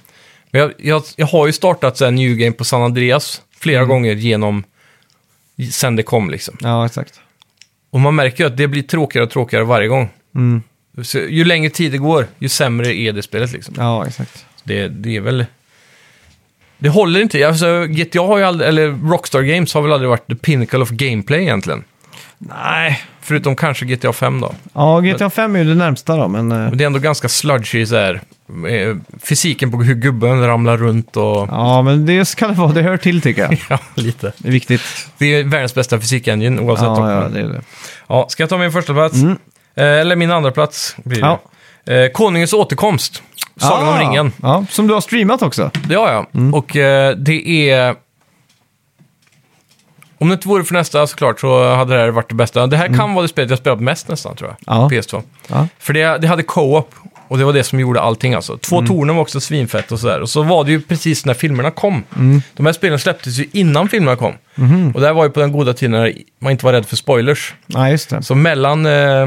[SPEAKER 2] Men jag, jag, jag har ju startat så här New Game på San Andreas flera
[SPEAKER 1] Mm.
[SPEAKER 2] gånger genom sen det kom liksom.
[SPEAKER 1] Ja, exakt.
[SPEAKER 2] Och man märker ju att det blir tråkigare och tråkigare varje gång.
[SPEAKER 1] Mm.
[SPEAKER 2] Så ju längre tid det går, ju sämre är det spelet liksom.
[SPEAKER 1] Ja, exakt.
[SPEAKER 2] Det, det är väl... Det håller inte. Alltså, GTA har ju aldrig, eller Rockstar Games har väl aldrig varit the pinnacle of gameplay egentligen.
[SPEAKER 1] Nej.
[SPEAKER 2] Förutom kanske GTA 5 då.
[SPEAKER 1] Ja, GTA 5 är ju det närmsta då, men... eh,
[SPEAKER 2] Men det är ändå ganska sludgy så här. eh, Fysiken på hur gubben ramlar runt och...
[SPEAKER 1] Ja, men det ska det vara. Det hör till tycker jag.
[SPEAKER 2] Ja, lite.
[SPEAKER 1] Det är viktigt.
[SPEAKER 2] Det är världens bästa fysikengine oavsett.
[SPEAKER 1] Ja,
[SPEAKER 2] Ja,
[SPEAKER 1] ja, det är det.
[SPEAKER 2] ja, ska jag ta min första plats? Eh, Eller min andra plats blir det.
[SPEAKER 1] Ja.
[SPEAKER 2] Eh, Konungens återkomst. Sagan om
[SPEAKER 1] Ah!
[SPEAKER 2] ringen.
[SPEAKER 1] Ja, som du Mm. har streamat också.
[SPEAKER 2] Det har jag. Och eh, det är... Om det inte vore för nästa såklart så hade det här varit det bästa. Det här kan vara det spelet jag spelat mest nästan tror jag.
[SPEAKER 1] Mm. Ja.
[SPEAKER 2] på PS2.
[SPEAKER 1] Ja.
[SPEAKER 2] För det, det hade co-op och det var det som gjorde allting alltså. Två
[SPEAKER 1] Mm.
[SPEAKER 2] tornen var också svinfett och sådär. Och så var det ju precis när filmerna kom.
[SPEAKER 1] Mm.
[SPEAKER 2] De här spelen släpptes ju innan filmerna kom.
[SPEAKER 1] Mm-hmm.
[SPEAKER 2] Och det här var ju på den goda tiden när man inte var rädd för spoilers.
[SPEAKER 1] Nej, just det.
[SPEAKER 2] Så mellan, eh,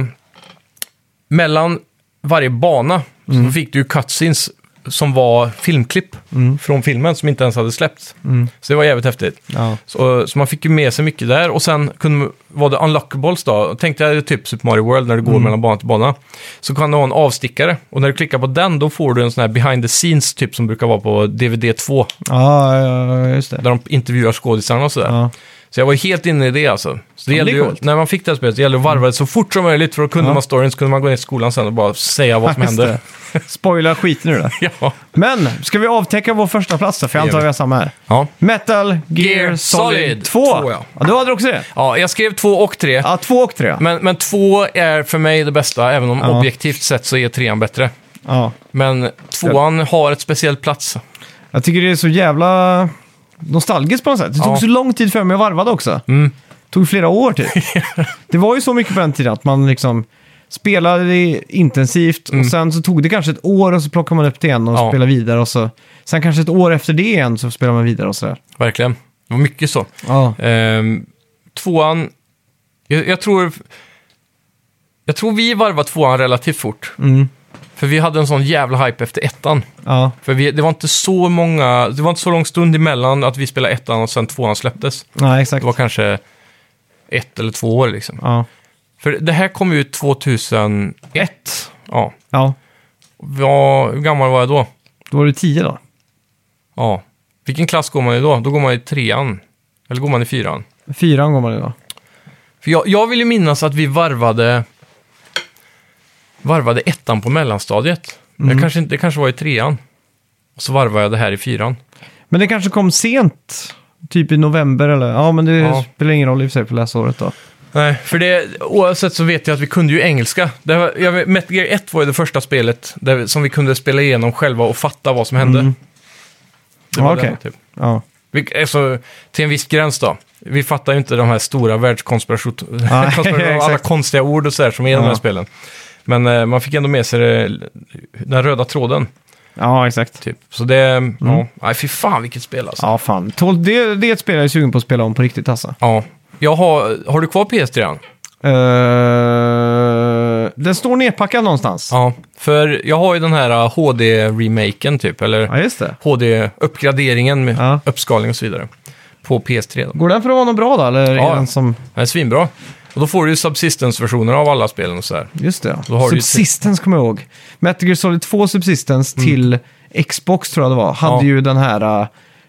[SPEAKER 2] mellan varje bana så fick du ju cutscenes som var filmklipp från filmen som inte ens hade släppts. Så det var jävligt häftigt.
[SPEAKER 1] Ja.
[SPEAKER 2] Så, så man fick ju med sig mycket där och sen kunde, var det unlockables då. Tänkte jag typ Super Mario World när du går mellan bana till bana. Så kan du ha en avstickare och när du klickar på den då får du en sån här behind the scenes typ som brukar vara på DVD 2.
[SPEAKER 1] Ja, ja, ja, just det.
[SPEAKER 2] Där de intervjuar skådisarna och sådär.
[SPEAKER 1] Ja.
[SPEAKER 2] Så jag var helt inne i det alltså. Så det
[SPEAKER 1] Ja, men
[SPEAKER 2] gällde
[SPEAKER 1] det är
[SPEAKER 2] ju,
[SPEAKER 1] coolt.
[SPEAKER 2] när man fick det här spelet, det gällde att varva det så fort som möjligt. För då kunde
[SPEAKER 1] Ja.
[SPEAKER 2] man storyn, så kunde man gå ner till skolan sen och bara säga vad som
[SPEAKER 1] Just
[SPEAKER 2] hände.
[SPEAKER 1] det. Spoila skit nu då.
[SPEAKER 2] Ja.
[SPEAKER 1] Men, ska vi avtäcka vår första plats då? För jag
[SPEAKER 2] Det gör
[SPEAKER 1] antar
[SPEAKER 2] vi.
[SPEAKER 1] vi har samma här.
[SPEAKER 2] Ja.
[SPEAKER 1] Metal Gear
[SPEAKER 2] Gear
[SPEAKER 1] Solid
[SPEAKER 2] Solid
[SPEAKER 1] 2.
[SPEAKER 2] två,
[SPEAKER 1] ja.
[SPEAKER 2] ja.
[SPEAKER 1] du hade också det?
[SPEAKER 2] ja, jag skrev två och tre.
[SPEAKER 1] Ja, två och tre.
[SPEAKER 2] Men, men två är för mig det bästa, även om
[SPEAKER 1] Ja.
[SPEAKER 2] objektivt sett så är trean bättre.
[SPEAKER 1] Ja.
[SPEAKER 2] Men tvåan har ett speciellt plats.
[SPEAKER 1] Jag tycker det är så jävla nostalgiskt på något sätt. Det tog
[SPEAKER 2] Ja. Mm.
[SPEAKER 1] så lång tid för mig att varva det också. Det tog flera år typ. det var ju så mycket på den tiden att man liksom spelade det intensivt och sen så tog det kanske ett år och så plockade man upp det igen och
[SPEAKER 2] Mm. Ja.
[SPEAKER 1] spelade vidare och så. Sen kanske ett år efter det igen så spelar man vidare och sådär.
[SPEAKER 2] Verkligen. Det var mycket så.
[SPEAKER 1] Ja.
[SPEAKER 2] Ehm, tvåan, jag, jag tror... Jag tror vi varvade tvåan relativt fort.
[SPEAKER 1] Mm.
[SPEAKER 2] För vi hade en sån jävla hype efter ettan.
[SPEAKER 1] Ja.
[SPEAKER 2] För vi, det var inte så många, det var inte så lång stund emellan att vi spelade ettan och sen tvåan släpptes.
[SPEAKER 1] Nej, exakt.
[SPEAKER 2] Det var kanske ett eller två år liksom.
[SPEAKER 1] Ja.
[SPEAKER 2] För det här kom ju 2001. Ja.
[SPEAKER 1] ja.
[SPEAKER 2] Vad- hur gammal var jag då?
[SPEAKER 1] Då var du tio då.
[SPEAKER 2] Ja. Vilken klass går man i då? Då går man i trean. Eller går man i fyran?
[SPEAKER 1] Fyran går man i då.
[SPEAKER 2] För jag, jag vill ju minnas att vi varvade, varvade ettan på mellanstadiet. Men Jag kanske, inte- det kanske var i trean. Och så varvade jag det här i fyran.
[SPEAKER 1] Men det kanske kom sent. Typ i november eller? Ja, men det
[SPEAKER 2] Ja.
[SPEAKER 1] spelar ingen roll i och för sig på läsåret då.
[SPEAKER 2] Nej, för det, oavsett så vet jag att vi kunde ju engelska. Det var, jag, vet- Metal Gear 1 var ju det första spelet där, vi- som vi kunde spela igenom själva och fatta vad som hände. Det var
[SPEAKER 1] Ja, Mm. Ah, okej.
[SPEAKER 2] den, typ.
[SPEAKER 1] Ja.
[SPEAKER 2] vi, alltså, till en viss gräns då. Vi fattar ju inte de här stora
[SPEAKER 1] Ah, Ja,
[SPEAKER 2] världskonspirationerna, alla
[SPEAKER 1] exakt.
[SPEAKER 2] konstiga ord och sådär som är i de
[SPEAKER 1] Ja.
[SPEAKER 2] här spelen. Men eh, man fick ändå med sig det, den röda tråden,
[SPEAKER 1] ja, exakt.
[SPEAKER 2] typ. Så det, ja, nej fy fan vilket spel alltså. Ja.
[SPEAKER 1] Mm. Ja, fan. Tolv, det, det är ett spel jag är sugen på att spela om på riktigt alltså.
[SPEAKER 2] Jag har, har du kvar PS3? -an?
[SPEAKER 1] Eh, den står nedpackad någonstans.
[SPEAKER 2] Ja, för jag har ju den här eh, HD-remaken typ, eller?
[SPEAKER 1] Ja, just det.
[SPEAKER 2] HD-uppgraderingen med
[SPEAKER 1] Ja.
[SPEAKER 2] uppskalning och så vidare. På PS3 då.
[SPEAKER 1] Går den för att vara någon bra då? Eller är
[SPEAKER 2] Ja.
[SPEAKER 1] den som...
[SPEAKER 2] Den är svinbra. Och då får du ju subsistence-versioner av alla spelen och sådär.
[SPEAKER 1] Just det,
[SPEAKER 2] Då har
[SPEAKER 1] ja.
[SPEAKER 2] du ju-
[SPEAKER 1] Subsistence kommer jag ihåg. Metal Gear Solid 2 Subsistence till Xbox tror jag det var. Hade
[SPEAKER 2] Mm. Ja.
[SPEAKER 1] ju den här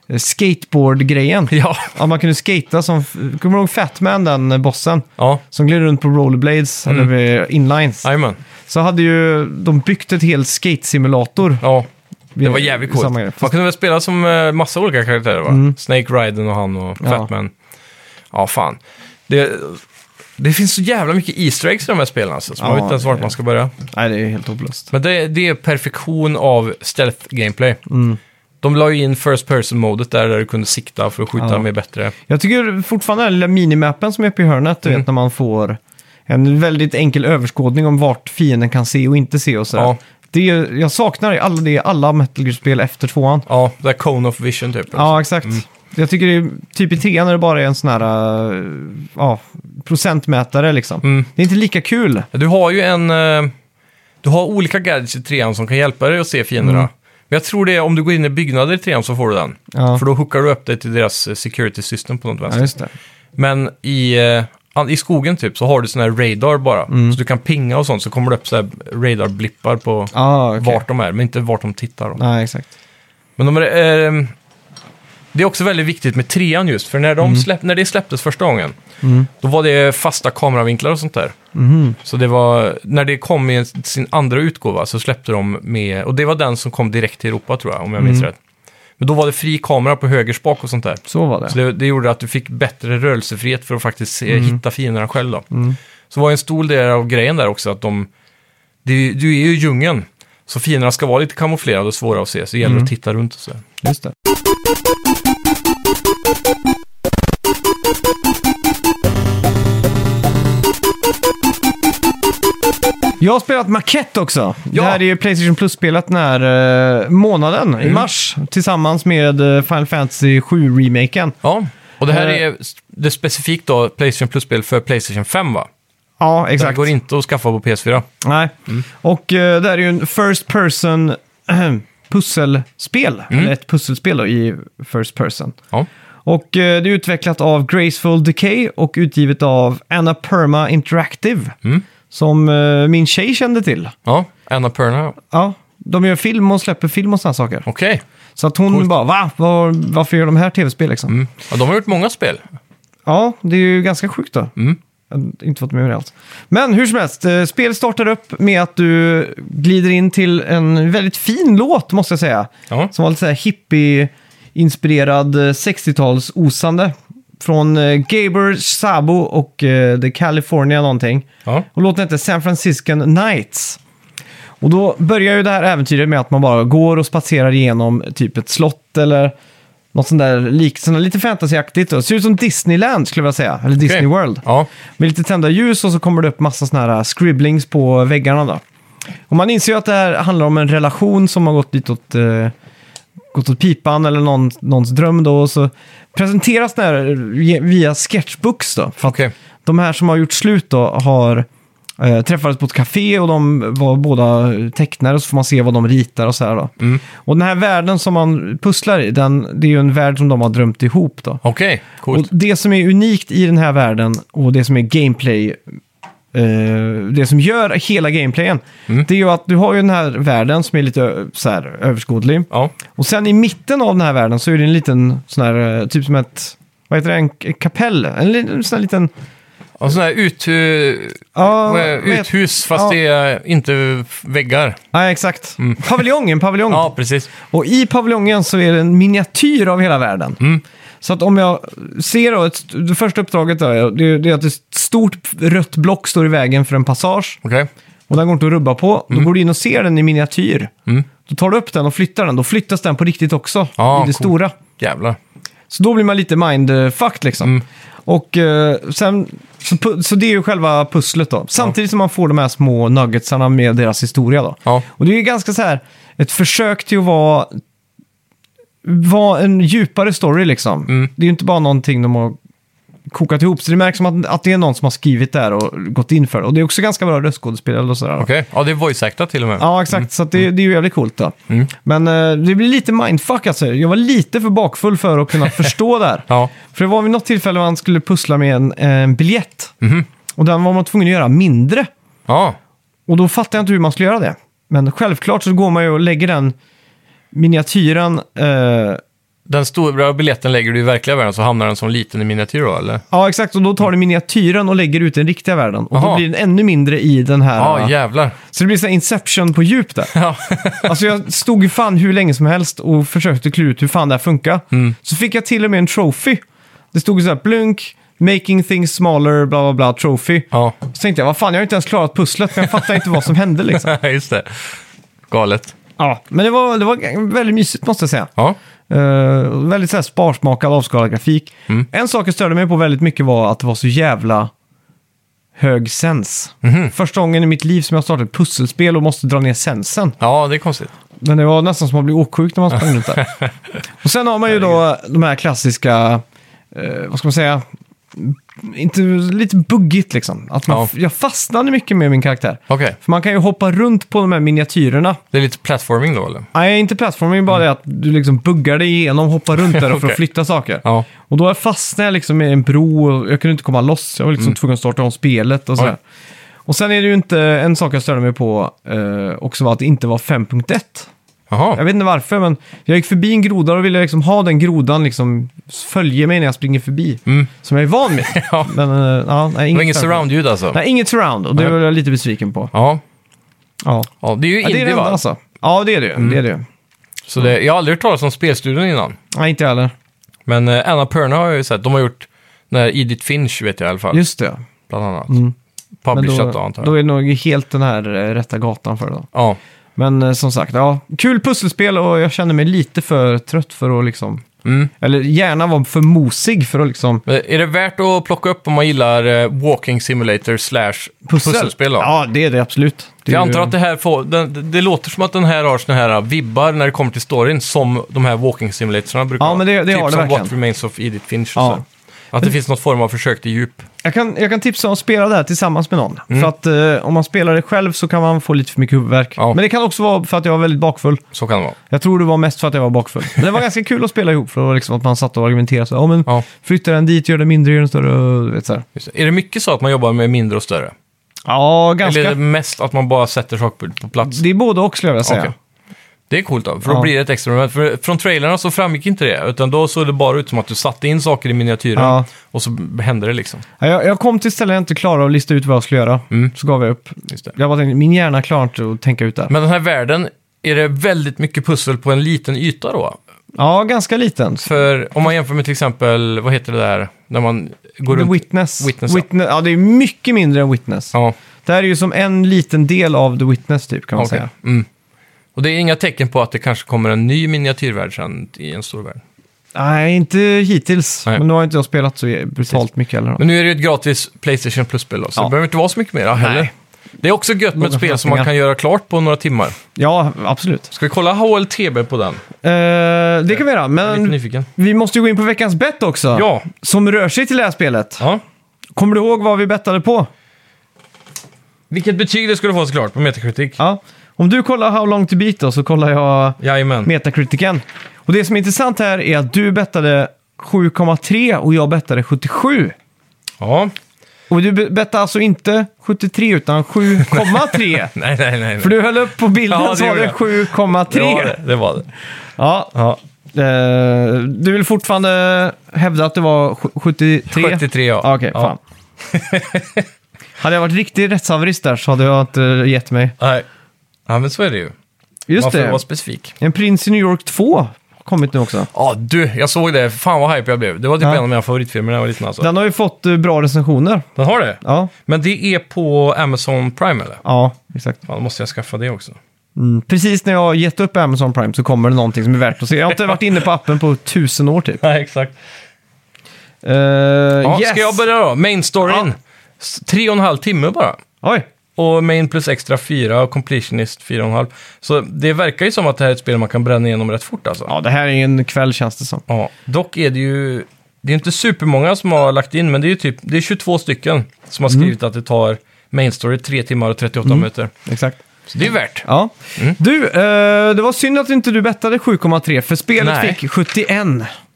[SPEAKER 1] eh, skateboard-grejen.
[SPEAKER 2] Ja.
[SPEAKER 1] Ja, man kunde skata som... Kommer du ihåg Fatman, den eh, bossen?
[SPEAKER 2] Ja,
[SPEAKER 1] Som gled runt på rollerblades
[SPEAKER 2] Mm.
[SPEAKER 1] eller vid inlines.
[SPEAKER 2] jajamän.
[SPEAKER 1] Så hade ju de byggt ett helt skate-simulator.
[SPEAKER 2] Ja,
[SPEAKER 1] Vi-
[SPEAKER 2] det var jävligt coolt.
[SPEAKER 1] samma grej. Mm.
[SPEAKER 2] Man kunde väl spela som eh, massa olika karaktärer va? Snake Ryden och han och
[SPEAKER 1] Ja.
[SPEAKER 2] Fatman. Ja, fan. Det, det finns så jävla mycket Easter eggs i de här spelen alltså. Så
[SPEAKER 1] Ja,
[SPEAKER 2] man vet inte ens vart
[SPEAKER 1] det-
[SPEAKER 2] man ska börja.
[SPEAKER 1] Nej, det är ju helt hopplöst.
[SPEAKER 2] Men det, det är perfektion av stealth gameplay.
[SPEAKER 1] Mm.
[SPEAKER 2] De la ju in first person-modet där, där du kunde sikta för att skjuta
[SPEAKER 1] Ja.
[SPEAKER 2] med bättre.
[SPEAKER 1] Jag tycker fortfarande den lilla minimappen som är uppe i hörnet,
[SPEAKER 2] Mm.
[SPEAKER 1] du vet när man får en väldigt enkel överskådning om vart fienden kan se och inte se och sådär.
[SPEAKER 2] Ja.
[SPEAKER 1] Det är, jag saknar alla det i alla Metal Gear-spel efter tvåan.
[SPEAKER 2] Ja, det där Cone of Vision typ.
[SPEAKER 1] Ja, exakt. Jag tycker det är, typ i trean när det bara är en sån här eh, ja, procentmätare liksom.
[SPEAKER 2] Mm.
[SPEAKER 1] Det är inte lika kul.
[SPEAKER 2] Du har ju en... eh, Du har olika gadgets i trean som kan hjälpa dig att se fienderna.
[SPEAKER 1] Mm.
[SPEAKER 2] Men jag tror det är om du går in i byggnader i trean så får du den.
[SPEAKER 1] Ja.
[SPEAKER 2] För då hookar du upp dig till deras eh, security system på något
[SPEAKER 1] Ja,
[SPEAKER 2] vänster.
[SPEAKER 1] just det.
[SPEAKER 2] Men i, eh, an- i skogen typ så har du sån här radar bara.
[SPEAKER 1] Mm.
[SPEAKER 2] Så du kan pinga och sånt så kommer det upp så här radarblippar på
[SPEAKER 1] Ja, Ah, okej.
[SPEAKER 2] vart de är. Men inte vart de tittar. Då.
[SPEAKER 1] Nej, exakt.
[SPEAKER 2] Men de, är, eh, det är också väldigt viktigt med trean just, för när, de släpp, när det släpptes första gången,
[SPEAKER 1] Mm,
[SPEAKER 2] då var det fasta kameravinklar och sånt där.
[SPEAKER 1] mhm,
[SPEAKER 2] Så det var, när det kom i sin andra utgåva så släppte de med, och det var den som kom direkt till Europa tror jag, om jag minns rätt. Men då var det fri kamera på höger spak och sånt där.
[SPEAKER 1] Så var det.
[SPEAKER 2] Så det, det gjorde att du fick bättre rörelsefrihet för att faktiskt se, hitta fienderna själv. Då. Så var en stor del av grejen där också att de... Det, är ju- du är ju i djungeln, så fienderna ska vara lite kamouflerade och svåra att se, så det gäller att titta runt och så.
[SPEAKER 1] Just det. Jag har spelat Maquette också.
[SPEAKER 2] Ja.
[SPEAKER 1] Det här är ju Playstation Plus-spelet den här eh, månaden,
[SPEAKER 2] Mm.
[SPEAKER 1] i mars, tillsammans med eh, Final Fantasy 7-remaken.
[SPEAKER 2] Ja, och det här
[SPEAKER 1] Eh.
[SPEAKER 2] är det specifikt då Playstation Plus-spel för Playstation 5 va?
[SPEAKER 1] Ja,
[SPEAKER 2] Det
[SPEAKER 1] exakt.
[SPEAKER 2] går Mm. inte att skaffa på PS4.
[SPEAKER 1] Nej. Och eh, det här är ju en first person pusselspel.
[SPEAKER 2] Mm.
[SPEAKER 1] Eller ett pusselspel då, i first person.
[SPEAKER 2] Ja.
[SPEAKER 1] Och eh, det är utvecklat av Graceful Decay och utgivet av Anna Perma Interactive. Som eh, min tjej kände till.
[SPEAKER 2] Ja, Anna Perna.
[SPEAKER 1] Ja, de gör film och släpper film och sådana saker.
[SPEAKER 2] Okej.
[SPEAKER 1] Så att hon bara, va? Var, varför gör de här tv-spel liksom?
[SPEAKER 2] Mm. Ja, de har gjort många spel.
[SPEAKER 1] Ja, det är ju ganska sjukt då. Jag har inte fått med mig det alls. Men hur som helst, eh, spel startar upp med att du glider in till en väldigt fin låt, måste jag säga.
[SPEAKER 2] Ja.
[SPEAKER 1] Som var lite så här hippie-inspirerad eh, 60-tals-osande. Från eh, Gaber Sabo och eh, The California någonting.
[SPEAKER 2] Ja.
[SPEAKER 1] Och låten hette San Franciscan Nights. Och då börjar ju det här äventyret med att man bara går och spatserar igenom typ ett slott eller något sånt där lik, sånt där lite fantasyaktigt. Det ser ut som Disneyland skulle jag vilja säga, eller Disney
[SPEAKER 2] Okej.
[SPEAKER 1] World.
[SPEAKER 2] Ja.
[SPEAKER 1] Med lite tända ljus och så kommer det upp massa såna här äh, scribblings på väggarna då. Och man inser ju att det här handlar om en relation som har gått ditåt, eh, gått åt pipan eller någon, någons dröm då. Och så presenteras det här ge- via sketchbooks då. För att
[SPEAKER 2] Okej.
[SPEAKER 1] de här som har gjort slut då har eh, träffades på ett café och de var båda tecknare och så får man se vad de ritar och så här då. Och den här världen som man pusslar i, den, det är ju en värld som de har drömt ihop då.
[SPEAKER 2] Okej,
[SPEAKER 1] Och
[SPEAKER 2] coolt.
[SPEAKER 1] det som är unikt i den här världen och det som är gameplay, eh, det som gör hela gameplayen,
[SPEAKER 2] Mm.
[SPEAKER 1] det är ju att du har ju den här världen som är lite ö- så här överskådlig.
[SPEAKER 2] Ja.
[SPEAKER 1] Och sen i mitten av den här världen så är det en liten sån här, eh, typ som ett, vad heter det, en k- kapell? En li- sån här liten...
[SPEAKER 2] Och sådär ut, eh,
[SPEAKER 1] Ja,
[SPEAKER 2] vad är-
[SPEAKER 1] vad heter-
[SPEAKER 2] uthus, fast
[SPEAKER 1] ja.
[SPEAKER 2] det är inte väggar.
[SPEAKER 1] Nej, exakt. Paviljong, en paviljong.
[SPEAKER 2] Mm. Ja, precis.
[SPEAKER 1] Och i paviljongen så är det en miniatyr av hela världen.
[SPEAKER 2] Mm.
[SPEAKER 1] Så att om jag ser då, ett, det första uppdraget då, det, är- det är att ett stort rött block står i vägen för en passage.
[SPEAKER 2] Okej.
[SPEAKER 1] Och den går inte att rubba på.
[SPEAKER 2] Mm.
[SPEAKER 1] Då går du in och ser den i miniatyr. Då tar du upp den och flyttar den. Då flyttas den på riktigt också,
[SPEAKER 2] Ah,
[SPEAKER 1] i det
[SPEAKER 2] cool.
[SPEAKER 1] stora.
[SPEAKER 2] Jävlar.
[SPEAKER 1] Så då blir man lite mindfucked liksom.
[SPEAKER 2] Mm.
[SPEAKER 1] Och eh, sen, så, pu- så det är ju själva pusslet då. Samtidigt som man får de här små nuggetsarna med deras historia då.
[SPEAKER 2] Ja.
[SPEAKER 1] Och det är ju ganska så här, ett försök till att vara, vara en djupare story liksom.
[SPEAKER 2] Mm.
[SPEAKER 1] Det är ju inte bara någonting de har kokat ihop. Så det märks som att, att det är någon som har skrivit där och gått in för det. Och det är också ganska bra röstskådespelare och sådär.
[SPEAKER 2] Okej. Ja, det är voice acta till och med.
[SPEAKER 1] Ja, exakt. Så att det, det är ju jävligt coolt då.
[SPEAKER 2] Mm.
[SPEAKER 1] Men eh, det blir lite mindfuck alltså. Jag var lite för bakfull för att kunna förstå det här.
[SPEAKER 2] Ja.
[SPEAKER 1] För det var vid något tillfälle man skulle pussla med en, eh, en biljett. Och den var man tvungen att göra mindre.
[SPEAKER 2] Mhm. Ja.
[SPEAKER 1] Och då fattade jag inte hur man skulle göra det. Men självklart så går man ju och lägger den miniatyren. Eh,
[SPEAKER 2] Den stora biljetten lägger du i verkliga världen så hamnar den som liten i miniatyr då, eller?
[SPEAKER 1] ja, exakt. Och då tar du miniatyren och lägger ut den riktiga världen. Och då
[SPEAKER 2] Aha.
[SPEAKER 1] blir den ännu mindre i den här.
[SPEAKER 2] Ja,
[SPEAKER 1] eh,
[SPEAKER 2] jävlar.
[SPEAKER 1] Så det blir så här Inception på djup där.
[SPEAKER 2] Ja.
[SPEAKER 1] Alltså jag stod ju fan hur länge som helst och försökte klura ut hur fan det här funkar. Så fick jag till och med en trophy. Det stod ju så här blunk, making things smaller, bla bla bla, trophy.
[SPEAKER 2] ja.
[SPEAKER 1] Så tänkte jag, vad fan, jag har ju inte ens klarat pusslet, men jag fattar inte vad som hände liksom.
[SPEAKER 2] Just det. Galet.
[SPEAKER 1] Ja, men det var, det var väldigt mysigt måste jag säga.
[SPEAKER 2] Ja.
[SPEAKER 1] Eh, väldigt så här sparsmakad, avskalad grafik. En sak jag störde mig på väldigt mycket var att det var så jävla hög sens. Första gången i mitt liv som jag startade ett pusselspel och måste dra ner sensen.
[SPEAKER 2] ja, det är konstigt.
[SPEAKER 1] Men det var nästan som att bli åksjuk när man sprang runt där. Och sen har man ju då de här klassiska, eh, vad ska man säga, inte, lite buggigt liksom. Att man,
[SPEAKER 2] Ja.
[SPEAKER 1] Jag fastnade mycket med min karaktär.
[SPEAKER 2] Okej.
[SPEAKER 1] För man kan ju hoppa runt på de här miniatyrerna.
[SPEAKER 2] Det är lite platforming då, eller?
[SPEAKER 1] Nej, inte plattformen, bara det att du liksom buggar dig igenom, hoppar runt där för att
[SPEAKER 2] Mm. Okej.
[SPEAKER 1] flytta saker.
[SPEAKER 2] Ja.
[SPEAKER 1] Och då fastnade jag liksom i en bro och jag kunde inte komma loss. Jag var
[SPEAKER 2] Mm.
[SPEAKER 1] liksom tvungen att starta om spelet och sådär.
[SPEAKER 2] Oj.
[SPEAKER 1] Och sen är det ju inte, en sak jag störde mig på eh, också var att det inte var 5.1. Jag
[SPEAKER 2] Jaha.
[SPEAKER 1] vet inte varför, men jag gick förbi en groda och ville liksom ha den grodan liksom följa mig när jag springer förbi. Som jag är van vid.
[SPEAKER 2] Mm. Ja.
[SPEAKER 1] Men eh, ja, nej,
[SPEAKER 2] Det
[SPEAKER 1] inget
[SPEAKER 2] var inget surround-ljud alltså?
[SPEAKER 1] Nej, inget surround och det
[SPEAKER 2] Nej.
[SPEAKER 1] var jag lite besviken på.
[SPEAKER 2] Ja.
[SPEAKER 1] Ja,
[SPEAKER 2] ja. Det är ju
[SPEAKER 1] ja det är
[SPEAKER 2] indie,
[SPEAKER 1] det enda
[SPEAKER 2] va?
[SPEAKER 1] alltså. Ja, det är det ju.
[SPEAKER 2] Mm.
[SPEAKER 1] Det är det ju.
[SPEAKER 2] Så det, jag har aldrig hört talas om spelstudion innan.
[SPEAKER 1] Nej, inte jag heller.
[SPEAKER 2] Men eh, Anna Perna har jag ju sett. De har gjort den här Edith Finch, vet jag i alla fall.
[SPEAKER 1] Just det.
[SPEAKER 2] Bland annat.
[SPEAKER 1] Men
[SPEAKER 2] Publishat då,
[SPEAKER 1] då,
[SPEAKER 2] antar jag.
[SPEAKER 1] då är det nog helt den här eh, rätta gatan för det då.
[SPEAKER 2] Ja.
[SPEAKER 1] Men eh, som sagt, ja, kul pusselspel och jag känner mig lite för trött för att liksom
[SPEAKER 2] Mm.
[SPEAKER 1] Eller gärna vara för mosig för att liksom...
[SPEAKER 2] Men Eh, Är det värt att plocka upp om man gillar eh, Walking Simulator slash pusselspel? Då?
[SPEAKER 1] Ja, det är det absolut. Det är
[SPEAKER 2] Jag
[SPEAKER 1] ju-
[SPEAKER 2] antar att det här får, den, det låter som att den här har såna här vibbar när det kommer till storyn som de här walking simulatorerna brukar
[SPEAKER 1] Ja, men det- det
[SPEAKER 2] typ
[SPEAKER 1] har det
[SPEAKER 2] som
[SPEAKER 1] verkligen.
[SPEAKER 2] What Remains of Edith Finch och
[SPEAKER 1] Ja.
[SPEAKER 2] så. Att det finns något form av försök till djup.
[SPEAKER 1] Jag kan, jag kan tipsa om att spela det här tillsammans med någon.
[SPEAKER 2] Mm.
[SPEAKER 1] För att eh, om man spelar det själv så kan man få lite för mycket huvudvärk.
[SPEAKER 2] Ja.
[SPEAKER 1] Men det kan också vara för att jag var väldigt bakfull.
[SPEAKER 2] Så kan det vara.
[SPEAKER 1] Jag tror det var mest för att jag var bakfull. Men det var ganska kul att spela ihop för det var liksom att man satt och argumenterade. Så, ja, men
[SPEAKER 2] Ja.
[SPEAKER 1] Flytta den dit, gör den mindre, gör den större. och du Vet, så här.
[SPEAKER 2] Just det. Är det mycket så att man jobbar med mindre och större?
[SPEAKER 1] Ja, ganska.
[SPEAKER 2] Eller är det mest att man bara sätter saker på- på plats?
[SPEAKER 1] Det är både och skulle jag vilja säga.
[SPEAKER 2] Okej. Det är coolt då, för då
[SPEAKER 1] Ja.
[SPEAKER 2] blir det ett experiment. För från trailerna så framgick inte det, utan då såg det bara ut som att du satte in saker i miniatyren
[SPEAKER 1] Ja.
[SPEAKER 2] och så hände det liksom.
[SPEAKER 1] Ja, Jag, jag kom till ställen jag inte klarade att lista ut vad jag skulle göra.
[SPEAKER 2] Mm.
[SPEAKER 1] Så gav jag upp.
[SPEAKER 2] Just det.
[SPEAKER 1] Jag bara tänkte, min hjärna klarar inte att tänka ut det här.
[SPEAKER 2] Men den här världen, är det väldigt mycket pussel på en liten yta då?
[SPEAKER 1] Ja, ganska liten.
[SPEAKER 2] För om man jämför med till exempel, vad heter det där, när man går
[SPEAKER 1] The
[SPEAKER 2] runt...
[SPEAKER 1] Witness.
[SPEAKER 2] Witness, ja.
[SPEAKER 1] Witness. Ja, det är mycket mindre än Witness.
[SPEAKER 2] Ja,
[SPEAKER 1] Det här är ju som en liten del av The Witness typ kan man
[SPEAKER 2] okej.
[SPEAKER 1] säga.
[SPEAKER 2] Mm. Och det är inga tecken på att det kanske kommer en ny miniatyrvärld sen i en stor värld.
[SPEAKER 1] Nej, inte hittills.
[SPEAKER 2] Nej.
[SPEAKER 1] Men nu har inte jag spelat så brutalt mycket heller.
[SPEAKER 2] Men nu är det ju ett gratis Playstation Plus-spel då, så
[SPEAKER 1] Ja.
[SPEAKER 2] det behöver inte vara så mycket mer heller.
[SPEAKER 1] Nej.
[SPEAKER 2] Det är också gött med ett
[SPEAKER 1] Låga
[SPEAKER 2] spel som man
[SPEAKER 1] förhoppningar.
[SPEAKER 2] kan göra klart på några timmar.
[SPEAKER 1] Ja, absolut.
[SPEAKER 2] Ska vi kolla HLTB på den?
[SPEAKER 1] Eh, det kan vi göra,
[SPEAKER 2] Jag är lite
[SPEAKER 1] men
[SPEAKER 2] nyfiken.
[SPEAKER 1] vi måste ju gå in på veckans bett också.
[SPEAKER 2] Ja.
[SPEAKER 1] Som rör sig till det här spelet.
[SPEAKER 2] ja.
[SPEAKER 1] Kommer du ihåg vad vi bettade på?
[SPEAKER 2] Vilket betyg det skulle få såklart på Metacritic.
[SPEAKER 1] Ja. Om du kollar How long to beat då, så kollar jag
[SPEAKER 2] Jajamän.
[SPEAKER 1] Metacriticen. Och det som är intressant här är att du bettade 7,3 och jag bettade 77.
[SPEAKER 2] Ja.
[SPEAKER 1] Och du be- bettade alltså inte 73 utan 7,3.
[SPEAKER 2] Nej, nej, nej. nej.
[SPEAKER 1] För du höll upp på bilden
[SPEAKER 2] Ja, det
[SPEAKER 1] så var
[SPEAKER 2] gjorde
[SPEAKER 1] det
[SPEAKER 2] jag.
[SPEAKER 1] 7,3.
[SPEAKER 2] det var det. det, var det.
[SPEAKER 1] Ja.
[SPEAKER 2] Ja.
[SPEAKER 1] Eh, du vill fortfarande hävda att det var sj- 73?
[SPEAKER 2] 73 ja.
[SPEAKER 1] Ah, Okej,
[SPEAKER 2] ja.
[SPEAKER 1] fan. hade jag varit riktig rättshaverist där så hade jag inte gett mig.
[SPEAKER 2] Nej. Ja, men så är det ju.
[SPEAKER 1] Just
[SPEAKER 2] Man får
[SPEAKER 1] det.
[SPEAKER 2] vara specifik.
[SPEAKER 1] En prins i New York 2 har kommit nu också.
[SPEAKER 2] Ja, du, jag såg det. Fan vad hype jag blev. Det var typ
[SPEAKER 1] Ja.
[SPEAKER 2] en av mina favoritfilmer när jag var liten alltså. Den,
[SPEAKER 1] Den har ju fått eh, bra recensioner.
[SPEAKER 2] har det?
[SPEAKER 1] Ja,
[SPEAKER 2] Men det är på Amazon Prime eller?
[SPEAKER 1] ja exakt.
[SPEAKER 2] Fan, då måste jag skaffa det också.
[SPEAKER 1] Mm. Precis när jag har gett upp Amazon Prime så kommer det någonting som är värt att se. Jag har inte varit inne på appen på tusen år typ.
[SPEAKER 2] Nej, exakt.
[SPEAKER 1] Uh,
[SPEAKER 2] Ja,
[SPEAKER 1] yes!
[SPEAKER 2] Ska jag börja då? Main storyn.
[SPEAKER 1] Ja.
[SPEAKER 2] S- Tre och en halv timme bara.
[SPEAKER 1] Oj!
[SPEAKER 2] Och main plus extra fyra och completionist fyra och en halv. Så det verkar ju som att det här är ett spel man kan bränna igenom rätt fort alltså.
[SPEAKER 1] Ja, det här är en kväll känns det som.
[SPEAKER 2] Ja, dock är det ju... Det är inte supermånga som har lagt in, men det är ju typ... Det är 22 stycken som
[SPEAKER 1] Mm.
[SPEAKER 2] har skrivit att det tar main story 3 timmar och 38 minuter.
[SPEAKER 1] Exakt.
[SPEAKER 2] Så det är värt.
[SPEAKER 1] Ja. Du, eh, det var synd att inte du bettade 7,3 för spelet
[SPEAKER 2] Nej.
[SPEAKER 1] fick 71.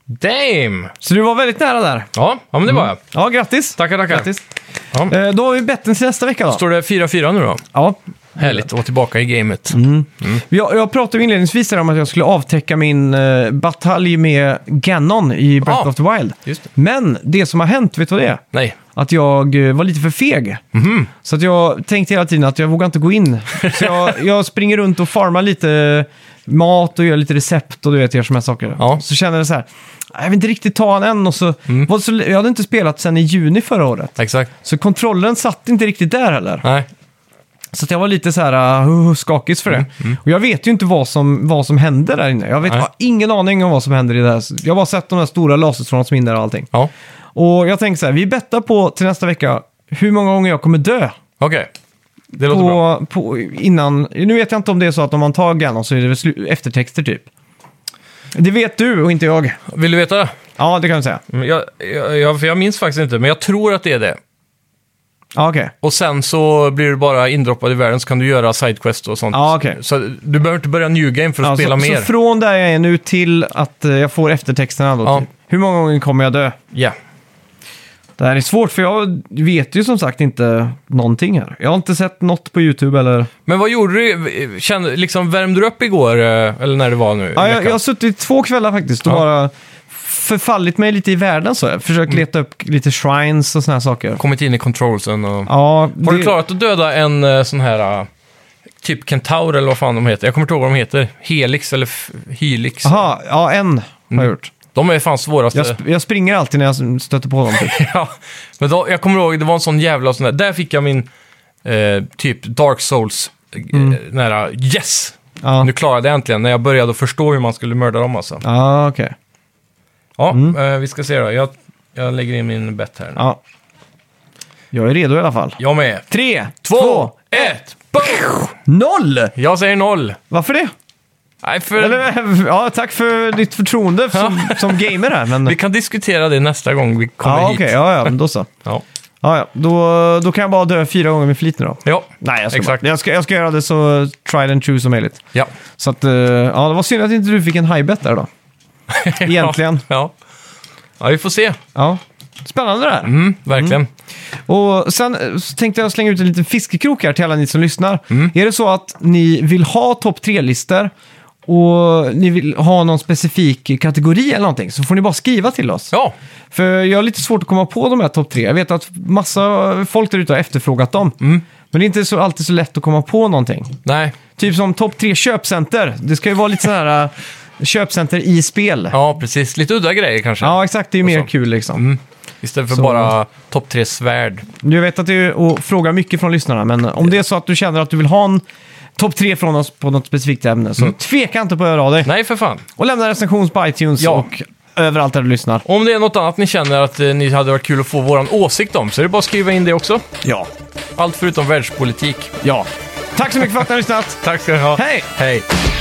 [SPEAKER 2] Damn!
[SPEAKER 1] Så du var väldigt nära där.
[SPEAKER 2] Ja, ja men det var jag.
[SPEAKER 1] Ja, grattis!
[SPEAKER 2] Tackar, tackar.
[SPEAKER 1] Mm. Grattis.
[SPEAKER 2] Ja.
[SPEAKER 1] Eh, då har vi betten till nästa vecka då.
[SPEAKER 2] Står det 4-4 nu då?
[SPEAKER 1] Ja. Mm.
[SPEAKER 2] Härligt att vara tillbaka i gamet.
[SPEAKER 1] Jag, jag pratade ju inledningsvis där om att jag skulle avtäcka min eh, batalj med Ganon i Breath
[SPEAKER 2] Ja.
[SPEAKER 1] of the Wild.
[SPEAKER 2] Just det.
[SPEAKER 1] Men det som har hänt, vet du vad det är?
[SPEAKER 2] Nej.
[SPEAKER 1] Att jag eh, var lite för feg.
[SPEAKER 2] Mhm.
[SPEAKER 1] Så att jag tänkte hela tiden att jag vågar inte gå in. Så jag, jag springer runt och farmar lite mat och gör lite recept och du vet, gör såna här saker.
[SPEAKER 2] Ja. Mm.
[SPEAKER 1] Så känner jag så här, jag vill inte riktigt ta han än. Och så, var det så, jag hade inte spelat sedan i juni förra året.
[SPEAKER 2] Exakt.
[SPEAKER 1] Så kontrollen satt inte riktigt där heller.
[SPEAKER 2] Nej.
[SPEAKER 1] Så att jag var lite så här uh, skakig för det. Och jag vet ju inte vad som, vad som hände där inne. Jag, vet, jag
[SPEAKER 2] Mm, Nej.
[SPEAKER 1] har ingen aning om vad som händer i det här. Jag har bara sett de här stora laserstråna som är inne där och allting.
[SPEAKER 2] Ja.
[SPEAKER 1] Och jag tänker så här, vi bettar på till nästa vecka hur många gånger jag kommer dö.
[SPEAKER 2] Okej. Det låter bra.
[SPEAKER 1] På, på, innan, nu vet jag inte om det är så att om man tar Ganon så är det väl slu- eftertexter typ. Det vet du och inte jag.
[SPEAKER 2] Vill du veta?
[SPEAKER 1] Ja, det kan du säga.
[SPEAKER 2] Mm, Jag, jag, jag, för jag minns faktiskt inte, men jag tror att det är det.
[SPEAKER 1] Ja, okej.
[SPEAKER 2] Och sen så blir du bara indroppad i världen så kan du göra sidequests och sånt.
[SPEAKER 1] Ja, okej.
[SPEAKER 2] Så du behöver inte börja new game för att
[SPEAKER 1] Ja,
[SPEAKER 2] spela
[SPEAKER 1] så,
[SPEAKER 2] mer.
[SPEAKER 1] Alltså, så från där jag är nu till att eh, jag får eftertexterna då.
[SPEAKER 2] Ja.
[SPEAKER 1] Typ. Hur många gånger kommer jag dö?
[SPEAKER 2] Ja.
[SPEAKER 1] Det här är svårt för jag vet ju som sagt inte någonting här. Jag har inte sett något på YouTube eller...
[SPEAKER 2] Men vad gjorde du? Kände, liksom, värmde du upp igår, eh, eller när det var nu? i
[SPEAKER 1] Ja, jag,
[SPEAKER 2] veckan?
[SPEAKER 1] jag har suttit två kvällar faktiskt och
[SPEAKER 2] Ja. Mm.
[SPEAKER 1] bara förfallit mig lite i världen så. Jag försökt leta upp lite shrines och såna här saker.
[SPEAKER 2] Kommit in i controlsen och...
[SPEAKER 1] Ja,
[SPEAKER 2] Har
[SPEAKER 1] det-
[SPEAKER 2] du klarat att döda en eh, sån här... eh, Typ kentaur eller vad fan de heter. Jag kommer inte ihåg vad de heter. Helix eller f- Helix.
[SPEAKER 1] Aha, ja en har jag
[SPEAKER 2] Mm.
[SPEAKER 1] gjort.
[SPEAKER 2] De är fan svåraste.
[SPEAKER 1] Jag, sp- jag springer alltid när jag stöter på dem. Typ.
[SPEAKER 2] Ja, men då, jag kommer ihåg, det var en sån jävla sån där. Där fick jag min eh, typ Dark Souls eh, nära yes!
[SPEAKER 1] Ja,
[SPEAKER 2] Nu klarade jag äntligen när jag började att förstå hur man skulle mörda dem alltså.
[SPEAKER 1] ja okej.
[SPEAKER 2] Ja, eh, vi ska se då. Jag, jag lägger in min bett här. nu.
[SPEAKER 1] Ja. Jag är redo i alla fall.
[SPEAKER 2] Jag med.
[SPEAKER 1] Tre,
[SPEAKER 2] Två,
[SPEAKER 1] två,
[SPEAKER 2] ett, boom!
[SPEAKER 1] noll!
[SPEAKER 2] Jag säger noll.
[SPEAKER 1] Varför det?
[SPEAKER 2] Nej, för...
[SPEAKER 1] Eller, ja, tack för ditt förtroende som, som gamer här. Men...
[SPEAKER 2] Vi kan diskutera det nästa gång vi kommer
[SPEAKER 1] ja,
[SPEAKER 2] hit.
[SPEAKER 1] okej. ja, ja, men då så.
[SPEAKER 2] Ja.
[SPEAKER 1] Ja, ja. Då, då kan jag bara dö fyra gånger med flit nu då.
[SPEAKER 2] Ja,
[SPEAKER 1] Nej, jag ska,
[SPEAKER 2] Exakt.
[SPEAKER 1] Bara, jag, ska, jag ska göra det så tried and true som möjligt.
[SPEAKER 2] ja.
[SPEAKER 1] Så att, eh, ja, det var synd att inte du fick en high bet där då. Egentligen.
[SPEAKER 2] Ja. ja, vi får se.
[SPEAKER 1] Ja. Spännande det här.
[SPEAKER 2] Mm, verkligen.
[SPEAKER 1] Och sen eh, så tänkte jag slänga ut en liten fiskekrok här till alla ni som lyssnar.
[SPEAKER 2] Mm.
[SPEAKER 1] Är det så att ni vill ha topp tre-listor och ni vill ha någon specifik kategori eller någonting så får ni bara skriva till oss.
[SPEAKER 2] Ja,
[SPEAKER 1] För jag har lite svårt att komma på de här topp tre. Jag vet att massa folk där ute har efterfrågat dem.
[SPEAKER 2] Mm.
[SPEAKER 1] Men det är inte så, alltid så lätt att komma på någonting.
[SPEAKER 2] nej.
[SPEAKER 1] Typ som topp tre köpcenter. Det ska ju vara lite så här äh, köpcenter i spel. Ja,
[SPEAKER 2] Ja, precis. Lite udda grejer kanske.
[SPEAKER 1] exakt. Det är ju mer kul liksom.
[SPEAKER 2] Istället för
[SPEAKER 1] Så-
[SPEAKER 2] bara topp tre svärd.
[SPEAKER 1] Jag vet att det är att fråga mycket från lyssnarna, men om det är så att du känner att du vill ha en topp tre från oss på något specifikt ämne, så tveka inte på att höra av dig.
[SPEAKER 2] Nej, för fan.
[SPEAKER 1] Och lämna recension på iTunes
[SPEAKER 2] Ja.
[SPEAKER 1] och överallt där du lyssnar.
[SPEAKER 2] Om det är något annat ni känner att eh, ni hade varit kul att få våran åsikt om så är det bara att skriva in det också.
[SPEAKER 1] Ja.
[SPEAKER 2] Allt förutom världspolitik.
[SPEAKER 1] Ja. Tack så mycket för att ni har lyssnat.
[SPEAKER 2] Tack ska ni ha.
[SPEAKER 1] Hej!
[SPEAKER 2] Hej.